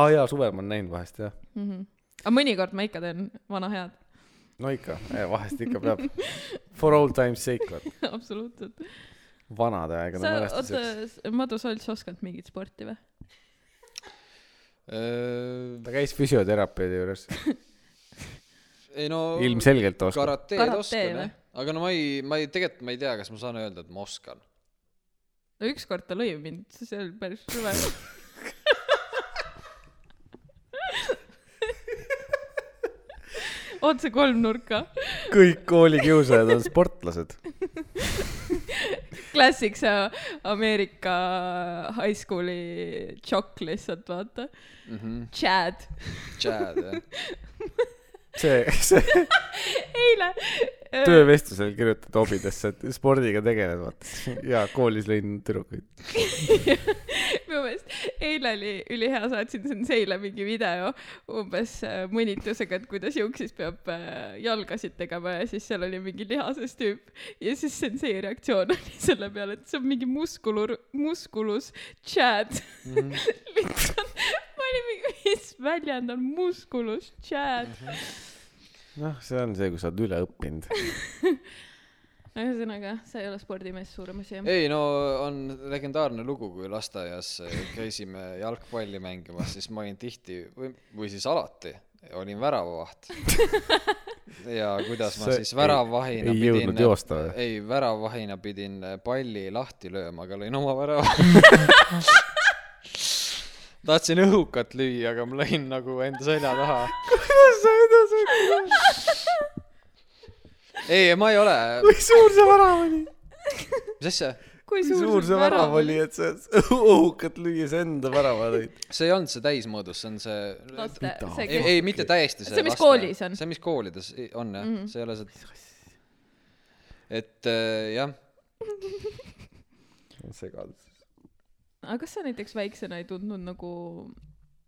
Speaker 1: aa jaa , suvel ma olen näinud vahest jah .
Speaker 3: mm . -hmm. aga mõnikord ma ikka teen vana head
Speaker 1: no ikka , vahest ikka peab . For old time's sake , vaat .
Speaker 3: absoluutselt .
Speaker 1: vanade aegade
Speaker 3: sa , oota
Speaker 1: mälestuseks .,
Speaker 3: Madu , sa üldse oskad mingit sporti või ?
Speaker 2: Äh,
Speaker 1: ta käis füsioterapeudi juures ,
Speaker 2: ei no .
Speaker 3: Oh.
Speaker 1: ilmselgelt oskab .
Speaker 2: karateed
Speaker 3: Karate
Speaker 2: oskan
Speaker 3: või?
Speaker 2: jah , aga no ma ei , ma ei , tegelikult ma ei tea , kas ma saan öelda , et ma oskan .
Speaker 3: no ükskord ta lõi mind , see oli päris rõve . otse kolmnurka ,
Speaker 1: kõik koolikiusajad on sportlased .
Speaker 3: klassik see Ameerika high school'i tšokk lihtsalt vaata , Chad
Speaker 2: Chad Mhm, jah ,
Speaker 1: see , see
Speaker 3: eile . äh,
Speaker 1: töövestlusel kirjutad hobidesse , et spordiga tegeled , vaata . ja koolis lõin tüdrukuid .
Speaker 3: minu meelest eile oli ülihea , saatsin Senseile mingi video umbes äh, mõnitusega , et kuidas juuksis peab äh, jalgasid tegema ja siis seal oli mingi lihases tüüp ja siis Sensei reaktsioon oli selle peale , et see on mingi muskulur , muskulus chat mm .
Speaker 2: Mhm.
Speaker 3: -hmm. lihtsalt ma olin mingi , mis väljend on muskulus chat
Speaker 2: Mhm.
Speaker 3: mm ?
Speaker 1: noh , see on see , kui sa oled üle õppinud .
Speaker 3: -hmm. ühesõnaga , sa ei ole spordimees suuremas jah ?
Speaker 2: ei no on legendaarne lugu , kui lasteaias käisime jalgpalli mängimas , siis ma olin tihti või , või siis alati olin väravavaht . ja kuidas ma
Speaker 1: Sa
Speaker 2: siis
Speaker 1: ei-
Speaker 2: väravahina
Speaker 1: ei jõudnud
Speaker 2: pidin
Speaker 1: joosta või?
Speaker 2: ei , väravahina pidin palli lahti lööma , aga lõin oma värava tahtsin õhukat lüüa , aga ma lõin nagu enda selja taha . kuidas sa enda selja taha ? ei , ma ei ole ,
Speaker 1: kui suur see värav oli ?
Speaker 2: mis asja ,
Speaker 3: kui
Speaker 1: kui suur see värav oli ,? et sa õhukat lüües enda värava lõid .
Speaker 2: see ei olnud see täismõõdus , see on see .
Speaker 3: laste ,
Speaker 1: Mida?
Speaker 3: see
Speaker 2: ei , ei mitte täiesti see .
Speaker 3: See, mis koolis on. Mhm.
Speaker 2: see , mis koolides i- on jah mm , -hmm. see ei ole see . et äh, jah ,
Speaker 1: segadus .
Speaker 3: aga kas sa näiteks väiksena ei tundnud nagu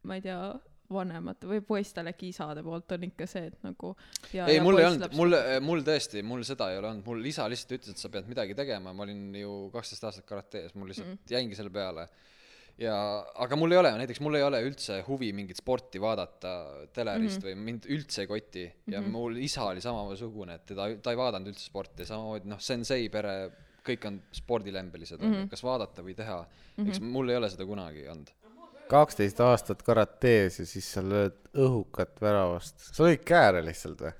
Speaker 3: ma ei tea vanemate või poistele kisade poolt on ikka see et nagu ja
Speaker 2: ei
Speaker 3: ja
Speaker 2: mul ei
Speaker 3: poiss
Speaker 2: olnud ,
Speaker 3: laps-
Speaker 2: mul , mul tõesti , mul seda ei ole olnud , mul isa lihtsalt ütles , et sa pead midagi tegema , ma olin ju kaksteist aastat karates , mul lihtsalt mm. jäingi selle peale . ja , aga mul ei ole , näiteks mul ei ole üldse huvi mingit sporti vaadata telerist mm
Speaker 3: Mhm.
Speaker 2: -hmm. või mind üldse ei koti ja mm -hmm. mul isa oli samasugune , et teda , ta ei vaadanud üldse sporti , samamoodi noh , sensei pere , kõik on spordilembelised mm ,
Speaker 3: Mhm.
Speaker 2: -hmm. kas vaadata või teha mm , -hmm. eks mul ei ole seda kunagi olnud .
Speaker 1: kaksteist aastat karates ja siis sa lööd õhukat väravast . sa lõid kääre lihtsalt või ?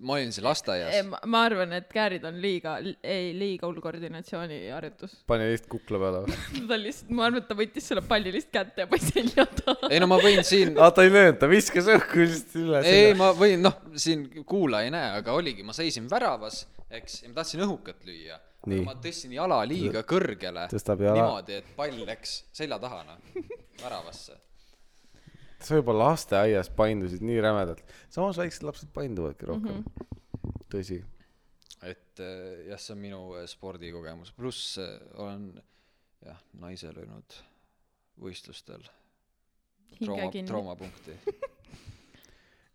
Speaker 2: ma olin siis
Speaker 3: Ei,
Speaker 2: lasteaias ,
Speaker 3: ma ma arvan et käärid on liiga ei liiga hull koordinatsiooniharjutus
Speaker 1: pani lihtsalt kukla peale või ?
Speaker 3: ta lihtsalt ma arvan et ta võttis selle palli lihtsalt kätte ja pani selja taha
Speaker 2: ei no ma võin siin
Speaker 1: aa , ta ei löönud , ta viskas õhku lihtsalt üle .
Speaker 2: ei , ei , ma võin , noh , siin kuulaja ei näe , aga oligi , ma seisin väravas , eks , ja ma tahtsin õhukat lüüa .
Speaker 1: Nii.
Speaker 2: ma tõstsin jala liiga kõrgele .
Speaker 1: Tõstab jala.
Speaker 2: niimoodi , et pall läks selja taha , noh , väravasse .
Speaker 1: sa juba lasteaias paindusid nii rämedalt . samas väiksed lapsed painduvadki rohkem mm . -hmm. tõsi .
Speaker 2: et eh, jah , see on minu eh, spordikogemus , pluss eh, olen jah , naise löönud võistlustel
Speaker 3: hinge
Speaker 2: trauma ,
Speaker 3: kinni
Speaker 2: traumapunkti .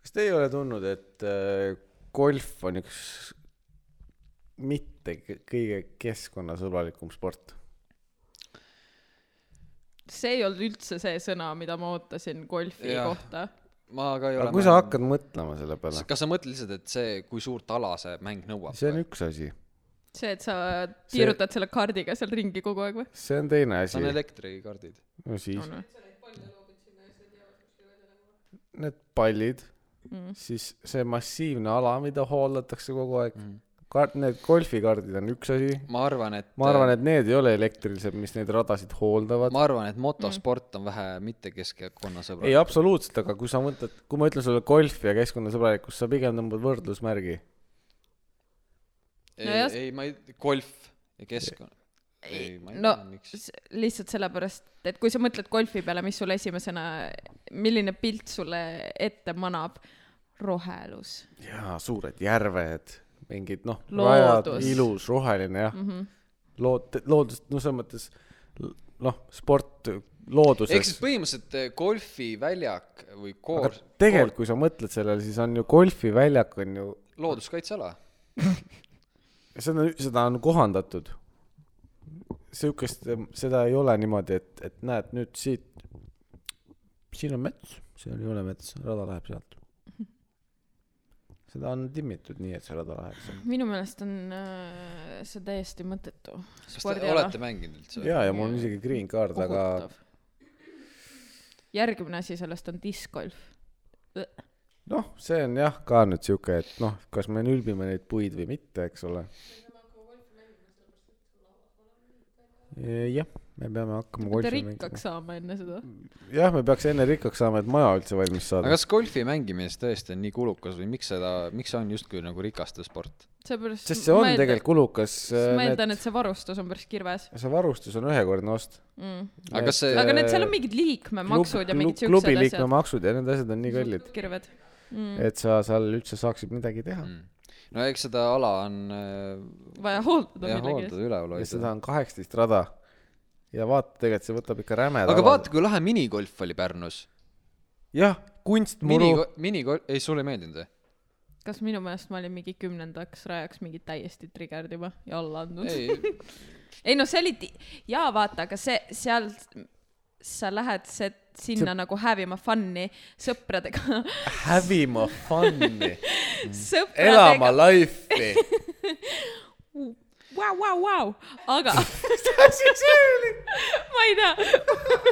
Speaker 1: kas te ei ole tundnud , et äh, golf on üks mitte k- kõige keskkonnasõbralikum sport ?
Speaker 3: see ei olnud üldse see sõna mida ma ootasin golfi
Speaker 2: Jah.
Speaker 3: kohta
Speaker 2: ma ka ei
Speaker 1: aga
Speaker 2: ole .
Speaker 1: kui sa ? hakkad mõtlema selle peale ,
Speaker 2: kas sa mõtled lihtsalt , et see , kui suurt ala see mäng nõuab
Speaker 1: see on ? üks asi ,
Speaker 3: see et sa tiirutad selle kaardiga seal ringi kogu aeg või
Speaker 1: see on teine asi
Speaker 2: see on . elektrikardid .
Speaker 1: no siis
Speaker 3: on või
Speaker 1: need pallid mm. , siis see massiivne ala , mida hooldatakse kogu aeg mm. , kaart , need golfikaardid on üks asi .
Speaker 2: ma arvan , et
Speaker 1: ma arvan , et need ei ole elektrilised , mis neid radasid hooldavad .
Speaker 2: ma arvan , et motosport on vähe mitte keskkonnasõbralik
Speaker 1: ei ,. absoluutselt , aga kui sa mõtled , kui ma ütlen sulle golf ja keskkonnasõbralikkus , sa pigem tõmbad võrdlusmärgi .
Speaker 2: ei
Speaker 3: nojah. ,
Speaker 2: ei , ma ei , golf ja keskkonna . ei , ma ei
Speaker 3: no
Speaker 2: tea , miks .
Speaker 3: s- lihtsalt sellepärast , et kui sa mõtled golfi peale , mis sul esimesena , milline pilt sulle ette manab ? rohelus .
Speaker 1: jaa , suured järved , mingid noh , rajad
Speaker 3: Loodus. ,
Speaker 1: ilus , roheline jah mm . -hmm. lood , loodus , no selles mõttes l- noh , sport
Speaker 2: ehk siis
Speaker 1: looduses .
Speaker 2: põhimõtteliselt eh, golfiväljak või
Speaker 1: aga
Speaker 2: koor ,
Speaker 1: tegelikult , kui sa mõtled sellele , siis on ju golfiväljak on ju ,
Speaker 2: looduskaitseala .
Speaker 1: seda , seda on kohandatud . sihukest , seda ei ole niimoodi , et , et näed nüüd siit , siin on mets , seal ei ole mets , rada läheb sealt . seda on timmitud nii , et see rada läheb sealt .
Speaker 3: minu meelest on äh, see täiesti mõttetu .
Speaker 2: kas te olete mänginud üldse ?
Speaker 1: ja , ja mul on isegi green card , aga
Speaker 3: kohutav . järgmine asi sellest on discgolf .
Speaker 1: noh , see on jah ka nüüd sihuke , et noh , kas me nülbime neid puid või mitte , eks ole . jah , me peame hakkama
Speaker 3: peate
Speaker 1: golfi mängima .
Speaker 3: rikkaks saama enne seda .
Speaker 1: jah , me peaks enne rikkaks saama , et maja üldse valmis
Speaker 2: aga
Speaker 1: saada .
Speaker 2: kas golfi mängimine siis tõesti on nii kulukas või miks seda , miks see on justkui nagu rikaste sport ?
Speaker 3: seepärast .
Speaker 1: sest see on tegelikult kulukas .
Speaker 3: ma eeldan , et see varustus on päris kirves
Speaker 1: see varustus on ühekordne ost .
Speaker 3: mm. .
Speaker 2: aga kas see ,
Speaker 3: aga need , seal on mingid liikmemaksud ja mingid
Speaker 1: äh,
Speaker 3: siuksed
Speaker 1: klubi
Speaker 3: asjad . Mm.
Speaker 1: liikmemaksud ja need asjad on nii kallid ,
Speaker 3: kirved .
Speaker 1: et sa seal üldse saaksid midagi teha .
Speaker 2: no eks seda ala on eh,
Speaker 3: vaja hooldada
Speaker 2: jah ,
Speaker 3: millegi
Speaker 2: hooldada ,
Speaker 3: eest .
Speaker 2: üleval
Speaker 1: ja
Speaker 2: hoida .
Speaker 1: seda on kaheksateist rada . ja vaata , tegelikult see võtab ikka räme .
Speaker 2: aga vaata , kui lahe minigolf oli Pärnus .
Speaker 1: jah , kunstmuru
Speaker 2: mini , minigolf , ei , sulle ei meeldinud või ?
Speaker 3: kas minu meelest ma olin mingi kümnendaks rajaks mingi täiesti trigerdima ja alla andnud ?
Speaker 2: ei ,
Speaker 3: ei no see oli , jaa vaata , aga see , seal sa lähed see, sinna see... nagu hävima fun'i sõpradega ,
Speaker 1: hävima fun'i , elama
Speaker 3: sõpradega ,
Speaker 1: life'i .
Speaker 3: vau , vau , vau , aga mis asi see oli ? ma ei tea .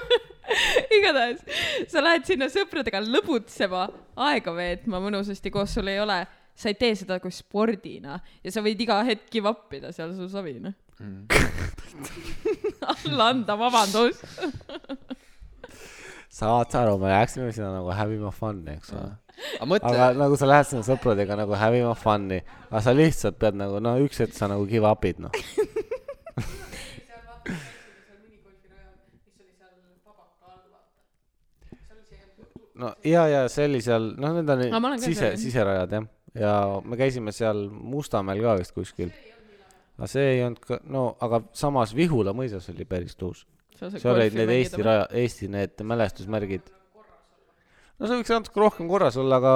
Speaker 3: igatahes sa lähed sinna sõpradega lõbutsema , aega veetma mõnusasti koos , sul ei ole , sa ei tee seda kui spordina ja sa võid iga hetk give up ida seal su savina mm. . alla anda vabandust .
Speaker 1: saad sa aru , me läksime sinna nagu hävima fun'i , eks ole .
Speaker 2: aga mõtle
Speaker 1: aga , nagu sa lähed sinna sõpradega nagu hävima fun'i , aga sa lihtsalt pead nagu no üks hetk sa nagu give up'id noh . no ja , ja see oli seal , noh , need
Speaker 3: Aga ma
Speaker 1: on
Speaker 3: olen ka
Speaker 1: sise ,
Speaker 3: seal-
Speaker 1: siserajad jah , ja me käisime seal Mustamäel ka vist kuskil . aga see ei olnud ka , no aga samas Vihula mõisas oli päris tuus . seal olid need Eesti raja , Eesti need mälestusmärgid . no see võiks natuke rohkem korras olla , aga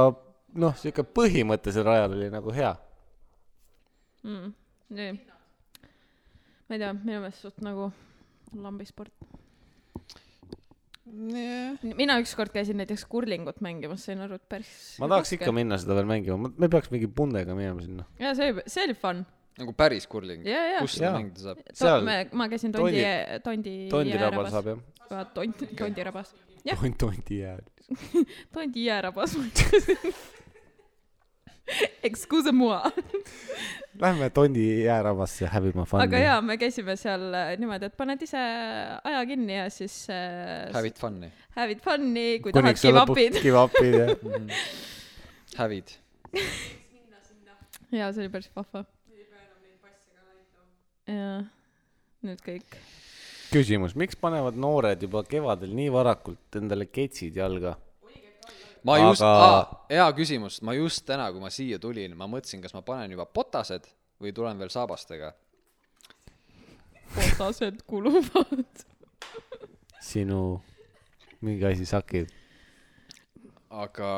Speaker 1: noh , sihuke põhimõte seal rajal oli nagu hea .
Speaker 3: mm, . nii . ma ei tea , minu meelest suht nagu lambisport . mina ükskord käisin näiteks kurlingut mängimas , sain aru , et päris .
Speaker 1: ma tahaks ikka . minna seda veel mängima , me peaks mingi pundega minema sinna .
Speaker 3: jaa , see , see oli fun .
Speaker 2: nagu päris kurling ,
Speaker 3: jaa , jaa .
Speaker 2: kus seda
Speaker 1: Jaa.
Speaker 2: mängida saab ?
Speaker 1: seal-
Speaker 3: me , ma käisin Tondi , Tondi .
Speaker 1: Tondi rabal saab jah .
Speaker 3: jah . Tondi , Tondi rabas . jah ,
Speaker 1: Tond , Tondi jääb .
Speaker 3: Tondi jäärabas ma ütlesin . Excuse moi .
Speaker 1: Lähme Tondi jäärabasse hävima fun'i .
Speaker 3: aga jaa , me käisime seal äh, niimoodi , et paned ise aja kinni ja siis äh,
Speaker 2: hävid fun'i ,
Speaker 3: hävid fun'i , kui tahad , give up'id .
Speaker 1: give up'id jah .
Speaker 2: hävid .
Speaker 3: jaa , see oli päris vahva . jaa , nüüd kõik .
Speaker 1: küsimus , miks panevad noored juba kevadel nii varakult endale ketsid jalga ?
Speaker 2: ma just
Speaker 1: Aga-
Speaker 2: aga... , hea küsimus , ma just täna , kui ma siia tulin , ma mõtlesin , kas ma panen juba botased või tulen veel saabastega .
Speaker 3: potased kuluvad .
Speaker 1: sinu mingi asi sakib .
Speaker 2: aga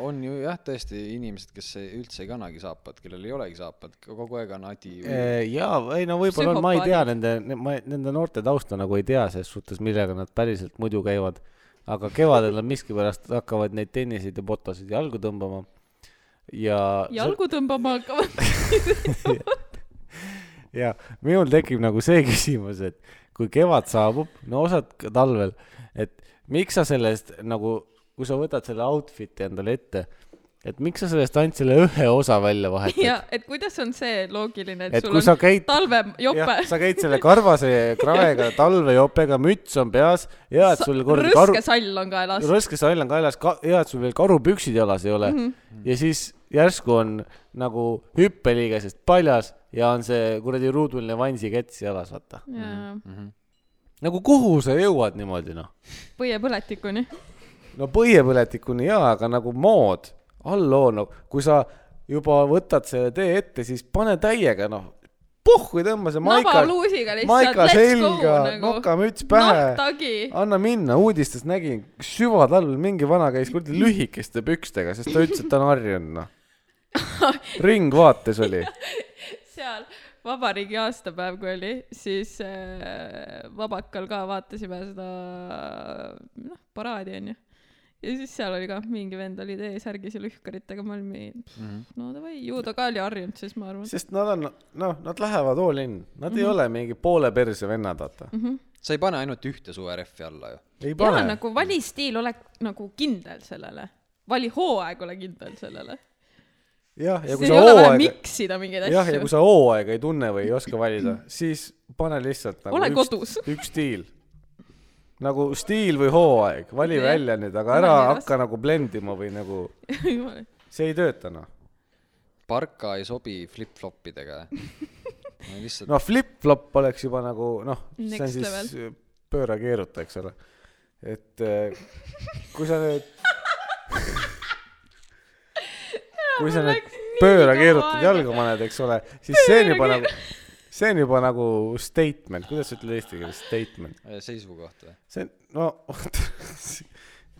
Speaker 2: on ju jah , tõesti inimesed , kes ei, üldse ei kannagi saapad , kellel ei olegi saapad , kogu aeg on adi või... .
Speaker 1: Äh, jaa , ei no võib-olla on , ma ei tea
Speaker 3: Psühhopaadid.
Speaker 1: nende , ma ei- nende noorte tausta nagu ei tea ses suhtes , millega nad päriselt muidu käivad . aga kevadel nad miskipärast hakkavad neid tenniseid ja botasid jalgu tõmbama ja .
Speaker 3: jalgu tõmbama hakkavad .
Speaker 1: ja minul tekib nagu see küsimus , et kui kevad saabub , no osad ka talvel , et miks sa sellest nagu , kui sa võtad selle outfit'i endale ette , et miks sa sellest ainult selle ühe osa välja vahetad
Speaker 3: ja . et kuidas on see loogiline , et
Speaker 1: et
Speaker 3: sul
Speaker 1: kui
Speaker 3: on
Speaker 1: sa käid ,
Speaker 3: talvejope
Speaker 1: jah , sa käid selle karvase kraega , talvejopega , müts on peas , hea , et sul kord karu
Speaker 3: rõske , sall on kaelas .
Speaker 1: rõske sall on kaelas ka, , hea , et sul veel karupüksid jalas ei ole mm .
Speaker 3: Mhm.
Speaker 1: -hmm. ja siis järsku on nagu hüppeliigesest paljas ja on see kuradi ruuduline vansikets jalas , vaata . Mm.
Speaker 2: Mhm.
Speaker 1: nagu kuhu sa jõuad niimoodi , noh ?
Speaker 3: põiepõletikuni .
Speaker 1: no põhjapõletikuni jaa , aga nagu mood , halloo , no kui sa juba võtad selle tee ette , siis pane täiega , noh , puhku ja tõmba see maika ,
Speaker 3: nabaluusiga lihtsalt ,
Speaker 1: maika
Speaker 3: let's go
Speaker 1: selga ,
Speaker 3: nagu .
Speaker 1: nokamüts pähe ,
Speaker 3: nahktagi .
Speaker 1: anna minna , uudistes nägin , süvatalvel mingi vana käis kuradi lühikeste pükstega , sest ta ütles , et ta on harjunud , noh . ringvaates oli ,
Speaker 3: seal vabariigi aastapäev , kui oli , siis äh, Vabakal ka vaatasime seda , noh , paraadi onju . ja siis seal oli ka mingi vend oli T-särgis ja lühkaritega , ma olin mingi ,
Speaker 1: Mhm.
Speaker 3: no davai , ju ta ka oli harjunud siis ma arvan .
Speaker 1: sest nad on , noh , nad lähevad all in , nad
Speaker 3: Mhm.
Speaker 1: ei ole mingi poole perse vennad , vaata .
Speaker 2: sa ei pane ainult ühte suverehvi alla ju .
Speaker 1: ei
Speaker 3: jaa
Speaker 1: pane ,.
Speaker 3: nagu vali stiil , ole nagu kindel sellele . vali hooaeg , ole kindel sellele .
Speaker 1: jah , ja kui
Speaker 3: siin
Speaker 1: sa
Speaker 3: ei ole vaja
Speaker 1: hooaega
Speaker 3: miksida mingeid
Speaker 1: jah , ja kui
Speaker 3: asju .
Speaker 1: sa hooaega ei tunne või ei oska valida , siis pane lihtsalt nagu
Speaker 3: Ole
Speaker 1: üks,
Speaker 3: kodus.
Speaker 1: üks stiil . nagu stiil või hooaeg , vali
Speaker 3: Jah.
Speaker 1: välja nüüd , aga
Speaker 3: Ole
Speaker 1: ära
Speaker 3: nii raske.
Speaker 1: hakka nagu blendima või nagu , see ei tööta noh .
Speaker 2: parka ei sobi flip-flopidega . lihtsalt
Speaker 1: no flip-flop oleks juba nagu noh , see on
Speaker 3: Next
Speaker 1: siis pööra keeruta , eks ole . et eh, kui sa nüüd kui sa nüüd pööra keerutad jalga paned , eks ole , siis see on juba nagu , see on juba nagu statement , kuidas sa ütled eesti keeles statement ?
Speaker 2: no. seisukoht või ?
Speaker 1: see , no oot ,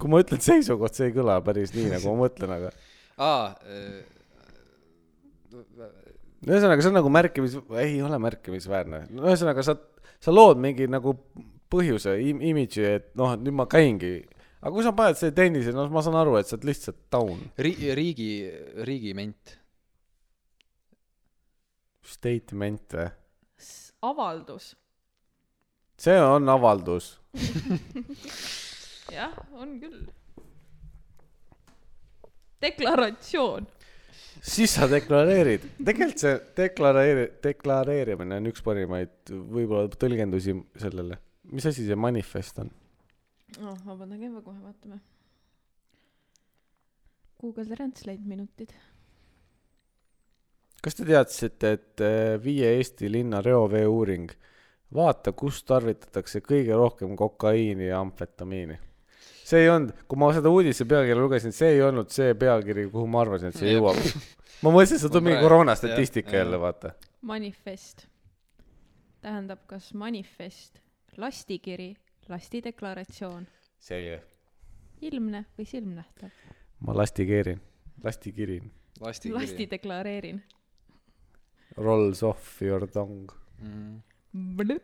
Speaker 1: kui ma ütlen seisukoht , see ei kõla päris nii , nagu ma mõtlen , aga
Speaker 2: aa , äh,
Speaker 1: no ühesõnaga , see on nagu märkimis , ei ole märkimisväärne . no ühesõnaga , sa , sa lood mingi nagu põhjuse im, , imidži , et noh , et nüüd ma käingi . aga kui sa paned selle tennise , noh , ma saan aru , et sa oled lihtsalt down ,
Speaker 2: riigi , riigi , riigiment .
Speaker 1: statement eh? või ?
Speaker 3: avaldus ,
Speaker 1: see on avaldus .
Speaker 3: jah , on küll . deklaratsioon .
Speaker 1: siis sa deklareerid , tegelikult see deklareeri- , deklareerimine on üks parimaid võib-olla tõlgendusi sellele . mis asi see manifest on ?
Speaker 3: noh , vabandage , me kohe vaatame . Google Translate minutid .
Speaker 1: kas te teadsite , et äh, viie Eesti linna reovee uuring vaata , kus tarvitatakse kõige rohkem kokaiini ja amfetamiini ? see ei olnud , kui ma seda uudise pealkirja lugesin , see ei olnud see pealkiri , kuhu ma arvasin , et see
Speaker 2: Jah.
Speaker 1: jõuab . ma mõtlesin , et see
Speaker 2: Ma
Speaker 1: tuleb mingi
Speaker 2: praegu- jah,
Speaker 1: koroonastatistika
Speaker 2: jah.
Speaker 1: jälle , vaata .
Speaker 3: manifest tähendab kas manifest , lastikiri , lastideklaratsioon ,
Speaker 1: selge .
Speaker 3: ilmne või silmnähtav .
Speaker 1: ma lastikeerin , lastikeerin .
Speaker 2: lasti .
Speaker 3: lasti deklareerin .
Speaker 1: Rolls off your tongue .
Speaker 2: Mhm.
Speaker 3: ma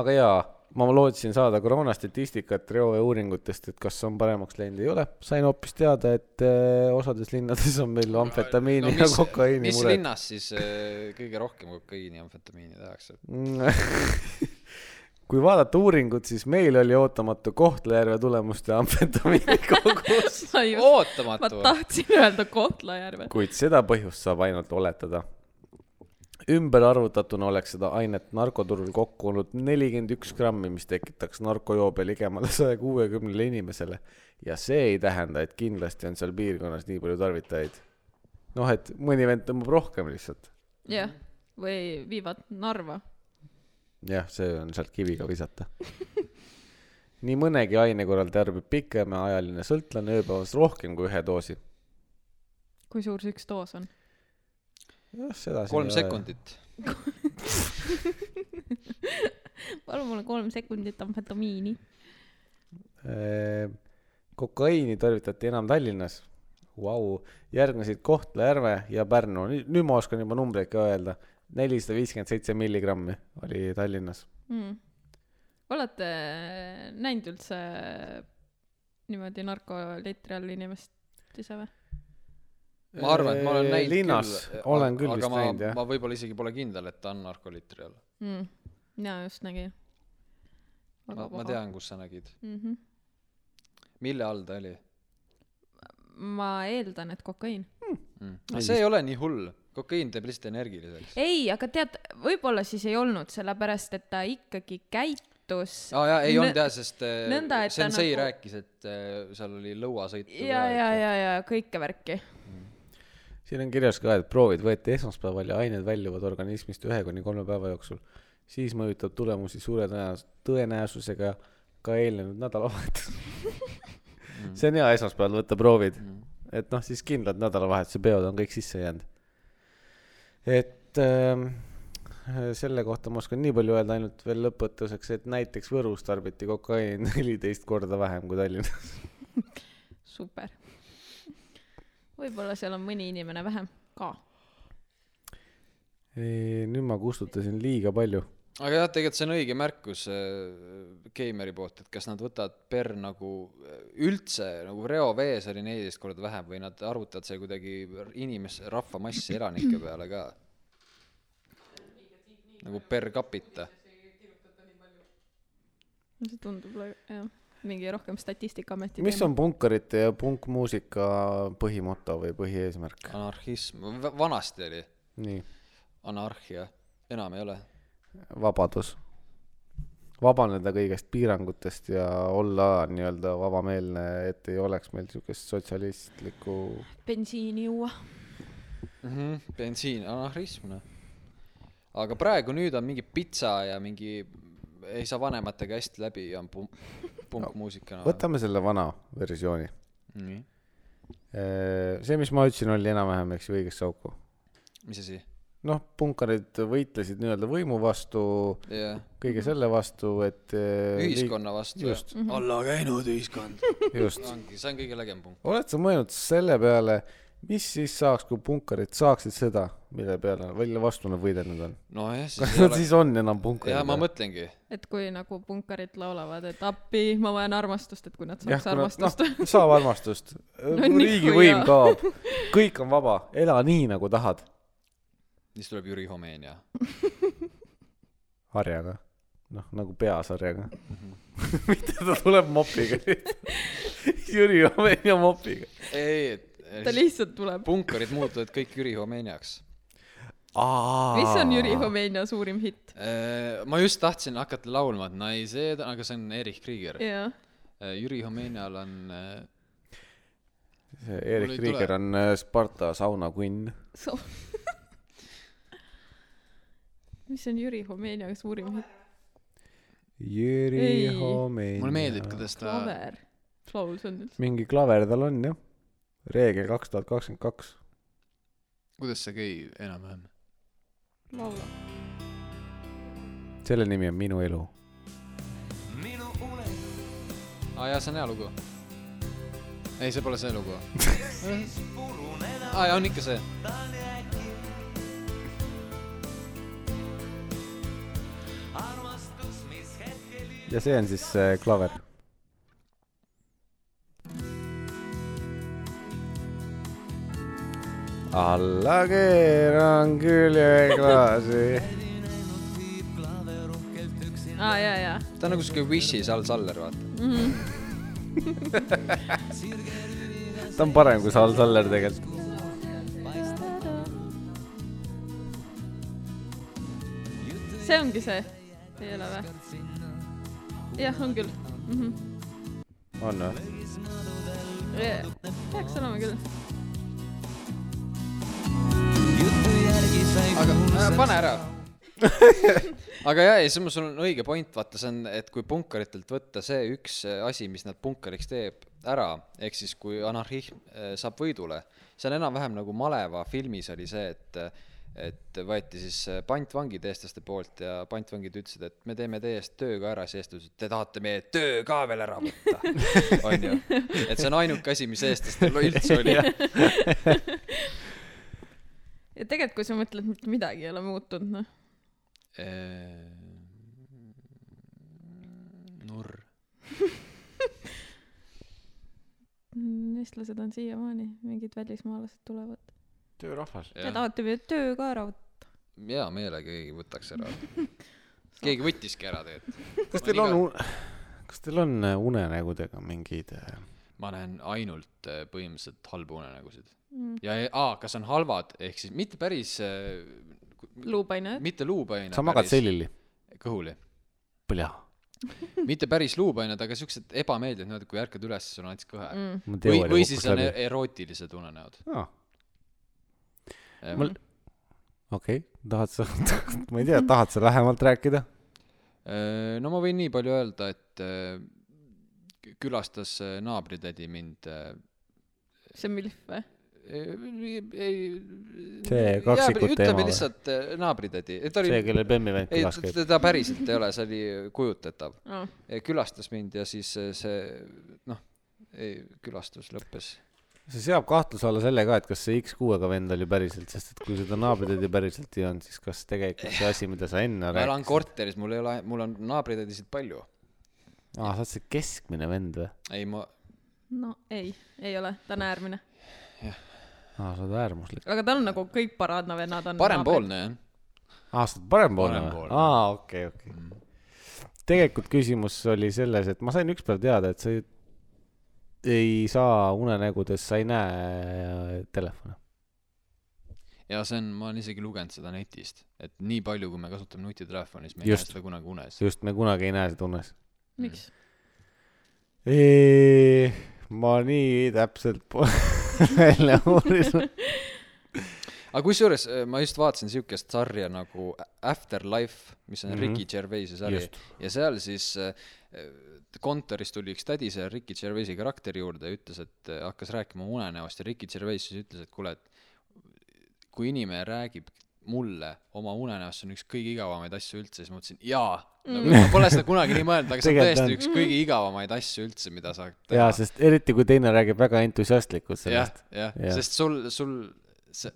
Speaker 1: aga jaa , ma lootsin saada koroonastatistikat reoveeuuringutest , et kas on paremaks läinud , ei ole . sain hoopis teada , et äh, osades linnades on meil amfetamiini no, ja kokaiini
Speaker 2: mis
Speaker 1: mured .
Speaker 2: linnas siis äh, kõige rohkem kokaiini ja amfetamiini tehakse ?
Speaker 1: kui vaadata uuringut , siis meil oli ootamatu Kohtla-Järve tulemuste amfetamiini kogus ,
Speaker 3: just , ma
Speaker 2: ootamatu .
Speaker 3: tahtsin öelda Kohtla-Järve .
Speaker 1: kuid seda põhjust saab ainult oletada ümberarvutatuna oleks seda ainet narkoturul kokku olnud nelikümmend üks grammi , mis tekitaks narkojoobe ligemale saja kuuekümnele inimesele ja see ei tähenda , et kindlasti on seal piirkonnas nii palju tarvitajaid . noh , et mõni vend tõmbab rohkem lihtsalt .
Speaker 3: jah , või viivad Narva .
Speaker 1: jah , see on sealt kiviga visata . nii mõnegi aine korral tarbib pikemaajaline sõltlane ööpäevas rohkem kui ühe doosi .
Speaker 3: kui suur see üks doos on ?
Speaker 1: jah , seda siin
Speaker 2: kolm
Speaker 1: ei ole.
Speaker 2: sekundit .
Speaker 3: palun mulle kolm sekundit amfetamiini .
Speaker 1: Ehm, kokaiini tarvitati enam Tallinnas . Vau , järgnesid Kohtla-Järve ja Pärnu , nüüd ma oskan juba numbreid ka öelda . nelisada viiskümmend seitse milligrammi oli Tallinnas .
Speaker 3: mm. . olete näinud üldse niimoodi narkoleetri all inimest ise või ?
Speaker 2: ma arvan , et ma olen näinud
Speaker 1: Äh, linnas
Speaker 2: küll .
Speaker 1: olen küll vist näinud jah .
Speaker 2: ma võib-olla isegi pole kindel , et ta on narkoliitri all .
Speaker 3: mm. ? mina just nägin . Mhm.
Speaker 2: ma ma . tean , kus sa nägid .
Speaker 3: Mm -hmm.
Speaker 2: mille all ta oli ?
Speaker 3: ma eeldan , et kokaiin .
Speaker 2: Mm. see ei ole nii hull , kokaiin teeb lihtsalt energiliseks .
Speaker 3: ei , aga tead , võib-olla siis ei olnud , sellepärast et ta ikkagi käitus
Speaker 2: aa jaa , ei
Speaker 3: Nõ-
Speaker 2: olnud jah , sest äh,
Speaker 3: nõnda, et ta
Speaker 2: sensei
Speaker 3: nagu-
Speaker 2: rääkis , et äh, seal oli lõuasõitu
Speaker 3: ja , ja , ja , ja kõike värki .
Speaker 1: siin on kirjas ka , et proovid võeti esmaspäeval ja ained väljuvad organismist ühe kuni kolme päeva jooksul . siis mõjutab tulemusi suure tõenäos- , tõenäosusega ka eelnenud nädalavahetus . see on hea esmaspäeval võtta proovid , et noh , siis kindlad nädalavahetuse peod on kõik sisse jäänud . et ähm, selle kohta ma oskan nii palju öelda ainult veel lõpetuseks , et näiteks Võrus tarbiti kokaiini neliteist korda vähem kui Tallinnas .
Speaker 3: super . võib-olla seal on mõni inimene vähem ka .
Speaker 1: nüüd ma kustutasin liiga palju .
Speaker 2: aga jah , tegelikult see on õige märkus äh, Keimeri poolt , et kas nad võtavad per nagu äh, üldse nagu reovees oli neliteist korda vähem või nad arvutavad see kuidagi inimes- , rahvamassi elanike peale ka . nagu per capita .
Speaker 3: see tundub , jah , mingi rohkem Statistikaameti
Speaker 1: mis on punkarite ja punkmuusika põhimoto või põhieesmärk ?
Speaker 2: Ah. anarhism , vanasti oli
Speaker 1: nii ,
Speaker 2: anarhia , enam ei ole .
Speaker 1: vabadus . vabaneda kõigest piirangutest ja olla nii-öelda vabameelne , et ei oleks meil niisugust sotsialistlikku ,
Speaker 3: bensiini juua .
Speaker 2: mm . -hmm. bensiin , anarhism noh . aga praegu nüüd on mingi pitsa ja mingi , ei saa vanematega hästi läbi ja on pump , punkmuusika no. .
Speaker 1: võtame selle vana versiooni .
Speaker 2: nii ,
Speaker 1: see , mis ma ütlesin , oli enam-vähem , eks ju , õigesse auku .
Speaker 2: mis asi ?
Speaker 1: noh , punkarid võitlesid nii-öelda võimu vastu ,
Speaker 2: jah ,
Speaker 1: kõige selle vastu , et
Speaker 2: Äh,
Speaker 1: eh,
Speaker 2: Mhm. ühiskonna vastu .
Speaker 1: just ,
Speaker 3: Mhm.
Speaker 2: alla käinud ühiskond .
Speaker 1: just .
Speaker 2: ongi , see on kõige lägem punkt .
Speaker 1: oled sa mõelnud selle peale , mis siis saaks , kui punkarid saaksid seda , mille peale välja vastu nad võidelnud on ?
Speaker 2: nojah , siis
Speaker 1: kas
Speaker 2: ei
Speaker 1: nad
Speaker 2: ole .
Speaker 1: siis on enam
Speaker 2: jah , ma
Speaker 1: punkarid ?
Speaker 2: mõtlengi .
Speaker 3: et kui nagu punkarid laulavad , et appi , ma vajan armastust , et kui nad saaks
Speaker 1: jah ,
Speaker 3: armastust .
Speaker 1: noh , saab armastust .
Speaker 3: nii kui
Speaker 1: riigivõim
Speaker 3: jaa.
Speaker 1: kaob , kõik on vaba , ela nii nagu tahad .
Speaker 2: siis tuleb Jüri Homenia .
Speaker 1: harjaga , noh nagu peasarjaga .
Speaker 2: Mhm.
Speaker 1: mitte ta tuleb mopiga . Jüri Jomenia mopiga .
Speaker 2: ei ,
Speaker 3: ta
Speaker 2: et
Speaker 3: lihtsalt tuleb .
Speaker 2: punkarid muutuvad kõik Jüri Homeniaks .
Speaker 3: mis on Jüri ? Homeenia suurim hitt ?
Speaker 2: Äh, ma just tahtsin hakata laulma , et naised , aga see on Erich Krieger .
Speaker 3: jah ,
Speaker 2: Jüri Homenial on äh, Mul
Speaker 1: Erik
Speaker 2: ei
Speaker 1: Riiger
Speaker 2: tule.
Speaker 1: on äh, Sparta sauna kunn .
Speaker 3: so- . mis on Jüri Homeenia suurim hitt ?
Speaker 1: Jüri
Speaker 3: Ei.
Speaker 1: Homenia .
Speaker 2: mulle meeldib , kuidas ta
Speaker 3: klaver . laul see on üldse .
Speaker 1: mingi klaver tal on jah , reegel kaks tuhat kakskümmend kaks .
Speaker 2: kuidas see käi enam-vähem
Speaker 3: laulab .
Speaker 1: selle nimi on Minu elu .
Speaker 4: minu unes
Speaker 2: aa jaa see on hea lugu ei see pole see lugu
Speaker 4: puruneda
Speaker 2: aa jaa on ikka see
Speaker 4: tahan äkki armastus , mis hetkel
Speaker 1: ja see on siis see klaver . alla keeran küljeklaasi .
Speaker 3: aa , ja , ja .
Speaker 2: ta on nagu siuke Wish'i Sal Saller vaata
Speaker 1: ta on parem kui Sal Saller tegelikult .
Speaker 3: see ongi see . ei ole vä ? jah , on küll mm . -hmm.
Speaker 1: on või ?
Speaker 3: peaks olema küll .
Speaker 2: aga äh, pane ära aga jaa ei sul sul on õige point vaata see on et kui punkaritelt võtta see üks äh, asi mis nad punkariks teeb ära ehk siis kui anarhism äh, saab võidule see on enam-vähem nagu maleva filmis oli see et äh, et võeti siis äh, pantvangid eestlaste poolt ja pantvangid ütlesid et me teeme teie eest töö ka ära siis eestlased ütlesid te tahate meie töö ka veel ära võtta onju et see on ainuke asi mis eestlastel üldse oli
Speaker 3: ja tegelikult , kui sa mõtled , mitte midagi ei ole muutunud , noh .
Speaker 1: Ehm,
Speaker 2: nurr .
Speaker 3: eestlased on siiamaani , mingid välismaalased tulevad .
Speaker 1: töörahvas .
Speaker 3: Te tahate meie töö ka ära võtta ?
Speaker 2: hea meelega keegi võtaks ära . keegi võttiski ära tegelikult .
Speaker 1: kas teil on , kas teil on äh, unenägudega mingid äh,
Speaker 2: ma näen ainult äh, põhimõtteliselt halbu unenägusid mm. . ja , aa , kas on halvad , ehk siis mitte päris äh, ,
Speaker 3: luupainajad .
Speaker 2: mitte luupaine .
Speaker 1: sa magad . selili ,
Speaker 2: kõhuli .
Speaker 1: põlja .
Speaker 2: mitte päris luupained , aga siuksed ebameeldivad niimoodi , kui ärkad üles , sul on näiteks kõhe mm. .
Speaker 1: või
Speaker 2: või , või siis on er- erootilised unenäod . Ehm,
Speaker 1: aa , mul , okei , tahad sa , ma ei tea , tahad sa lähemalt rääkida ?
Speaker 2: äh, no ma võin nii palju öelda , et äh, kü- külastas äh, naabritädi mind äh,
Speaker 3: see on Milf või ?
Speaker 2: ei , ei .
Speaker 1: See kaksikute ema
Speaker 2: ütleme
Speaker 1: või?
Speaker 2: lihtsalt äh, naabritädi , ta
Speaker 1: see ,
Speaker 2: oli ,
Speaker 1: kellel bemmi vend
Speaker 2: ei
Speaker 1: külas
Speaker 2: t-
Speaker 1: käib .
Speaker 2: teda päriselt ei ole , see oli kujutletav .
Speaker 3: aa ,
Speaker 2: külastas mind ja siis äh, see noh , külastus lõppes .
Speaker 1: see seab kahtluse alla selle ka , et kas see X6-ga vend oli päriselt , sest et kui seda naabritädi päriselt ei olnud , siis kas tegelikult see asi , mida sa enne
Speaker 2: ma elan
Speaker 1: rääkisid ,
Speaker 2: korteris , mul ei ole , mul on naabritädisid palju .
Speaker 1: aa , sa oled see keskmine vend või ?
Speaker 2: ei , ma ,
Speaker 3: no ei , ei ole , ta on äärmine .
Speaker 1: aa , sa oled äärmuslik .
Speaker 3: aga tal nagu kõik paraadna vennad on .
Speaker 2: parempoolne jah .
Speaker 1: aa , sa oled parempoolne Mm. või ?
Speaker 2: Parempoolne.
Speaker 1: aa , okei , okei . tegelikult küsimus oli selles , et ma sain ükspäev teada , et sa ei, ei saa unenägudes , sa ei näe telefone .
Speaker 2: ja see on , ma olen isegi lugenud seda netist , et nii palju , kui me kasutame nutitelefoni , siis me ei näe
Speaker 1: Just.
Speaker 2: seda kunagi unes .
Speaker 1: just , me kunagi ei näe seda unes .
Speaker 3: miks ?
Speaker 1: ma nii täpselt po- välja uurisin .
Speaker 2: aga kusjuures äh, ma just vaatasin siukest sarja nagu Afterlife , mis on mm -hmm. Ricky Gervaisi sari
Speaker 1: Mhm. Just.
Speaker 2: ja seal siis äh, kontoris tuli üks tädi selle Ricky Gervaisi karakteri juurde ja ütles , et äh, hakkas rääkima unenäost ja Ricky Gervais siis ütles , et kuule , et kui inimene räägib mulle oma unenäost , see on üks kõige igavamaid asju üldse , siis ma mõtlesin , jaa nagu, . ma pole seda kunagi nii mõelnud , aga see on
Speaker 1: Tegelikult on.
Speaker 2: tõesti üks kõige igavamaid asju üldse , mida sa
Speaker 1: jaa , sest eriti kui teine räägib väga entusiastlikult
Speaker 2: jah
Speaker 1: sellest .,
Speaker 2: jah
Speaker 1: Jah. ,
Speaker 2: sest sul , sul , sa ,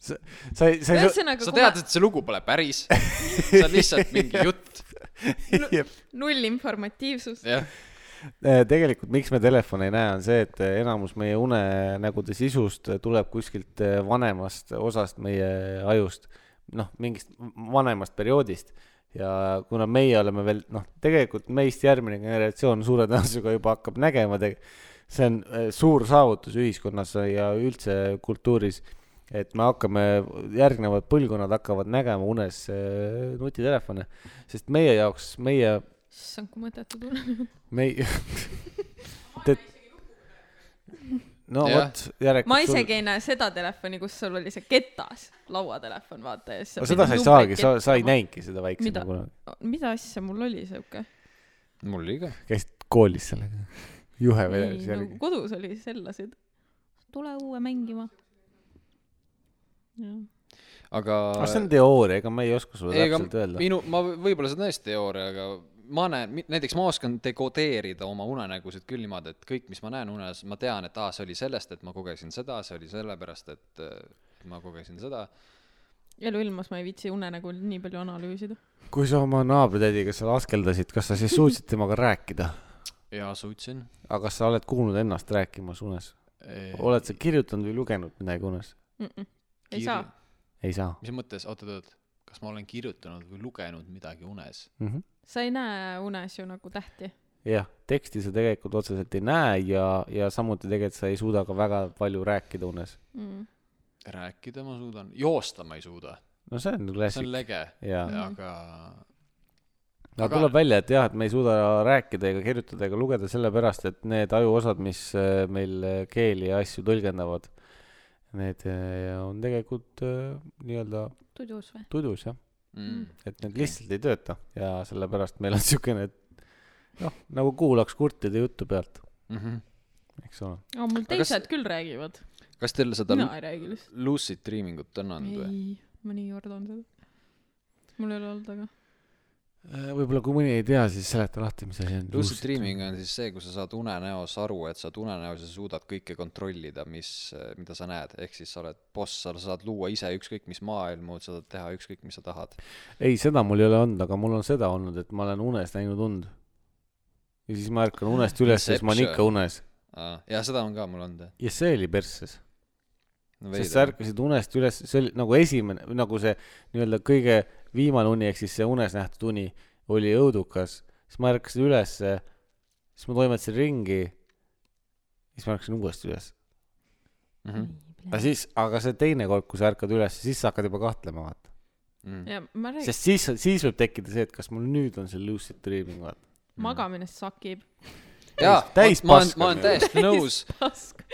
Speaker 1: sa ei , sa ei saa .
Speaker 3: ühesõnaga ,
Speaker 2: sa
Speaker 3: Nagu kui ma
Speaker 2: tead , et see lugu pole päris , see on lihtsalt mingi jutt ,
Speaker 3: null informatiivsust ,
Speaker 2: jah .
Speaker 1: Eh, tegelikult , miks me telefone ei näe , on see , et eh, enamus meie unenägude sisust tuleb kuskilt eh, vanemast osast meie ajust , noh , mingist vanemast perioodist . ja kuna meie oleme veel , noh , tegelikult meist järgmine generatsioon suure tõenäosusega juba hakkab nägema , see on eh, suur saavutus ühiskonnas ja üldse kultuuris , et me hakkame , järgnevad põlvkonnad hakkavad nägema unes eh, nutitelefone , sest meie jaoks , meie
Speaker 3: issand , kui mõttetu tunne .
Speaker 1: me ei Te... . no
Speaker 2: Jah.
Speaker 1: vot , järelikult .
Speaker 3: ma isegi ei näe seda telefoni , kus sul oli see ketas , lauatelefon , vaata ja siis .
Speaker 1: no seda sa ei saagi , sa , sa ei . näinudki seda
Speaker 3: Mida?
Speaker 1: väiksema kunagi .
Speaker 3: mida asja mul oli siuke ?
Speaker 2: mul oli ka .
Speaker 1: käisid koolis sellega ? juhe
Speaker 3: ei ,
Speaker 1: vedeles
Speaker 3: nagu
Speaker 1: järgi .
Speaker 3: kodus oli sellaseid . tule uue mängima .
Speaker 2: aga
Speaker 1: aga see on teooria , ega ma ei oska sulle
Speaker 2: ei, aga
Speaker 1: täpselt öelda .
Speaker 2: minu , ma võ- võib-olla see on tõesti teooria , aga ma näen , näiteks ma oskan dekodeerida oma unenägusid küll niimoodi , et kõik , mis ma näen unes , ma tean , et aa , see oli sellest , et ma kogesin seda , see oli sellepärast , et äh, ma kogesin seda .
Speaker 3: eluilmas ma ei viitsi unenägu nii palju analüüsida .
Speaker 1: kui sa oma naabritädiga seal askeldasid , kas sa siis suutsid temaga rääkida ?
Speaker 2: ja suutsin .
Speaker 1: aga kas sa oled kuulnud ennast rääkimas unes ? oled sa kirjutanud või lugenud midagi unes ?
Speaker 3: ei saa .
Speaker 1: ei saa
Speaker 2: mis mõttes , oot-oot-oot , kas ma olen kirjutanud või lugenud midagi unes ?
Speaker 1: mm . -hmm
Speaker 3: sa ei näe unes ju nagu tähti .
Speaker 1: jah , teksti sa tegelikult otseselt ei näe ja , ja samuti tegelikult sa ei suuda ka väga palju rääkida unes .
Speaker 3: Mm.
Speaker 2: rääkida ma suudan , joosta ma ei suuda ,
Speaker 1: no see on
Speaker 2: see on
Speaker 1: klassik .
Speaker 2: lege ,
Speaker 1: jaa .
Speaker 2: aga
Speaker 1: Mm. aga
Speaker 2: Aga-
Speaker 1: tuleb välja , et jah , et me ei suuda rääkida ega kirjutada ega lugeda sellepärast , et need ajuosad , mis äh, meil äh, keeli ja asju tõlgendavad , need äh, on tegelikult äh, nii-öelda
Speaker 3: tudjus või ?
Speaker 1: tudus jah ,
Speaker 2: mm,
Speaker 1: et need lihtsalt ei tööta ja sellepärast meil on siukene , noh , nagu kuulaks kurtide juttu pealt ,
Speaker 2: mm . -hmm.
Speaker 1: eks ole .
Speaker 3: aa , mul
Speaker 2: Aga kas-
Speaker 3: teised küll räägivad .
Speaker 2: kas teil seda
Speaker 3: mina
Speaker 2: no.
Speaker 3: ei räägi lihtsalt .
Speaker 2: lucid dreaming ut on olnud või ?
Speaker 3: ei , ma nii kardan seda . mul ei ole olnud , aga .
Speaker 1: Äh, võib-olla kui mõni ei tea , siis seleta lahti , mis asi on .
Speaker 2: Lucid dreaming on siis see , kui sa saad unenäos aru , et sa oled unenäos ja suudad kõike kontrollida , mis , mida sa näed , ehk siis sa oled boss , sa saad luua ise ükskõik mis maailmu , sa saad teha ükskõik , mis sa tahad .
Speaker 1: ei , seda mul ei ole olnud , aga mul on seda olnud , et ma olen unes näinud und . ja siis ma ärkan unest üles , siis ma olen ikka
Speaker 2: Inception.
Speaker 1: unes .
Speaker 2: ja seda on ka mul olnud .
Speaker 1: ja see oli persses ,
Speaker 2: No,
Speaker 1: sest sa ärkasid unest üles , see oli nagu esimene , nagu see nii-öelda kõige viimane uni , ehk siis see unes nähtud uni oli õudukas , siis ma ärkasin ülesse , siis ma toimetasin ringi siis ma läksin uuesti üles .
Speaker 2: mm .
Speaker 1: aga siis , aga see teine kord , kui sa ärkad üles , siis sa hakkad juba kahtlema , vaata .
Speaker 2: -hmm.
Speaker 3: ja ma räägin ,
Speaker 1: sest siis , siis võib tekkida see , et kas mul nüüd on see lucid dreaming , vaata .
Speaker 3: magamine sakib .
Speaker 2: jaa ,
Speaker 1: täis
Speaker 2: ma olen ,
Speaker 1: paska
Speaker 2: ma olen
Speaker 1: meil.
Speaker 2: täiesti nõus .
Speaker 3: pask .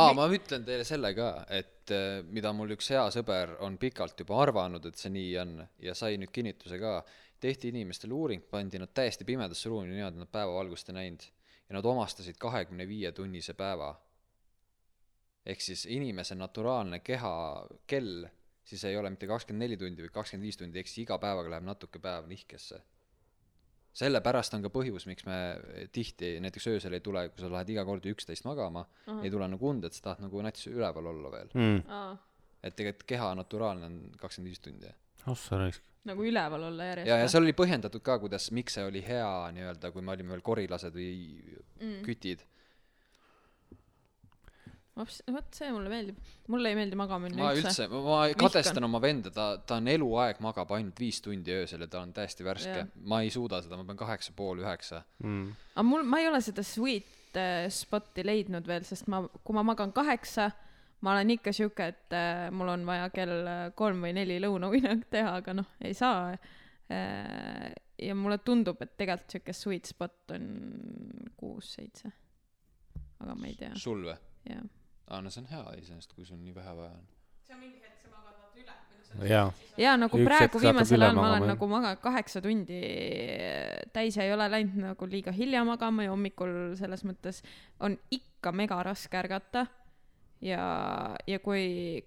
Speaker 2: aa , ma ütlen teile selle ka , et eh, mida mul üks hea sõber on pikalt juba arvanud , et see nii on ja sai nüüd kinnituse ka . tehti inimestele uuring , pandi nad täiesti pimedasse ruumi , niimoodi et nad päevavalgust ei näinud ja nad omastasid kahekümne viie tunnise päeva . ehk siis inimese naturaalne keha , kell , siis ei ole mitte kakskümmend neli tundi või kakskümmend viis tundi , ehk siis iga päevaga läheb natuke päev nihkesse sellepärast on ka põhjus , miks me tihti näiteks öösel ei tule , kui sa lähed iga kord üksteist magama ,
Speaker 3: Mm.
Speaker 2: ei tule nagu und , et sa tahad nagu nats üleval olla veel . et tegelikult keha naturaalne on kakskümmend viis tundi .
Speaker 1: oh sa raisk .
Speaker 3: nagu üleval olla järjest .
Speaker 2: ja , ja seal oli põhjendatud ka , kuidas , miks see oli hea nii-öelda , kui me olime veel korilased või
Speaker 3: Mm.
Speaker 2: kütid .
Speaker 3: Vops, vot see mulle meeldib . mulle ei meeldi magamine
Speaker 2: ma üldse ,
Speaker 3: üldse .
Speaker 2: ma katestan oma venda , ta , ta on eluaeg magab ainult viis tundi öösel ja ta on täiesti värske
Speaker 3: Jah. .
Speaker 2: ma ei suuda seda , ma pean kaheksa pool üheksa .
Speaker 3: aga mul , ma ei ole seda sweet äh, spot'i leidnud veel , sest ma , kui ma magan kaheksa , ma olen ikka sihuke , et äh, mul on vaja kell äh, kolm või neli lõunauinak teha , aga noh , ei saa äh, . ja mulle tundub , et tegelikult sihuke sweet spot on kuus-seitse . aga ma ei tea ,
Speaker 2: sul või ?
Speaker 3: jah .
Speaker 2: aa , no see on hea iseenesest , kui sul nii vähe vaja on .
Speaker 1: jaa .
Speaker 3: jaa , nagu
Speaker 1: Üks
Speaker 3: Üks
Speaker 1: hetk
Speaker 3: praegu
Speaker 1: sa hakkad
Speaker 3: viimasel
Speaker 1: üle
Speaker 3: ajal ma
Speaker 1: magama,
Speaker 3: olen
Speaker 1: jah.
Speaker 3: nagu maganud kaheksa tundi täis ja ei ole läinud nagu liiga hilja magama ja hommikul selles mõttes on ikka mega raske ärgata . ja , ja kui ,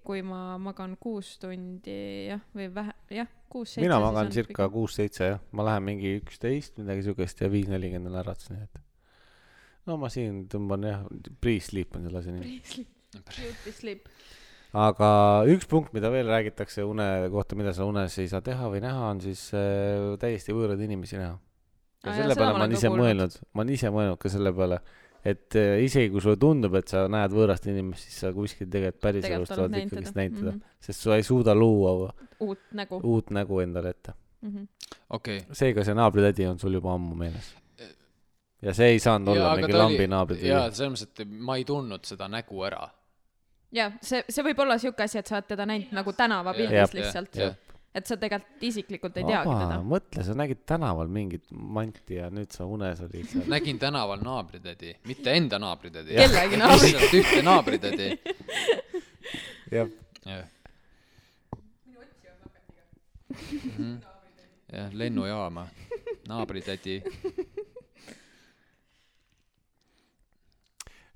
Speaker 3: kui ma magan kuus tundi jah , või vähe , jah , kuus-seitse .
Speaker 1: mina magan circa kuus-seitse jah , ma lähen mingi üksteist midagi siukest ja viis nelikümmend on äratus , nii et . no ma siin tõmban jah , pre-sleep on selle asja nimi .
Speaker 3: Beauty sleep .
Speaker 1: aga üks punkt , mida veel räägitakse une kohta , mida sa unes ei saa teha või näha , on siis äh, täiesti võõraid inimesi näha . ja
Speaker 3: Aa, jaa,
Speaker 1: selle
Speaker 3: seda
Speaker 1: peale
Speaker 3: ma
Speaker 1: ma
Speaker 3: olen
Speaker 1: olen
Speaker 3: ka
Speaker 1: ise
Speaker 3: kuulnud.
Speaker 1: mõelnud , ma olen ise mõelnud ka selle peale , et äh, isegi kui sulle tundub , et sa näed võõrast inimest , siis sa kuskil tegelikult
Speaker 3: Tegelikult
Speaker 1: päriselus
Speaker 3: oled
Speaker 1: tahad
Speaker 3: näinud
Speaker 1: ikkagist
Speaker 3: teda.
Speaker 1: näitada mm ,
Speaker 3: Mhm.
Speaker 1: -hmm. sest sa ei suuda luua
Speaker 3: uut nägu uh. .
Speaker 1: uut nägu endale ette .
Speaker 3: Mm -hmm.
Speaker 2: okei okay. .
Speaker 1: seega see naabritädi on sul juba ammu meeles . ja see ei saanud olla mingi lambi naabritädi
Speaker 6: jaa ,. selles mõttes , et ma ei tundnud seda nägu ära .
Speaker 3: ja see , see võib olla siuke asi , et sa oled teda näinud nagu
Speaker 1: Jah,
Speaker 3: tänavapildis
Speaker 2: jah,
Speaker 3: lihtsalt
Speaker 2: jah. .
Speaker 3: et sa tegelikult isiklikult ei teagi teda .
Speaker 1: mõtle , sa nägid tänaval mingit manti ja nüüd sa unes olid seal .
Speaker 6: nägin tänaval naabritädi , mitte enda naabritädi .
Speaker 3: Kellegi naabri-
Speaker 6: lihtsalt ühte naabritädi .
Speaker 1: jah ,
Speaker 6: jah ,
Speaker 2: Mhm.
Speaker 6: jah , lennujaama , naabritädi .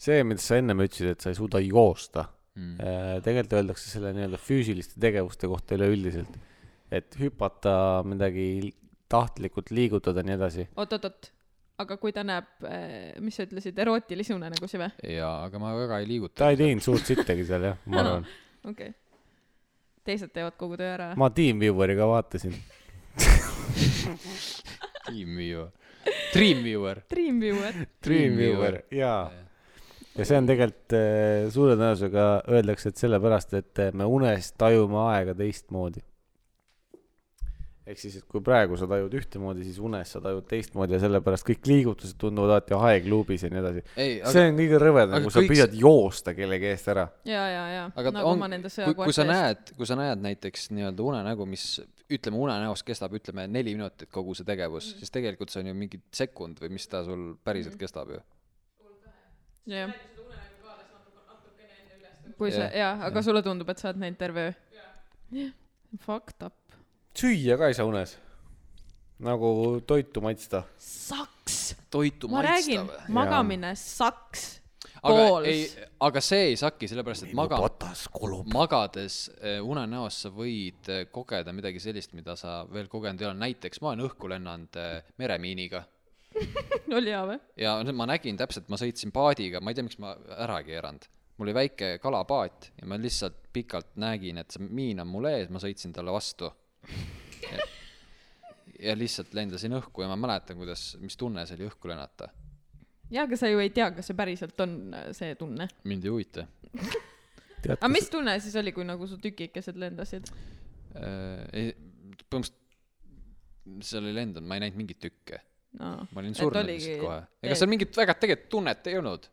Speaker 1: see , mida sa ennem ütlesid , et sa ei suuda joosta
Speaker 2: Mhm.
Speaker 1: mm. . tegelikult öeldakse selle nii-öelda füüsiliste tegevuste kohta üleüldiselt , et hüpata , midagi tahtlikult liigutada , nii edasi .
Speaker 3: oot-oot-oot , aga kui ta näeb , mis sa ütlesid , erootilise unenägusid või ?
Speaker 6: jaa , aga ma väga ei liiguta .
Speaker 1: ta ei teinud suurt sittagi seal jah , ma arvan .
Speaker 3: okei okay. . teised teevad kogu töö ära .
Speaker 1: ma Teamviewer'i ka vaatasin .
Speaker 6: Dreamviewer , Dreamviewer .
Speaker 3: Dreamviewer .
Speaker 1: Dreamviewer , jaa . ja see on tegelikult äh, suure tõenäosusega öeldakse , et sellepärast , et äh, me unes tajume aega teistmoodi . ehk siis , et kui praegu sa tajud ühtemoodi , siis unes sa tajud teistmoodi ja sellepärast kõik liigutused tunduvad alati aegluubis ja nii edasi .
Speaker 2: ei , aga
Speaker 1: see on kõige rõvedam ,
Speaker 2: aga
Speaker 1: kui sa
Speaker 2: kõik
Speaker 1: püüad joosta kellegi eest ära .
Speaker 3: ja , ja , ja .
Speaker 2: aga
Speaker 3: nagu
Speaker 2: on
Speaker 3: ma nende ,
Speaker 2: kui , kui sa
Speaker 3: sõjakoerte eest .
Speaker 2: näed , kui sa näed näiteks nii-öelda unenägu , mis ütleme , unenäos kestab , ütleme neli minutit kogu see tegevus
Speaker 3: Mhm.
Speaker 2: mm , -hmm. siis tegelikult see on ju mingi sekund või mis ta sul päriselt mm -hmm. kestab ju .
Speaker 3: jah . kui sa ,
Speaker 2: Jah,
Speaker 3: jaa , aga sulle tundub , et sa oled näinud terve öö ? Fucked up .
Speaker 1: süüa ka ei saa unes . nagu toitu maitsta .
Speaker 3: saks .
Speaker 2: toitu
Speaker 3: ma räägin , magamine , saks .
Speaker 2: aga
Speaker 3: pools.
Speaker 2: ei , aga see ei saki , sellepärast et maga- ,
Speaker 1: patas kulub .
Speaker 2: magades eh, unenäos sa võid eh, kogeda midagi sellist , mida sa veel kogenud ei ole , näiteks ma olen õhku lennanud eh, meremiiniga
Speaker 3: oli hea või ?
Speaker 2: ja nüüd ma nägin täpselt , ma sõitsin paadiga , ma ei tea , miks ma ära ei keeranud . mul oli väike kalapaat ja ma lihtsalt pikalt nägin , et see miin on mul ees , ma sõitsin talle vastu . ja lihtsalt lendasin õhku ja ma mäletan , kuidas , mis tunne see oli õhku lennata .
Speaker 3: jaa , aga sa ju ei tea , kas see päriselt on äh, see tunne .
Speaker 2: mind ei huvita .
Speaker 1: tead ,
Speaker 3: aga mis tunne siis oli , kui nagu su tükikesed lendasid ?
Speaker 6: Äh,
Speaker 2: ei , põhimõtteliselt seal ei lendanud , ma ei näinud mingit tükke .
Speaker 3: aa
Speaker 2: ma olin
Speaker 3: Et
Speaker 2: surnud
Speaker 3: oligi
Speaker 2: vist kohe . ega
Speaker 3: teed.
Speaker 2: seal mingit väga tegelikult tunnet ei olnud .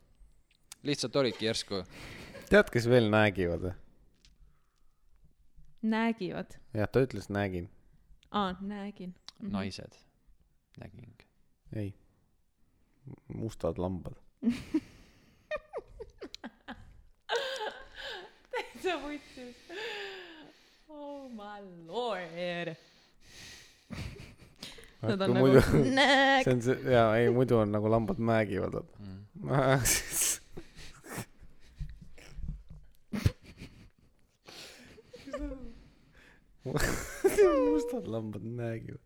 Speaker 6: lihtsalt olidki järsku .
Speaker 3: Mhm.
Speaker 1: tead , kes veel näägivad eh? või ?
Speaker 3: näägivad .
Speaker 1: jah , ta ütles näägin .
Speaker 3: aa , näägin .
Speaker 6: naised . nägin .
Speaker 1: ei . mustad lambad .
Speaker 3: täitsa vutsis . oh my lord . Nad on nagu
Speaker 1: muidu ,
Speaker 3: nääg-
Speaker 1: see . on see , jaa , ei muidu on nagu lambad määgivad , vaata . mustad lambad määgivad .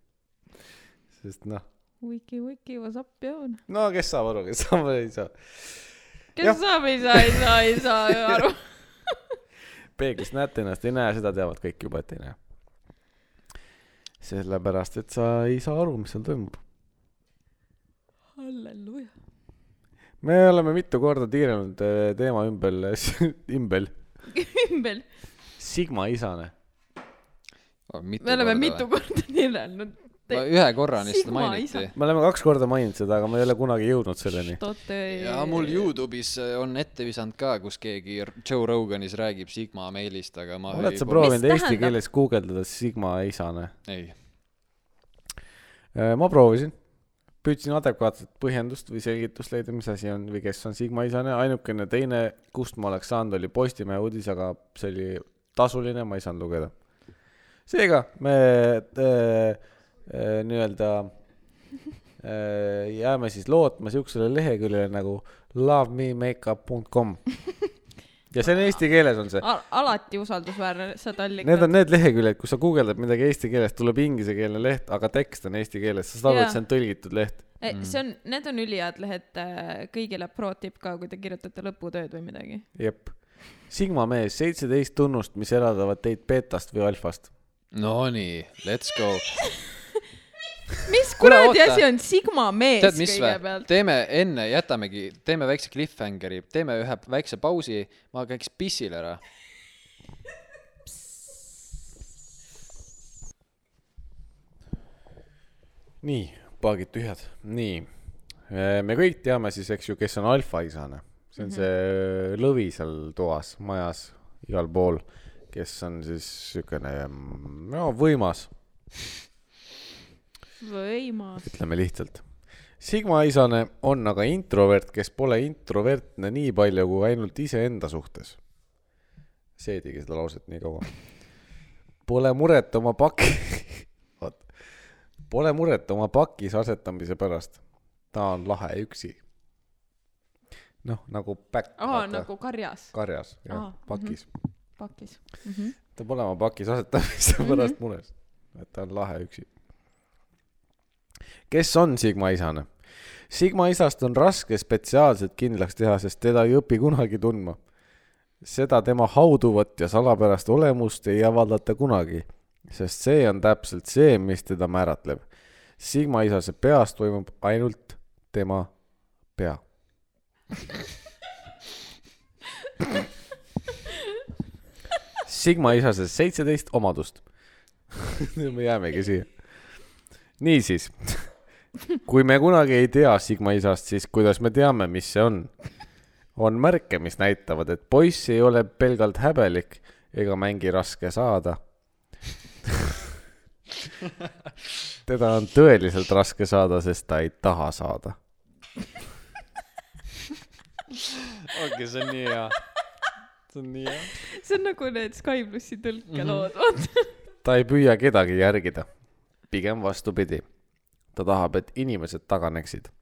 Speaker 1: sest noh ,
Speaker 3: Wiki , wiki , what's up , Joon ?
Speaker 1: no kes saab aru , kes saab , ei saa . Jah.
Speaker 3: kes saab , ei saa , ei saa , ei saa ju aru .
Speaker 1: peeglist näete ennast , ei näe , seda teavad kõik juba , et ei näe . sellepärast , et sa ei saa aru , mis seal toimub .
Speaker 3: halleluuja .
Speaker 1: me oleme mitu korda tiirelnud eh, teema ümber , ümber
Speaker 3: Kimbel ,
Speaker 1: Sigma isane .
Speaker 6: Oh,
Speaker 3: me oleme mitu . korda nirelnud .
Speaker 6: ma ühe korra neist
Speaker 3: Sigma isa.
Speaker 6: mainiti .
Speaker 1: me oleme kaks korda maininud seda , aga me ei ole kunagi jõudnud selleni .
Speaker 6: ja mul . Youtube'is äh, on ette visanud ka , kus keegi R- Joe Roganis räägib Sigma meilist , aga ma .
Speaker 1: oled sa
Speaker 3: Mis
Speaker 1: proovinud eesti
Speaker 3: tähendab?
Speaker 1: keeles guugeldada Sigma isane ?
Speaker 6: ei ,
Speaker 1: Äh, ma proovisin , püüdsin adekvaatset põhjendust või selgitust leida , mis asi on või kes on Sigma isane , ainukene teine , kust ma oleks saanud , oli Postimehe uudis , aga see oli tasuline , ma ei saanud lugeda . seega me äh, äh, nii-öelda äh, jääme siis lootma siuksele leheküljele nagu lovememakeup.com ja see on eesti keeles on see .
Speaker 3: alati usaldusväärne , sa tallikad .
Speaker 1: Need on need leheküljed , kus sa guugeldad midagi eesti keeles , tuleb inglisekeelne leht , aga tekst on eesti keeles , sa saad aru ,
Speaker 3: Jaa.
Speaker 1: et see on tõlgitud leht .
Speaker 3: Eh, see on ,
Speaker 6: Mm.
Speaker 3: need on ülihead lehed , kõigile pro tipp ka , kui te kirjutate lõputööd või midagi .
Speaker 1: jep . Sigma mees , seitseteist tunnust , mis eraldavad teid beetast või alfast .
Speaker 6: Nonii , let's go .
Speaker 3: mis
Speaker 6: Kuule,
Speaker 3: kuradi
Speaker 6: oota.
Speaker 3: asi on Sigma mees
Speaker 6: tead , mis vä
Speaker 3: kõigepealt ?,
Speaker 6: teeme enne , jätamegi , teeme väikse cliffhangeri , teeme ühe väikse pausi , ma käiks pissil ära .
Speaker 1: nii , paagid tühjad . nii , me kõik teame siis , eks ju , kes on alfaisane . see on see lõvi seal toas , majas , igal pool , kes on siis siukene , no võimas
Speaker 3: võimas .
Speaker 1: ütleme lihtsalt . Sigma isane on aga introvert , kes pole introvertne nii palju kui ainult iseenda suhtes . seedigi seda lauset nii kaua . Pole muret oma paki , oot , pole muret oma pakis asetamise pärast . ta on lahe üksi . noh , nagu päkk .
Speaker 3: aa , nagu karjas ,
Speaker 1: karjas , jah
Speaker 3: Aa, , mhm.
Speaker 1: pakis .
Speaker 3: pakis .
Speaker 1: ta pole oma pakis asetamise pärast mures , et ta on lahe üksi . kes on Sigma isane ? Sigma isast on raske spetsiaalselt kindlaks teha , sest teda ei õpi kunagi tundma . seda tema hauduvat ja salapärast olemust ei avaldata kunagi , sest see on täpselt see , mis teda määratleb . Sigma isase peas toimub ainult tema pea . Sigma isases seitseteist omadust . me jäämegi siia . niisiis , kui me kunagi ei tea Sigma isast , siis kuidas me teame , mis see on ? on märke , mis näitavad , et poiss ei ole pelgalt häbelik ega mängi raske saada . teda on tõeliselt raske saada , sest ta ei taha saada .
Speaker 6: okei , see on nii hea .
Speaker 1: see on nii hea .
Speaker 3: see on nagu need Sky plussi tõlkelood , vaata .
Speaker 1: ta ei püüa kedagi järgida . pigem vastupidi . ta tahab , et inimesed taganeksid .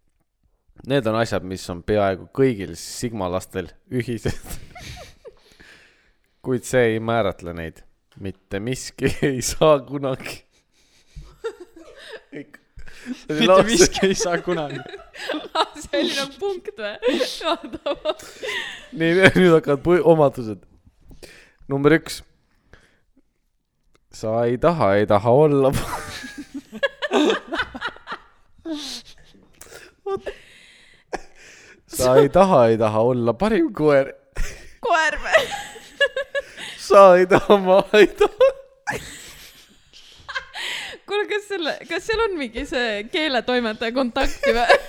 Speaker 1: Need on asjad , mis on peaaegu kõigil Sigma lastel ühised . kuid see ei määratle neid . mitte miski ei saa kunagi . kõik .
Speaker 6: mitte . miski ei saa kunagi .
Speaker 3: see oli nagu punkt või ?
Speaker 1: nii , nüüd hakkavad põhi- omadused . number üks . sa ei taha , ei taha olla . sa ei taha , ei taha olla parim koer .
Speaker 3: koer või ?
Speaker 1: sa ei taha , ma ei taha .
Speaker 3: kuule , kas selle , kas seal on mingi see keeletoimetaja kontakti või ?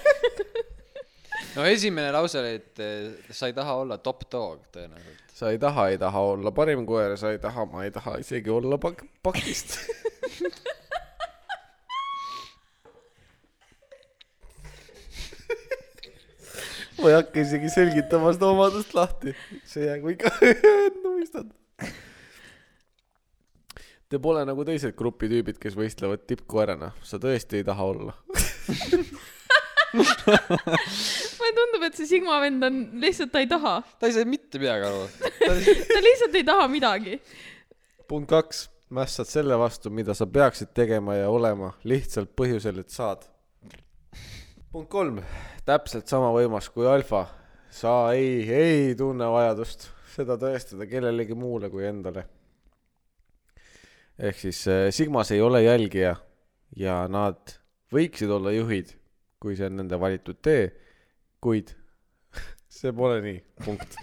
Speaker 6: no esimene lause oli , et eh, sa ei taha olla top dog tõenäoliselt .
Speaker 1: sa ei taha , ei taha olla parim koer , sa ei taha , ma ei taha isegi olla pak- , pakist . ma ei hakka isegi selgitama seda omadust lahti , see jäägu ikka enda mõistad . Te pole nagu teised grupi tüübid , kes võistlevad tippkoerana , sa tõesti ei taha olla .
Speaker 3: mulle tundub , et see Sigma vend on lihtsalt , ta ei taha ,
Speaker 6: ta ei saa mitte midagi aru .
Speaker 3: ta lihtsalt ei taha midagi .
Speaker 1: punkt kaks , mässad selle vastu , mida sa peaksid tegema ja olema lihtsalt põhjusel , et saad . punkt kolm , täpselt sama võimas kui alfa . sa ei , ei tunne vajadust seda tõestada kellelegi muule kui endale . ehk siis eh, Sigmas ei ole jälgija ja nad võiksid olla juhid , kui see on nende valitud tee , kuid see pole nii , punkt .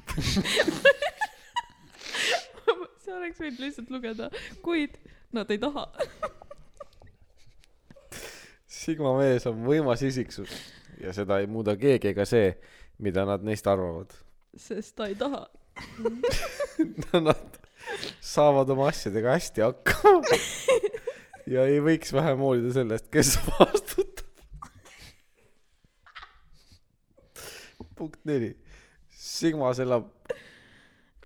Speaker 3: sa oleks võinud lihtsalt lugeda , kuid nad ei taha .
Speaker 1: Sigma mees on võimas isiksus ja seda ei muuda keegi ega see , mida nad neist arvavad .
Speaker 3: sest ta ei taha .
Speaker 1: Nad saavad oma asjadega hästi hakkama ja ei võiks vähem hoolida sellest , kes vastutab . punkt neli . Sigmas elab .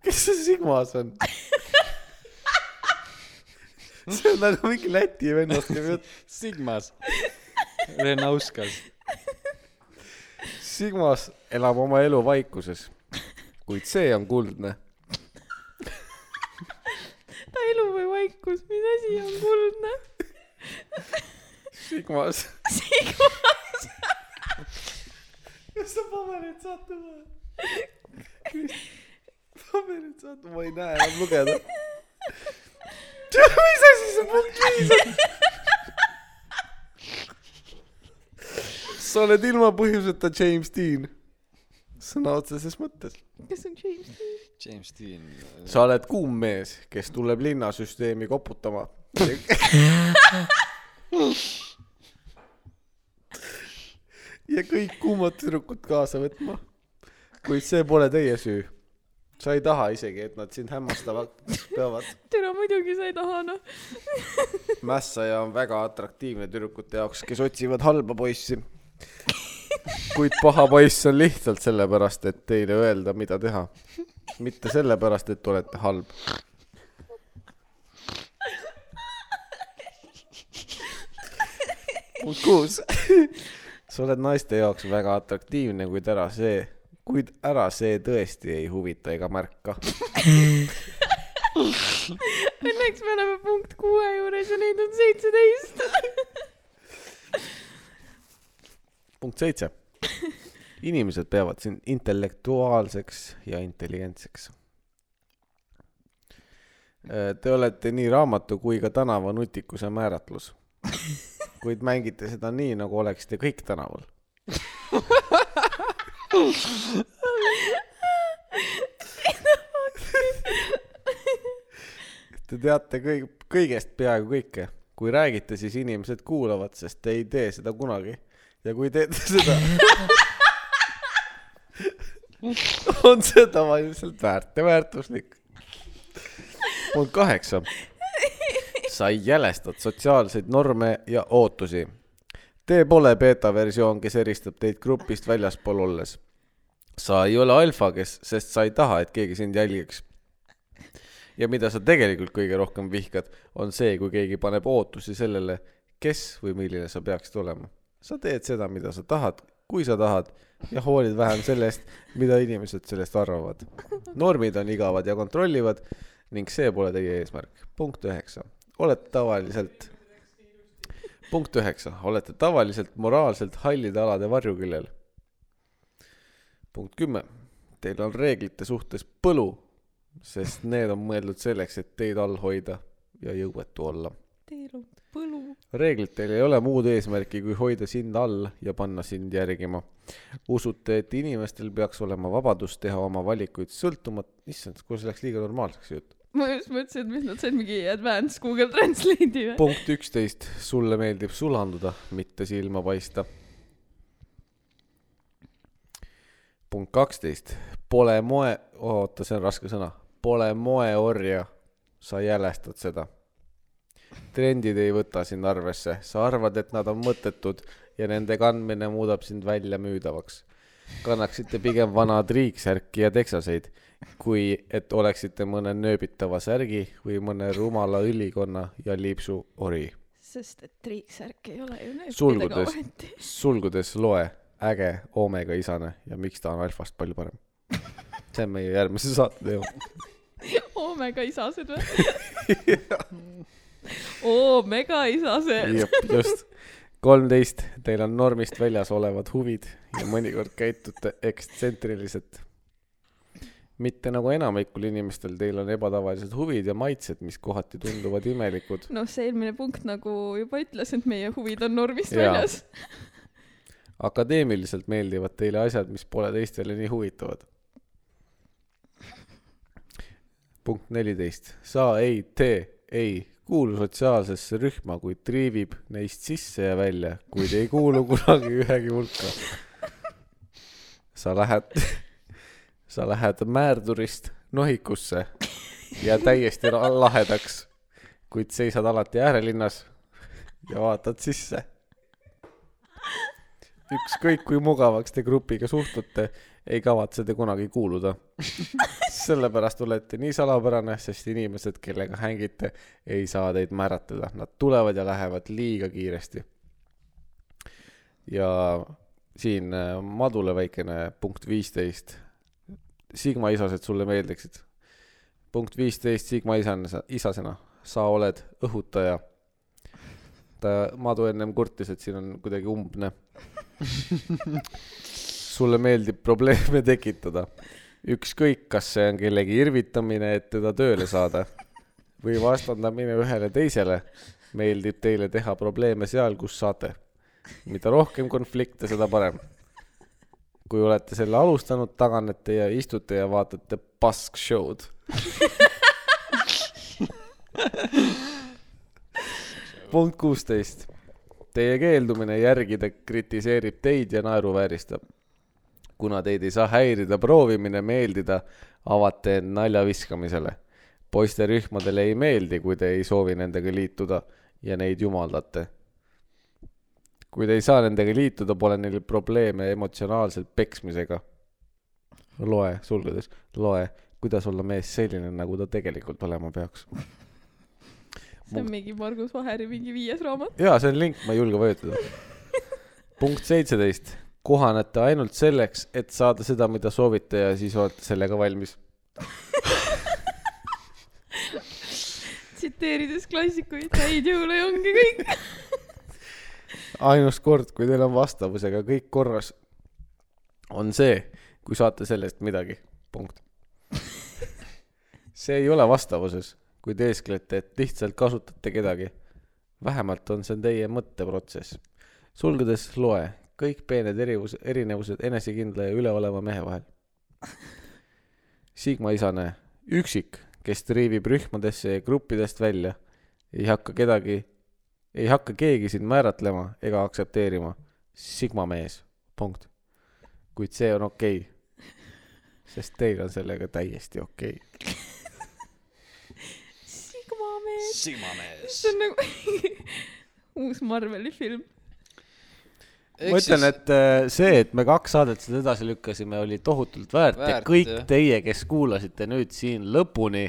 Speaker 1: kes see Sigmas on ? see on nagu mingi Läti vennast ja jutt .
Speaker 6: Sigmas . Renauskas .
Speaker 1: Sigmas elab oma elu vaikuses , kuid see on kuldne .
Speaker 3: ta elu või vaikus , mis asi on kuldne ?
Speaker 1: Sigmas ,
Speaker 3: Sigmas ,
Speaker 1: kas sa paberit saad tuua ? paberit saad , ma ei näe enam lugeda . mis asi see punkt viis on ? sa oled ilma põhjuseta James Dean , sõna otseses mõttes .
Speaker 3: kes on James Dean ?
Speaker 6: James Dean . eh,
Speaker 1: sa oled kuum mees , kes tuleb linnasüsteemi koputama . ja kõik kuumad tüdrukud kaasa võtma . kuid see pole teie süü . sa ei taha isegi , et nad sind hämmastavad , peavad .
Speaker 3: tere , muidugi sa ei taha , noh .
Speaker 1: mässaja on väga atraktiivne tüdrukute jaoks , kes otsivad halba poissi . kuid paha poiss on lihtsalt sellepärast , et teile öelda , mida teha . mitte sellepärast , et olete halb . punkt kuus . sa oled naiste jaoks väga atraktiivne , kuid ära see , kuid ära see tõesti ei huvita ega märka .
Speaker 3: Õnneks me oleme punkt kuue juures ja neid on seitseteist .
Speaker 1: punkt seitse . inimesed peavad sind intellektuaalseks ja intelligentseks . Te olete nii raamatu kui ka tänava nutikuse määratlus . kuid mängite seda nii , nagu oleksite kõik tänaval . Te teate kõik , kõigest peaaegu kõike . kui räägite , siis inimesed kuulavad , sest te ei tee seda kunagi . ja kui teete seda , on see tavaliselt väärt ja väärtuslik . punkt kaheksa . sa jälestad sotsiaalseid norme ja ootusi . Te pole beeta versioon , kes eristab teid grupist väljaspool olles . sa ei ole alfa , kes , sest sa ei taha , et keegi sind jälgiks ja mida sa tegelikult kõige rohkem vihkad , on see , kui keegi paneb ootusi sellele , kes või milline sa peaksid olema . sa teed seda , mida sa tahad , kui sa tahad ja hoolid vähem sellest , mida inimesed sellest arvavad . normid on igavad ja kontrollivad ning see pole teie eesmärk . punkt üheksa , olete tavaliselt , punkt üheksa , olete tavaliselt moraalselt hallide alade varjuküljel . punkt kümme , teil on reeglite suhtes põlu sest need on mõeldud selleks , et teid all hoida ja jõuetu olla .
Speaker 3: Teil on põlu .
Speaker 1: reeglitel ei ole muud eesmärki , kui hoida sind all ja panna sind järgima . usute , et inimestel peaks olema vabadus teha oma valikuid sõltumat- , issand , kuule , see läks liiga normaalseks see jutt .
Speaker 3: ma just mõtlesin , et mis nad said mingi advanced Google Translate'i või ?
Speaker 1: punkt üksteist , sulle meeldib sulanduda , mitte silma paista . punkt kaksteist , pole moe , oota , see on raske sõna , pole moeorja , sa jälestad seda . trendid ei võta sind arvesse , sa arvad , et nad on mõttetud ja nende kandmine muudab sind väljamüüdavaks . kannaksite pigem vana triiksärki ja teksaseid , kui et oleksite mõne nööbitava särgi või mõne rumala ülikonna ja liipsu ori .
Speaker 3: sest et triiksärk ei ole ju nööpidega
Speaker 1: Sulgudes.
Speaker 3: ometi .
Speaker 1: sulgudes loe äge oomega isane ja miks ta on alfast palju parem . see on meie järgmise saate teema .
Speaker 3: Omega isased või ? Omega isased .
Speaker 1: just . kolmteist , teil on normist väljas olevad huvid ja mõnikord käitute ekstsentriliselt . mitte nagu enamikul inimestel , teil on ebatavalised huvid ja maitsed , mis kohati tunduvad imelikud ,
Speaker 3: noh , see eelmine punkt nagu juba ütles , et meie huvid on normist
Speaker 1: Jaa.
Speaker 3: väljas .
Speaker 1: akadeemiliselt meeldivad teile asjad , mis pole teistele nii huvitavad . punkt neliteist , sa ei tee , ei kuulu sotsiaalsesse rühma , kuid triivib neist sisse ja välja , kuid ei kuulu kunagi ühegi hulka . sa lähed , sa lähed määrdurist nohikusse ja täiesti ra- lahedaks , kuid seisad alati äärelinnas ja vaatad sisse ükskõik kui mugavaks te grupiga suhtute , ei kavatse te kunagi kuuluda . sellepärast olete nii salapärane , sest inimesed , kellega hängite , ei saa teid määratleda , nad tulevad ja lähevad liiga kiiresti . ja siin äh, Madule väikene punkt viisteist . Sigma isased sulle meeldiksid ? punkt viisteist Sigma isana , isasena , sa oled õhutaja . ta , Madu ennem kurtis , et siin on kuidagi umbne sulle meeldib probleeme tekitada . ükskõik , kas see on kellegi irvitamine , et teda tööle saada või vastandamine ühele teisele , meeldib teile teha probleeme seal , kus saate . mida rohkem konflikte , seda parem . kui olete selle alustanud , taganete ja istute ja vaatate pask show'd . punkt kuusteist Teie keeldumine järgida kritiseerib teid ja naeruvääristab . kuna teid ei saa häirida proovimine meeldida , avate end naljaviskamisele . poisterühmadele ei meeldi , kui te ei soovi nendega liituda ja neid jumaldate . kui te ei saa nendega liituda , pole neil probleeme emotsionaalselt peksmisega . loe , sulgudes , loe , kuidas olla mees selline , nagu ta tegelikult olema peaks .
Speaker 3: see on mingi Margus Vaheri mingi viies raamat .
Speaker 1: jaa , see on link , ma ei julge vajutada . punkt seitseteist , kohanete ainult selleks , et saada seda , mida soovite ja siis olete sellega valmis .
Speaker 3: tsiteerides klassikuid , häid jõule ja ongi kõik .
Speaker 1: ainus kord , kui teil on vastavusega kõik korras , on see , kui saate sellest midagi , punkt . see ei ole vastavuses , kui teesklete , et lihtsalt kasutate kedagi . vähemalt on see teie mõtteprotsess . sulgedes loe kõik peened erivus , erinevused enesekindla ja üleoleva mehe vahel . Sigma isane , üksik , kes triivib rühmadesse ja gruppidest välja , ei hakka kedagi ei hakka keegi sind määratlema ega aktsepteerima . Sigma mees , punkt . kuid see on okei okay, . sest teil on sellega täiesti okei okay. .
Speaker 3: Sigma mees .
Speaker 6: simamees
Speaker 3: see on nagu uus Marveli film .
Speaker 1: ma ütlen , et äh, see , et me kaks saadet seda edasi lükkasime , oli tohutult väärt, väärt ja
Speaker 6: Väärt,
Speaker 1: kõik
Speaker 6: jah.
Speaker 1: teie , kes kuulasite nüüd siin lõpuni .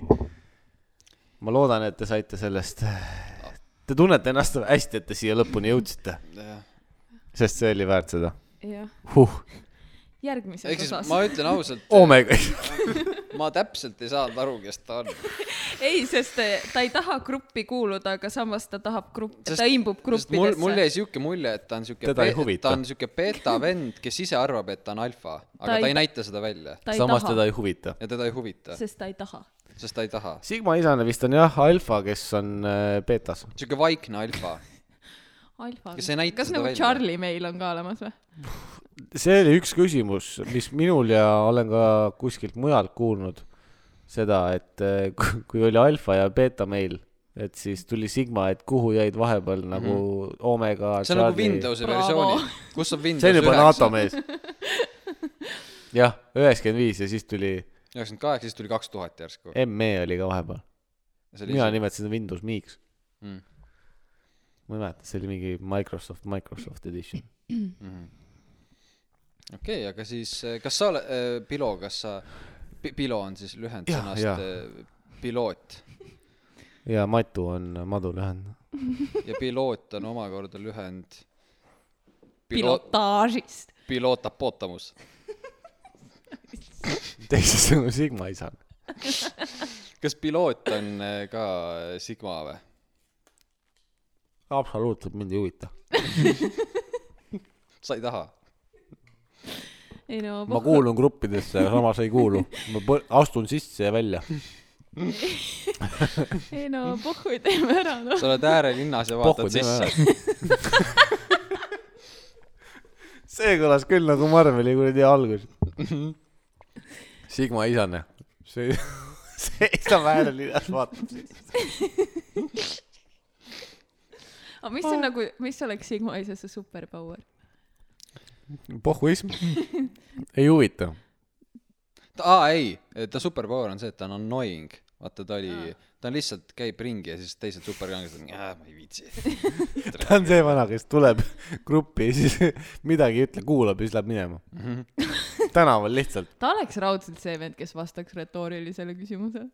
Speaker 1: ma loodan , et te saite sellest , te tunnete ennast hästi , et te siia lõpuni jõudsite , sest see oli väärt seda .
Speaker 3: jah ,
Speaker 1: huh ,
Speaker 3: järgmises
Speaker 6: ehk siis
Speaker 3: osas
Speaker 6: ma . ütlen ausalt ,
Speaker 1: omega .
Speaker 6: ma täpselt ei saanud aru , kes ta on .
Speaker 3: ei , sest eh, ta ei taha gruppi kuuluda , aga samas ta tahab gruppi ,
Speaker 6: Sest-
Speaker 3: ta imbub
Speaker 6: mul ,
Speaker 3: gruppidesse .
Speaker 6: mul jäi siuke mulje , et ta on siuke
Speaker 1: Teda ei huvita.
Speaker 6: ta on siuke beeta vend , kes ise arvab , et ta on alfa , aga
Speaker 3: Ta
Speaker 6: ta
Speaker 3: ei-
Speaker 6: ei, ta ei näita seda välja
Speaker 3: ta ei
Speaker 1: samas
Speaker 3: taha ,
Speaker 1: teda ei huvita .
Speaker 6: ja teda ei huvita ,
Speaker 3: sest ta ei taha .
Speaker 6: sest ta ei taha .
Speaker 1: Sigma isane vist on jah alfa , kes on äh, beetas .
Speaker 6: siuke vaikne alfa .
Speaker 3: alfa .
Speaker 6: Kas ei näita
Speaker 3: kas
Speaker 6: seda
Speaker 3: nagu
Speaker 6: välja?
Speaker 3: Charlie meil on ka olemas või ?
Speaker 1: see oli üks küsimus , mis minul ja olen ka kuskilt mujalt kuulnud seda , et äh, ku- kui oli alfa ja beeta meil , et siis tuli Sigma , et kuhu jäid vahepeal nagu mm -hmm. omega .
Speaker 6: see on nagu Windowsi
Speaker 3: Bravo.
Speaker 6: versioonid , kus on Windows
Speaker 1: see on juba NATO mees . jah , üheksakümmend viis ja siis tuli ,
Speaker 2: üheksakümmend kaheksa , siis tuli kaks tuhat järsku .
Speaker 1: ME oli ka vahepeal . mina nimetasin seda Windows Me'ks .
Speaker 2: Mm.
Speaker 1: ma ei mäleta , see oli mingi Microsoft , Microsoft Edition .
Speaker 2: okei , aga siis ,
Speaker 6: eh,
Speaker 2: kas sa oled , Pilo , kas sa , Pilo on siis lühend
Speaker 1: Jah,
Speaker 2: sõnast
Speaker 1: jah.
Speaker 6: eh,
Speaker 2: äh, piloot
Speaker 1: ja Matu on madu lühend .
Speaker 2: ja piloot on omakorda lühend . piloot ,
Speaker 3: pilotaažist .
Speaker 2: pilootab ootamus .
Speaker 1: teisisõnu Sigma isa .
Speaker 2: kas piloot on äh, ka Sigma või ?
Speaker 1: absoluutselt mind ei huvita .
Speaker 2: sa ei taha ?
Speaker 3: ei no ,
Speaker 1: ma kuulun gruppidesse , aga samas ei kuulu . ma põ- astun sisse ja välja .
Speaker 3: ei no pohhu , teeme ära noh .
Speaker 2: sa oled äärelinnas ja
Speaker 1: Pohhu,
Speaker 2: vaatad
Speaker 1: teeme
Speaker 2: sisse .
Speaker 1: see kõlas küll nagu Marveli kuradi algus . Sigma isane . see , see isa väärilinnas vaatab siis .
Speaker 3: aga mis on nagu , mis oleks Sigma ise see superpower ?
Speaker 1: pohhuism . ei huvita .
Speaker 2: aa , ei , ta superpower on see , et ta on annoying . vaata , ta oli , ta lihtsalt käib ringi ja siis teised superkangelased on , ma ei viitsi .
Speaker 1: ta on see vana , kes tuleb gruppi ja siis midagi ei ütle , kuulab ja siis läheb minema . tänaval lihtsalt .
Speaker 3: ta oleks raudselt see vend , kes vastaks retoorilisele küsimusele .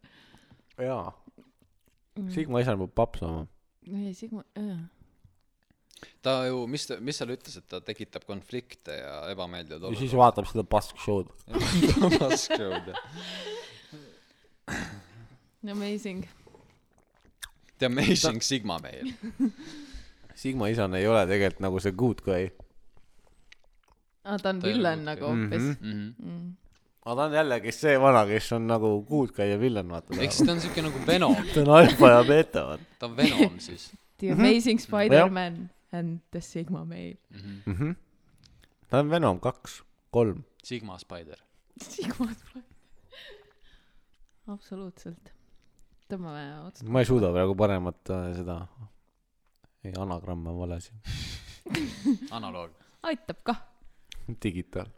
Speaker 1: jaa .
Speaker 3: Mm.
Speaker 1: Sigma isa peab papsama .
Speaker 3: ei , Sigma ,
Speaker 2: ta ju , mis , mis seal ütles , et ta tekitab konflikte ja ebameeldivad
Speaker 1: ja siis vaatab seda Bask Show'd .
Speaker 2: olukorrad .
Speaker 3: amazing .
Speaker 2: The Amazing Sigma meil .
Speaker 1: Sigma isane ei ole tegelikult nagu see good guy .
Speaker 3: aa , Ah, ta on
Speaker 2: Ta ei ole Mhm.
Speaker 3: villan
Speaker 2: good
Speaker 3: nagu hoopis .
Speaker 1: Mhm.
Speaker 3: Mm.
Speaker 1: aga ta on jällegi see vana , kes on nagu good guy ja villain , vaata .
Speaker 2: ehk siis ta on siuke nagu Venom ,
Speaker 1: ta on alfa ja beeta , vaata .
Speaker 2: ta on Venom siis .
Speaker 3: The amazing Spider-man and the Sigma male .
Speaker 2: Mhm.
Speaker 1: ta on Venom kaks , kolm .
Speaker 2: Sigma Spider .
Speaker 3: Sigma Spider . absoluutselt . tõmbame otsa .
Speaker 1: ma ei suuda praegu paremat äh, seda , ei anagramm on vale asi ,
Speaker 2: analoog .
Speaker 3: aitab kah .
Speaker 1: digitaal .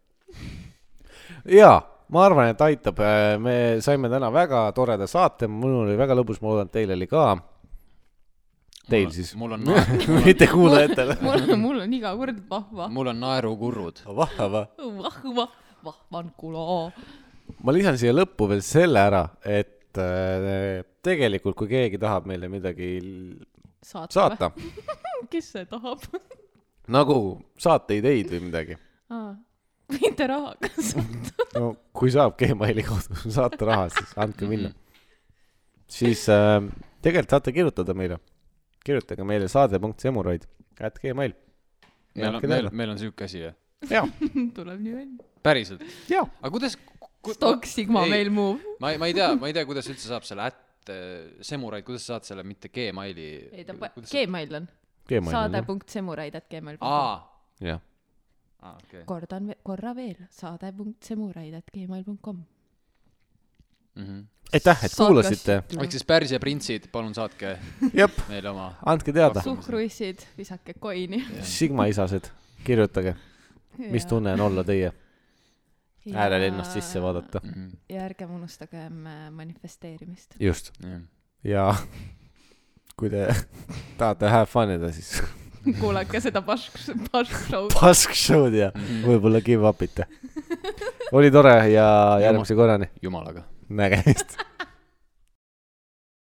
Speaker 1: jaa , ma arvan , et aitab , me saime täna väga toreda saate , mul oli väga lõbus , ma loodan , et teil oli ka . Teil siis ,
Speaker 2: mul on ,
Speaker 1: mitte kuulajatele .
Speaker 3: mul , mul on iga kord vahva ,
Speaker 2: mul on naerukurud .
Speaker 1: vahva
Speaker 3: vahva , vahvan kulo .
Speaker 1: ma lisan siia lõppu veel selle ära , et äh, tegelikult , kui keegi tahab meile midagi l-
Speaker 3: saata,
Speaker 1: saata ,
Speaker 3: või ? kes see tahab ?
Speaker 1: nagu saateideid või midagi ,
Speaker 3: mitte rahaga saata .
Speaker 1: no kui saab Gmaili kaudu saata raha , siis andke minna . siis äh, tegelikult saate kirjutada meile , kirjutage meile saade.semuraid , at Gmail .
Speaker 2: meil on , meil , meil on siuke asi , jah ?
Speaker 1: ja ,
Speaker 3: tuleb nii välja .
Speaker 2: päriselt ?
Speaker 1: ja ,
Speaker 2: aga kuidas ku,
Speaker 3: Stock Sigma
Speaker 2: ei.
Speaker 3: male move .
Speaker 2: ma ei , ma ei tea , ma ei tea , kuidas üldse saab selle ätt semuraid , kuidas sa saad selle mitte Gmaili .
Speaker 3: ei ta , Gmail on .
Speaker 1: Gmail .
Speaker 3: saade.semuraid.gmail.com .
Speaker 2: aa ,
Speaker 1: jah ,
Speaker 2: aa , okei .
Speaker 3: kordan ve- korra veel , saade.semuraid.gmail.com .
Speaker 1: aitäh , et kuulasite ,
Speaker 2: Mhm. ehk siis pärs ja printsid , palun saatke
Speaker 1: jep ,
Speaker 2: meile oma .
Speaker 1: andke teada ,
Speaker 3: suhkruissid , visake koini .
Speaker 1: Sigma isased , kirjutage , mis tunne on olla teie äärelinnast sisse vaadata .
Speaker 2: Mhm,
Speaker 3: ja ärgem unustagem äh, manifesteerimist .
Speaker 1: just . ja kui te tahate have fun ida , siis
Speaker 3: kuulake seda Bask , Bask show'd .
Speaker 1: pask show'd ja
Speaker 2: Mhm.
Speaker 1: võib-olla give up ite . oli tore ja järgmise korrani ,
Speaker 2: jumalaga .
Speaker 1: nägemist .